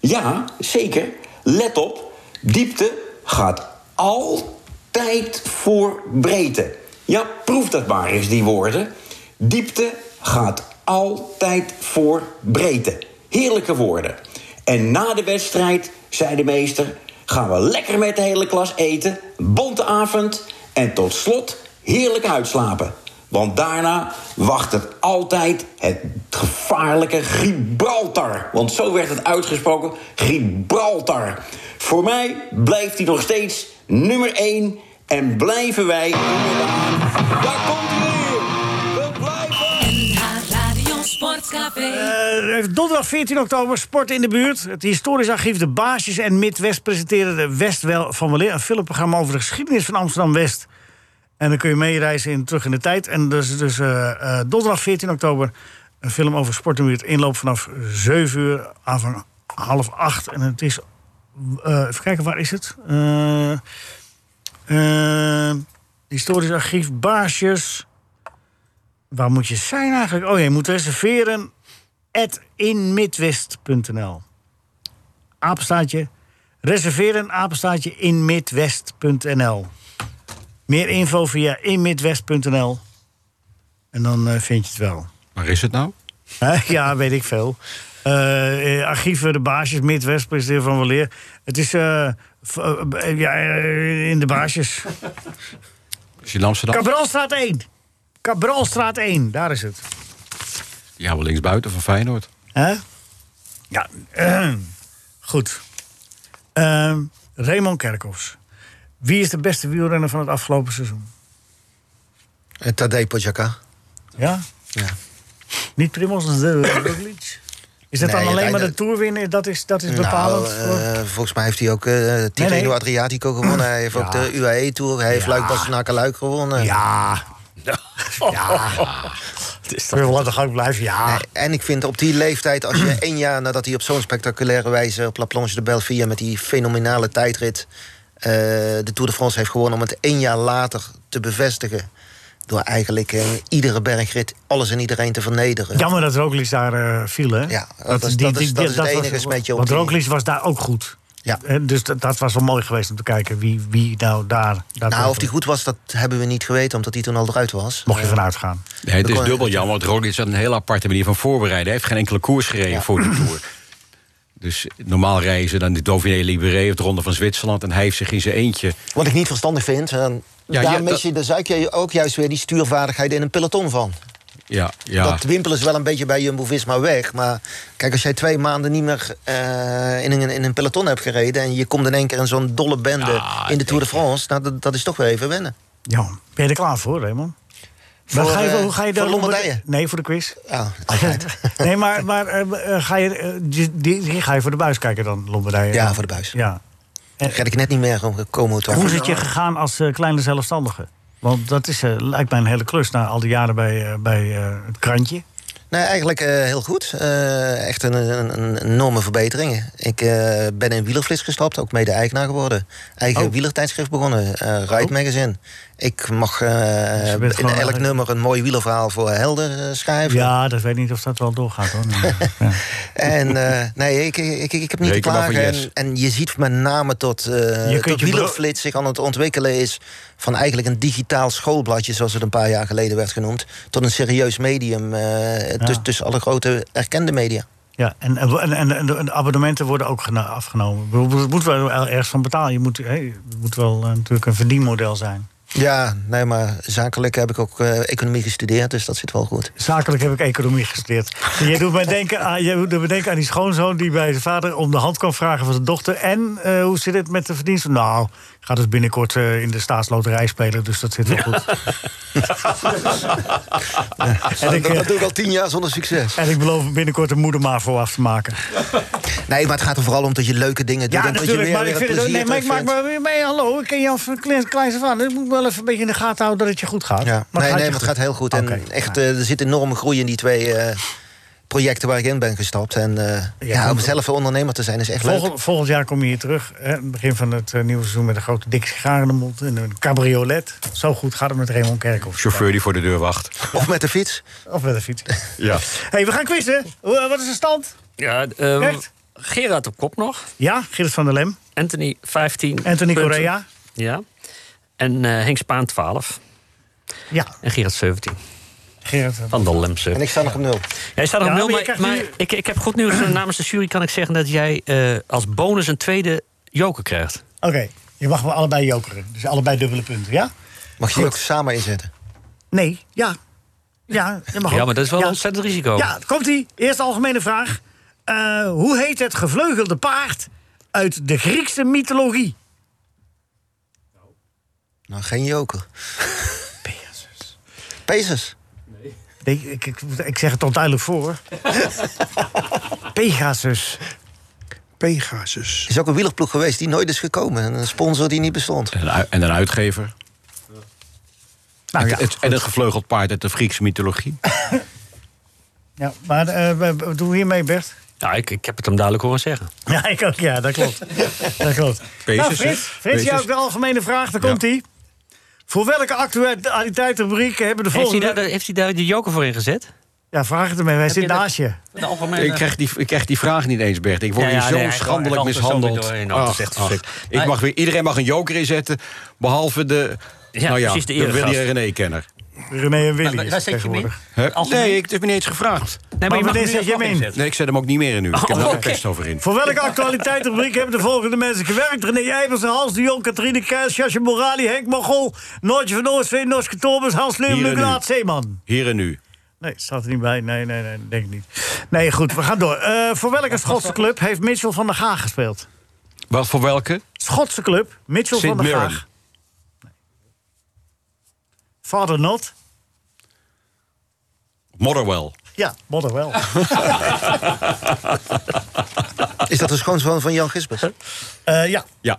B: Ja, zeker. Let op, diepte gaat altijd voor breedte. Ja, proef dat maar eens, die woorden. Diepte gaat altijd voor breedte. Heerlijke woorden. En na de wedstrijd, zei de meester, gaan we lekker met de hele klas eten, bonte avond en tot slot heerlijk uitslapen. Want daarna wacht het altijd het gevaarlijke Gibraltar. Want zo werd het uitgesproken: Gibraltar. Voor mij blijft hij nog steeds nummer 1 en blijven wij inderdaad. Daar komt hij weer! We blijven!
A: NH Radio Sportcafé.
C: Eh, donderdag 14 oktober, Sport in de Buurt. Het historisch archief De Baasjes en Midwest presenteren de Westwel van Weleer... een filmprogramma over de geschiedenis van Amsterdam-West. En dan kun je meereizen in Terug in de Tijd. En dus, dus eh, eh, donderdag 14 oktober een film over Sport in de Buurt. Inloop vanaf 7 uur, aanvang half 8. En het is... eh, even kijken, waar is het? Eh, eh, historisch archief Baasjes... Waar moet je zijn eigenlijk? Oh, je moet reserveren at inmidwest.nl. Apenstaatje. Reserveren apenstaatje inmidwest.nl. Meer info via inmidwest.nl. En dan eh, vind je het wel.
D: Waar is het nou?
C: Hè? ja, weet ik veel. Eh, eh, archieven, de baasjes, Midwest, presenteer van Weleer. Het is eh, v- eh, ja, eh, in de baasjes.
D: Is het in Amsterdam?
C: Cabralstraat 1. Cabralstraat 1, daar is het.
D: Ja, wel linksbuiten van Feyenoord.
C: Hè? Ja, ehm, goed. Ehm, Raymond Kerkhoffs. Wie is de beste wielrenner van het afgelopen seizoen?
J: Eh, Tadej Pogacar.
C: Ja?
J: Ja.
C: Niet Primoz, eh, dat is de- Roglic. Is dat
J: Nee,
C: dan alleen
J: hij-
C: maar de Tour winnen? Dat is, dat is bepalend
J: Nou,
C: voor...
J: eh, volgens mij heeft hij ook eh Tirreno
C: Nee, nee.
J: Adriatico gewonnen. Hij heeft ook de UAE Tour. Hij heeft Luik Bastenaken Luik gewonnen.
C: Ja. Ja. We willen laten gang blijven, ja.
J: En ik vind op die leeftijd, als je één jaar nadat hij op zo'n spectaculaire wijze op La Planche de Belleville met die fenomenale tijdrit eh, de Tour de France heeft gewonnen, om het één jaar later te bevestigen. Door eigenlijk eh, iedere bergrit alles en iedereen te vernederen.
C: Jammer dat Roglic daar eh, viel, hè?
J: Ja, dat is- dat is- dat is het enige smetje op
C: Want
J: die-
C: Roglic was daar ook goed. Hè, Dus dat, dat was wel mooi geweest om te kijken wie, wie nou daar... daar
J: Nou, of die goed was, dat hebben we niet geweten, omdat die toen al eruit was.
C: Mocht je vanuit gaan.
D: Nee, het is dubbel jammer, want Roglic had een hele aparte manier van voorbereiden. Hij heeft geen enkele koers gereden voor de Tour. Dus normaal rijden ze dan de Dauphiné Libéré of de Ronde van Zwitserland... en hij heeft zich in zijn eentje...
J: Wat ik niet verstandig vind. En
D: Ja,
J: daar
D: ja,
J: mis
D: dat-
J: je, daar zuik je ook juist weer die stuurvaardigheid in een peloton van.
D: Ja, ja.
J: Dat wimpelen ze wel een beetje bij Jumbo-Visma weg. Maar kijk, als jij twee maanden niet meer eh, in, een, in een peloton hebt gereden... en je komt in één keer in zo'n dolle bende in de Tour de France... Nou, dat, dat is toch weer even wennen.
C: Ja, ben je er klaar voor, Raymond? Maar
J: Voor,
C: ga je,
J: eh,
C: hoe ga je
J: voor Oh,
C: daar-
J: Lombardije?
C: Nee, voor de quiz. nee, maar, maar eh, eh, ga, je, eh, die, die- die ga je voor de buis kijken dan, Lombardije?
J: Ja, voor de buis.
C: Ja.
J: Red ik net niet meer om komen toch?
C: Hoe is het je gegaan als eh, kleine zelfstandige? Want dat is, eh, lijkt mij een hele klus na al die jaren bij, eh, bij eh, het krantje.
J: Nee, eigenlijk eh, heel goed. Eh, echt een, een, een enorme verbetering. Ik eh, ben in wielerflits gestapt, ook mede-eigenaar geworden. Eigen
C: Oh.
J: wielertijdschrift begonnen, eh Ride Magazine. Ik mag eh,
C: Dus je bent
J: in
C: gewoon
J: elk
C: eigenlijk-
J: nummer een mooi wielerverhaal voor Helder eh, schrijven.
C: Ja, dat weet niet of dat wel doorgaat hoor.
J: En eh, nee, ik, ik, ik, ik heb niet te
C: Reken maar
J: klagen.
C: van
J: En,
C: yes.
J: en je ziet met name tot, eh
C: kunt
J: tot
C: je bro-
J: wielerflits zich aan het ontwikkelen is... van eigenlijk een digitaal schoolbladje, zoals het een paar jaar geleden werd genoemd... tot een serieus medium eh, tuss- tussen alle grote erkende media.
C: Ja, en, eh, en, en, en de abonnementen worden ook gena- afgenomen. Ik bedoel, Het moet wel ergens van betalen. Je moet, hè, het moet wel eh, natuurlijk een verdienmodel zijn.
J: Ja, nee, maar zakelijk heb ik ook eh, economie gestudeerd, dus dat zit wel goed.
C: Zakelijk heb ik economie gestudeerd. Jij doet mij denken aan, jij doet me denken aan die schoonzoon die bij zijn vader om de hand kwam vragen van zijn dochter. En eh, hoe zit het met de verdiensten? Nou, ik ga dus binnenkort eh, in de staatsloterij spelen, dus dat zit wel goed. En ik, eh,
J: Ah, dat doe ik al tien jaar zonder succes.
C: En ik beloof binnenkort een moeder maar voor af te maken.
J: Nee, maar het gaat er vooral om dat je leuke dingen doet.
C: Ja,
J: en dat je
C: natuurlijk,
J: weer,
C: maar
J: weer
C: ik vind het ook.
J: plezier
C: Nee, maar ik maak
J: terugvindt.
C: maar weer mee. Hallo, ik ken jou van klein, kleins af aan. Dus ik moet wel even een beetje in de gaten houden dat het je goed gaat.
J: Ja. nee,
C: Maar het
J: nee,
C: je
J: maar het gaat heel goed.
C: Oké.
J: En echt, eh, er zit enorme groei in die twee eh, projecten waar ik in ben gestapt. En eh, ja, om zelf een ondernemer te zijn is echt leuk.
C: Volgend, volgend jaar kom je hier terug. Hè, het begin van het eh, nieuwe seizoen met een grote dikke sigaar in de mond. En een cabriolet. Zo goed gaat het met Raymond Kerkhoff.
D: Chauffeur die voor de deur wacht.
J: Of met de fiets.
C: Of met een fiets.
D: Ja.
C: hey, we gaan quizzen. Hoe- eh, Wat is de stand?
F: Ja, eh,
C: Echt?
F: Gerard op kop nog.
C: Ja, Gerrit van der Lem.
F: Anthony 15.
C: Anthony
F: punten.
C: Correa.
F: Ja. En eh, Henk Spaan 12.
C: Ja.
F: En Gerard 17.
C: Gerard
F: van der Lem 17.
J: En ik sta nog op nul.
F: Jij staat nog
C: Ja,
F: nul,
C: maar
F: maar,
C: je krijgt
F: maar
C: nu-
F: ik, ik heb goed nieuws. Namens de jury kan ik zeggen dat jij eh, als bonus een tweede joker krijgt.
C: Oké, je mag wel allebei jokeren. Dus allebei dubbele punten, ja?
J: Mag je die ook samen inzetten?
C: Nee, ja. Ja, dat mag
F: ja,
C: ook.
F: maar dat is wel
C: Ja.
F: een ontzettend risico.
C: Ja, komt ie. Eerste algemene vraag. Eh, hoe heet het gevleugelde paard uit de Griekse mythologie?
J: Nou, geen joker. Pezus.
C: Nee, ik, ik, ik zeg het onduidelijk voor. Pegasus.
E: Pegasus.
J: is ook een wielerploeg geweest die nooit is gekomen. Een sponsor die niet bestond.
D: En, een u- en een uitgever.
C: Nou, ja,
D: Het- en een gevleugeld paard uit de Griekse mythologie.
C: ja, maar eh, we- we doen we hiermee, Bert?
F: Ja, ik, ik heb het hem duidelijk horen zeggen.
C: Ja, ik ook. Ja, dat klopt. dat klopt.
D: Pegasus,
C: nou, Frits,
D: hè?
C: Frits jou
D: Pegasus.
C: ook de algemene vraag. Daar komt ie. Voor welke actualiteitenrubrieken hebben de
F: Heeft hij,
C: volgende...
F: daar, heeft hij daar de joker voor ingezet?
C: Ja, vraag het ermee. Wij
F: je
C: zitten
F: dat-
C: naast je.
F: De algemene...
D: Ik krijg, die, ik krijg die vraag niet eens, Bert. Ik word
F: eh, Ja, ja,
D: hier zo
F: nee, hij
D: schandelijk
F: loopt er zo
D: mishandeld.
F: weer doorheen. Oh, het is
D: Ach,
F: echt
D: ach.
F: verschrikkelijk.
D: ik
F: Maar-
D: mag weer, iedereen mag een joker inzetten, behalve de...
F: Ja,
D: nou ja,
F: precies, de
D: de
F: eregast.
D: Willy René-kenner.
C: René en Willy.
F: Waar-
C: is
F: waar Nou, zet je hem
C: tegenwoordig.
D: Hè? Nee, ik het heb me niet eens gevraagd.
F: Nee,
C: Maar
F: je mag
C: wanneer
F: hem nu
C: zet je hem
F: alsnog
C: in?
F: inzetten.
D: Nee, ik zet hem ook niet meer in nu. Ik heb er
F: Oh,
D: ook
F: oké.
D: best over in.
C: Voor welke actualiteitenrubriek hebben de volgende mensen gewerkt? René Eijbers, Hans de Jong, Katrine Kruijs, Jasje Morali, Henk Mogol, Noortje van Oostveen, Norske Thomas, Hans Leeuwen,
D: Hier en
C: Luc
D: nu.
C: Laat, Zeeman.
D: Hier en nu.
C: Nee, staat er niet bij. Nee, nee, nee, denk ik niet. Nee, goed, we gaan door. Eh, voor welke Schotse club heeft Mitchell van der Gaag gespeeld?
D: Wat voor welke?
C: Schotse club, Mitchell
D: Sint
C: van der
D: Mirren.
C: Gaag. Father Not.
D: Motherwell.
C: Ja, modder wel.
J: Is dat de schoonzoon van Jan Gispers?
C: Eh, ja.
D: Ja,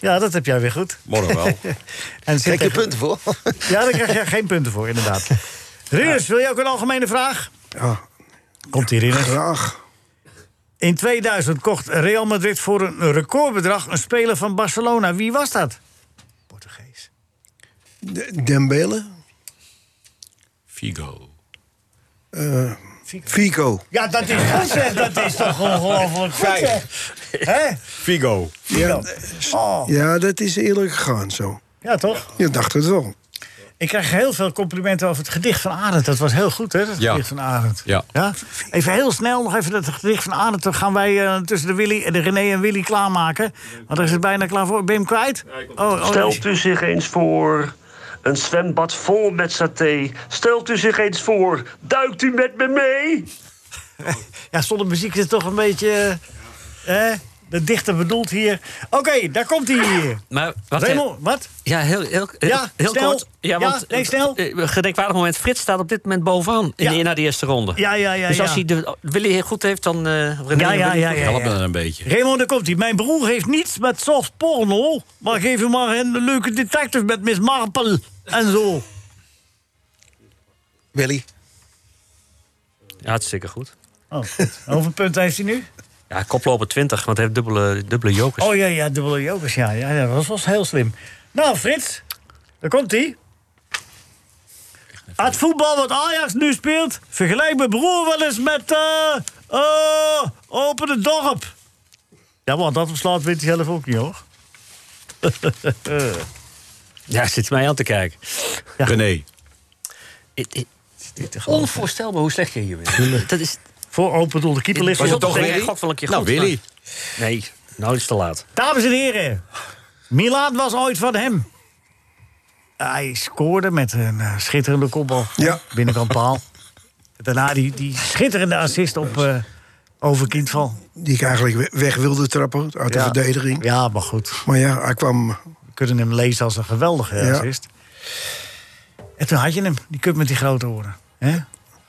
C: ja, dat heb jij weer goed.
D: Motherwell.
C: En zit
J: Krijg je
C: tegen-
J: punten voor?
C: Ja, daar krijg je geen punten voor, inderdaad. Rinus, wil je ook een algemene vraag?
E: Ja,
C: Komt hier Rinus.
E: graag.
C: In 2000 kocht Real Madrid voor een recordbedrag een speler van Barcelona. Wie was dat? Portugees.
E: De- Dembele. Eh,
D: Figo.
E: Fico.
C: Ja, dat is goed zeg. Dat is toch ongelooflijk goed zeg. Hè?
D: Figo.
E: Ja,
C: Oh.
E: ja, dat is eerlijk gegaan zo.
C: Ja, toch?
E: Je dacht het wel.
C: Ik krijg heel veel complimenten over het gedicht van Arend. Dat was heel goed, hè? Het
D: Ja.
C: gedicht van Arend.
D: Ja.
C: Ja? Even heel snel nog even dat gedicht van Arend. Dan gaan wij eh, tussen de, Willy, de René en Willy klaarmaken. Want er is het bijna klaar voor. Ben je hem kwijt? Oh, oh,
L: Stelt u zich eens voor een zwembad vol met saté. Stelt u zich eens voor, duikt u met me mee?
C: Ja, zonder muziek is het toch een beetje... eh, hè? de dichter bedoelt hier. Oké, daar komt hij hier.
F: Maar wacht even.
C: Raymond, wat?
F: Ja, heel, heel, heel,
C: Ja,
F: heel
C: snel.
F: kort.
C: Ja, nee, snel.
F: eh, Gedenkwaardig moment. Frits staat op dit moment bovenaan in,
C: Ja.
F: de- na de eerste ronde.
C: Ja, ja, ja.
F: dus als
C: ja.
F: hij de Willy heel goed heeft, dan... eh René
C: Ja, ja, ja, ja,
D: Help
C: ja.
D: me dan een beetje.
C: Raymond, daar komt hij. Mijn broer heeft niets met soft porno, maar geef hem maar een leuke detective met Miss Marple en zo.
J: Willy.
F: Hartstikke goed.
C: Oh, goed. hoeveel punten heeft hij nu?
F: Ja, koploper 20, want hij heeft dubbele, dubbele jokers.
C: Oh ja, ja, dubbele jokers, ja, ja, ja, dat was heel slim. Nou, Frits, daar komt hij. Het voetbal wat Ajax nu speelt, vergelijk mijn broer wel eens met eh eh, Open het Dorp. Ja, want dat verslaat weet hij zelf ook niet, hoor.
F: Ja, zit hij mij aan te kijken.
D: René.
F: Het- het- Onvoorstelbaar hoe slecht je hier bent. Dat is...
C: Voor Open doel, de keeper ligt
F: Was
C: weer
F: het
C: op de
F: toch
C: grond.
F: Willy? Gok wel een keer
D: Nou,
F: goed, maar-
D: Willy.
F: Nee, nou is het te laat.
C: Dames en heren, Milaan was ooit van hem. Hij scoorde met een eh, schitterende kopbal.
E: Ja.
C: Binnenkant paal. Daarna die, die schitterende assist op eh Overkindval.
E: Die ik eigenlijk we- weg wilde trappen uit de
C: Ja.
E: verdediging.
C: Ja, maar goed.
E: Maar ja, hij kwam.
C: We kunnen hem lezen als een geweldige
E: Ja.
C: assist. En toen had je hem, die cup met die grote oren. hè?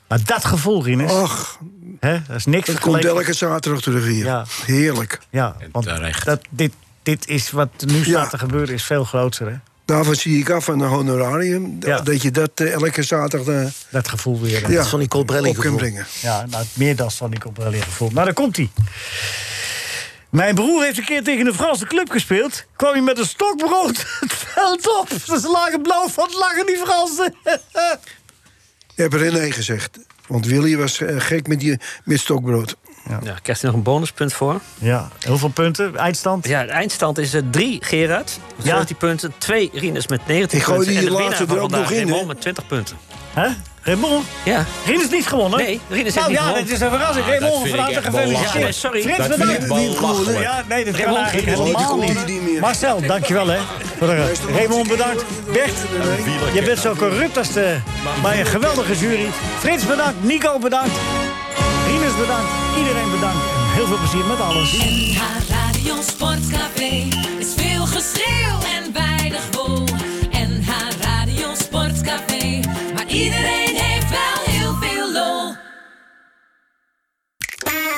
C: Maar dat gevoel, Rinus,
E: Ach,
C: hè, dat is niks
E: dat komt
C: vergeleken.
E: elke zaterdag terug hier.
C: Ja.
E: Heerlijk.
C: Ja,
D: En
C: want
D: terecht.
C: dat, dit, dit is wat nu staat
E: Ja.
C: te gebeuren, is veel groter. Hè?
E: Daarvan zie ik af van een honorarium. d-
C: Ja.
E: Dat je dat eh, elke zaterdag eh,
C: Dat gevoel weer. hè.
E: ja,
J: is van die Colbrelli
E: op kunt
J: gevoel.
E: brengen.
C: Ja, nou, meer dan zal ik op wel liggen gevoeld. Maar Nou, daar komt hij. Mijn broer heeft een keer tegen een Franse club gespeeld. Kwam hij met een stokbrood het veld op. Ze lagen blauw van het lachen, die Fransen.
E: Je hebt René gezegd. Want Willy was eh, gek met, die, met stokbrood.
F: Ja, krijgt hij nog een bonuspunt voor?
C: Ja, hoeveel punten? Eindstand?
F: Ja, de eindstand is 3 Gerard. Met
C: Ja.
F: 17 punten. 2 Rinus met 19
E: Ik gooi
F: punten.
E: die
F: en de
E: laatste
F: winnaar van
E: er ook
F: vandaag,
E: nog in, hè?
F: Raymond, met 20 punten.
C: Hè? Raymond?
F: Ja.
C: Rien is niet gewonnen.
F: Nee, Rien is
C: nou,
F: niet
C: ja,
F: gewonnen.
C: dat is een verrassing.
D: dat
C: Raymond,
D: vind
C: van
D: ik
C: harte
D: echt belachelijk.
C: gefeliciteerd.
F: Ja, nee, sorry.
C: Frits,
D: Dat vind
C: bedankt.
D: ik belachelijk.
C: Ja, nee, dat kan
F: Raymond
C: eigenlijk
F: Giekel.
C: helemaal
E: Die
C: niet.
E: komt hier niet meer.
C: Marcel, dankjewel hè. Voor de rest. Raymond, bedankt. Bert, je bent zo corrupt als de... Maar een geweldige jury. Frits, bedankt. Nico, bedankt. Rinus, bedankt. Iedereen, bedankt. En heel veel plezier met alles.
A: NH Radio Sportcafé is veel geschreeuw en weinig wol. NH Radio Sportcafé, maar iedereen heeft wel heel veel lol.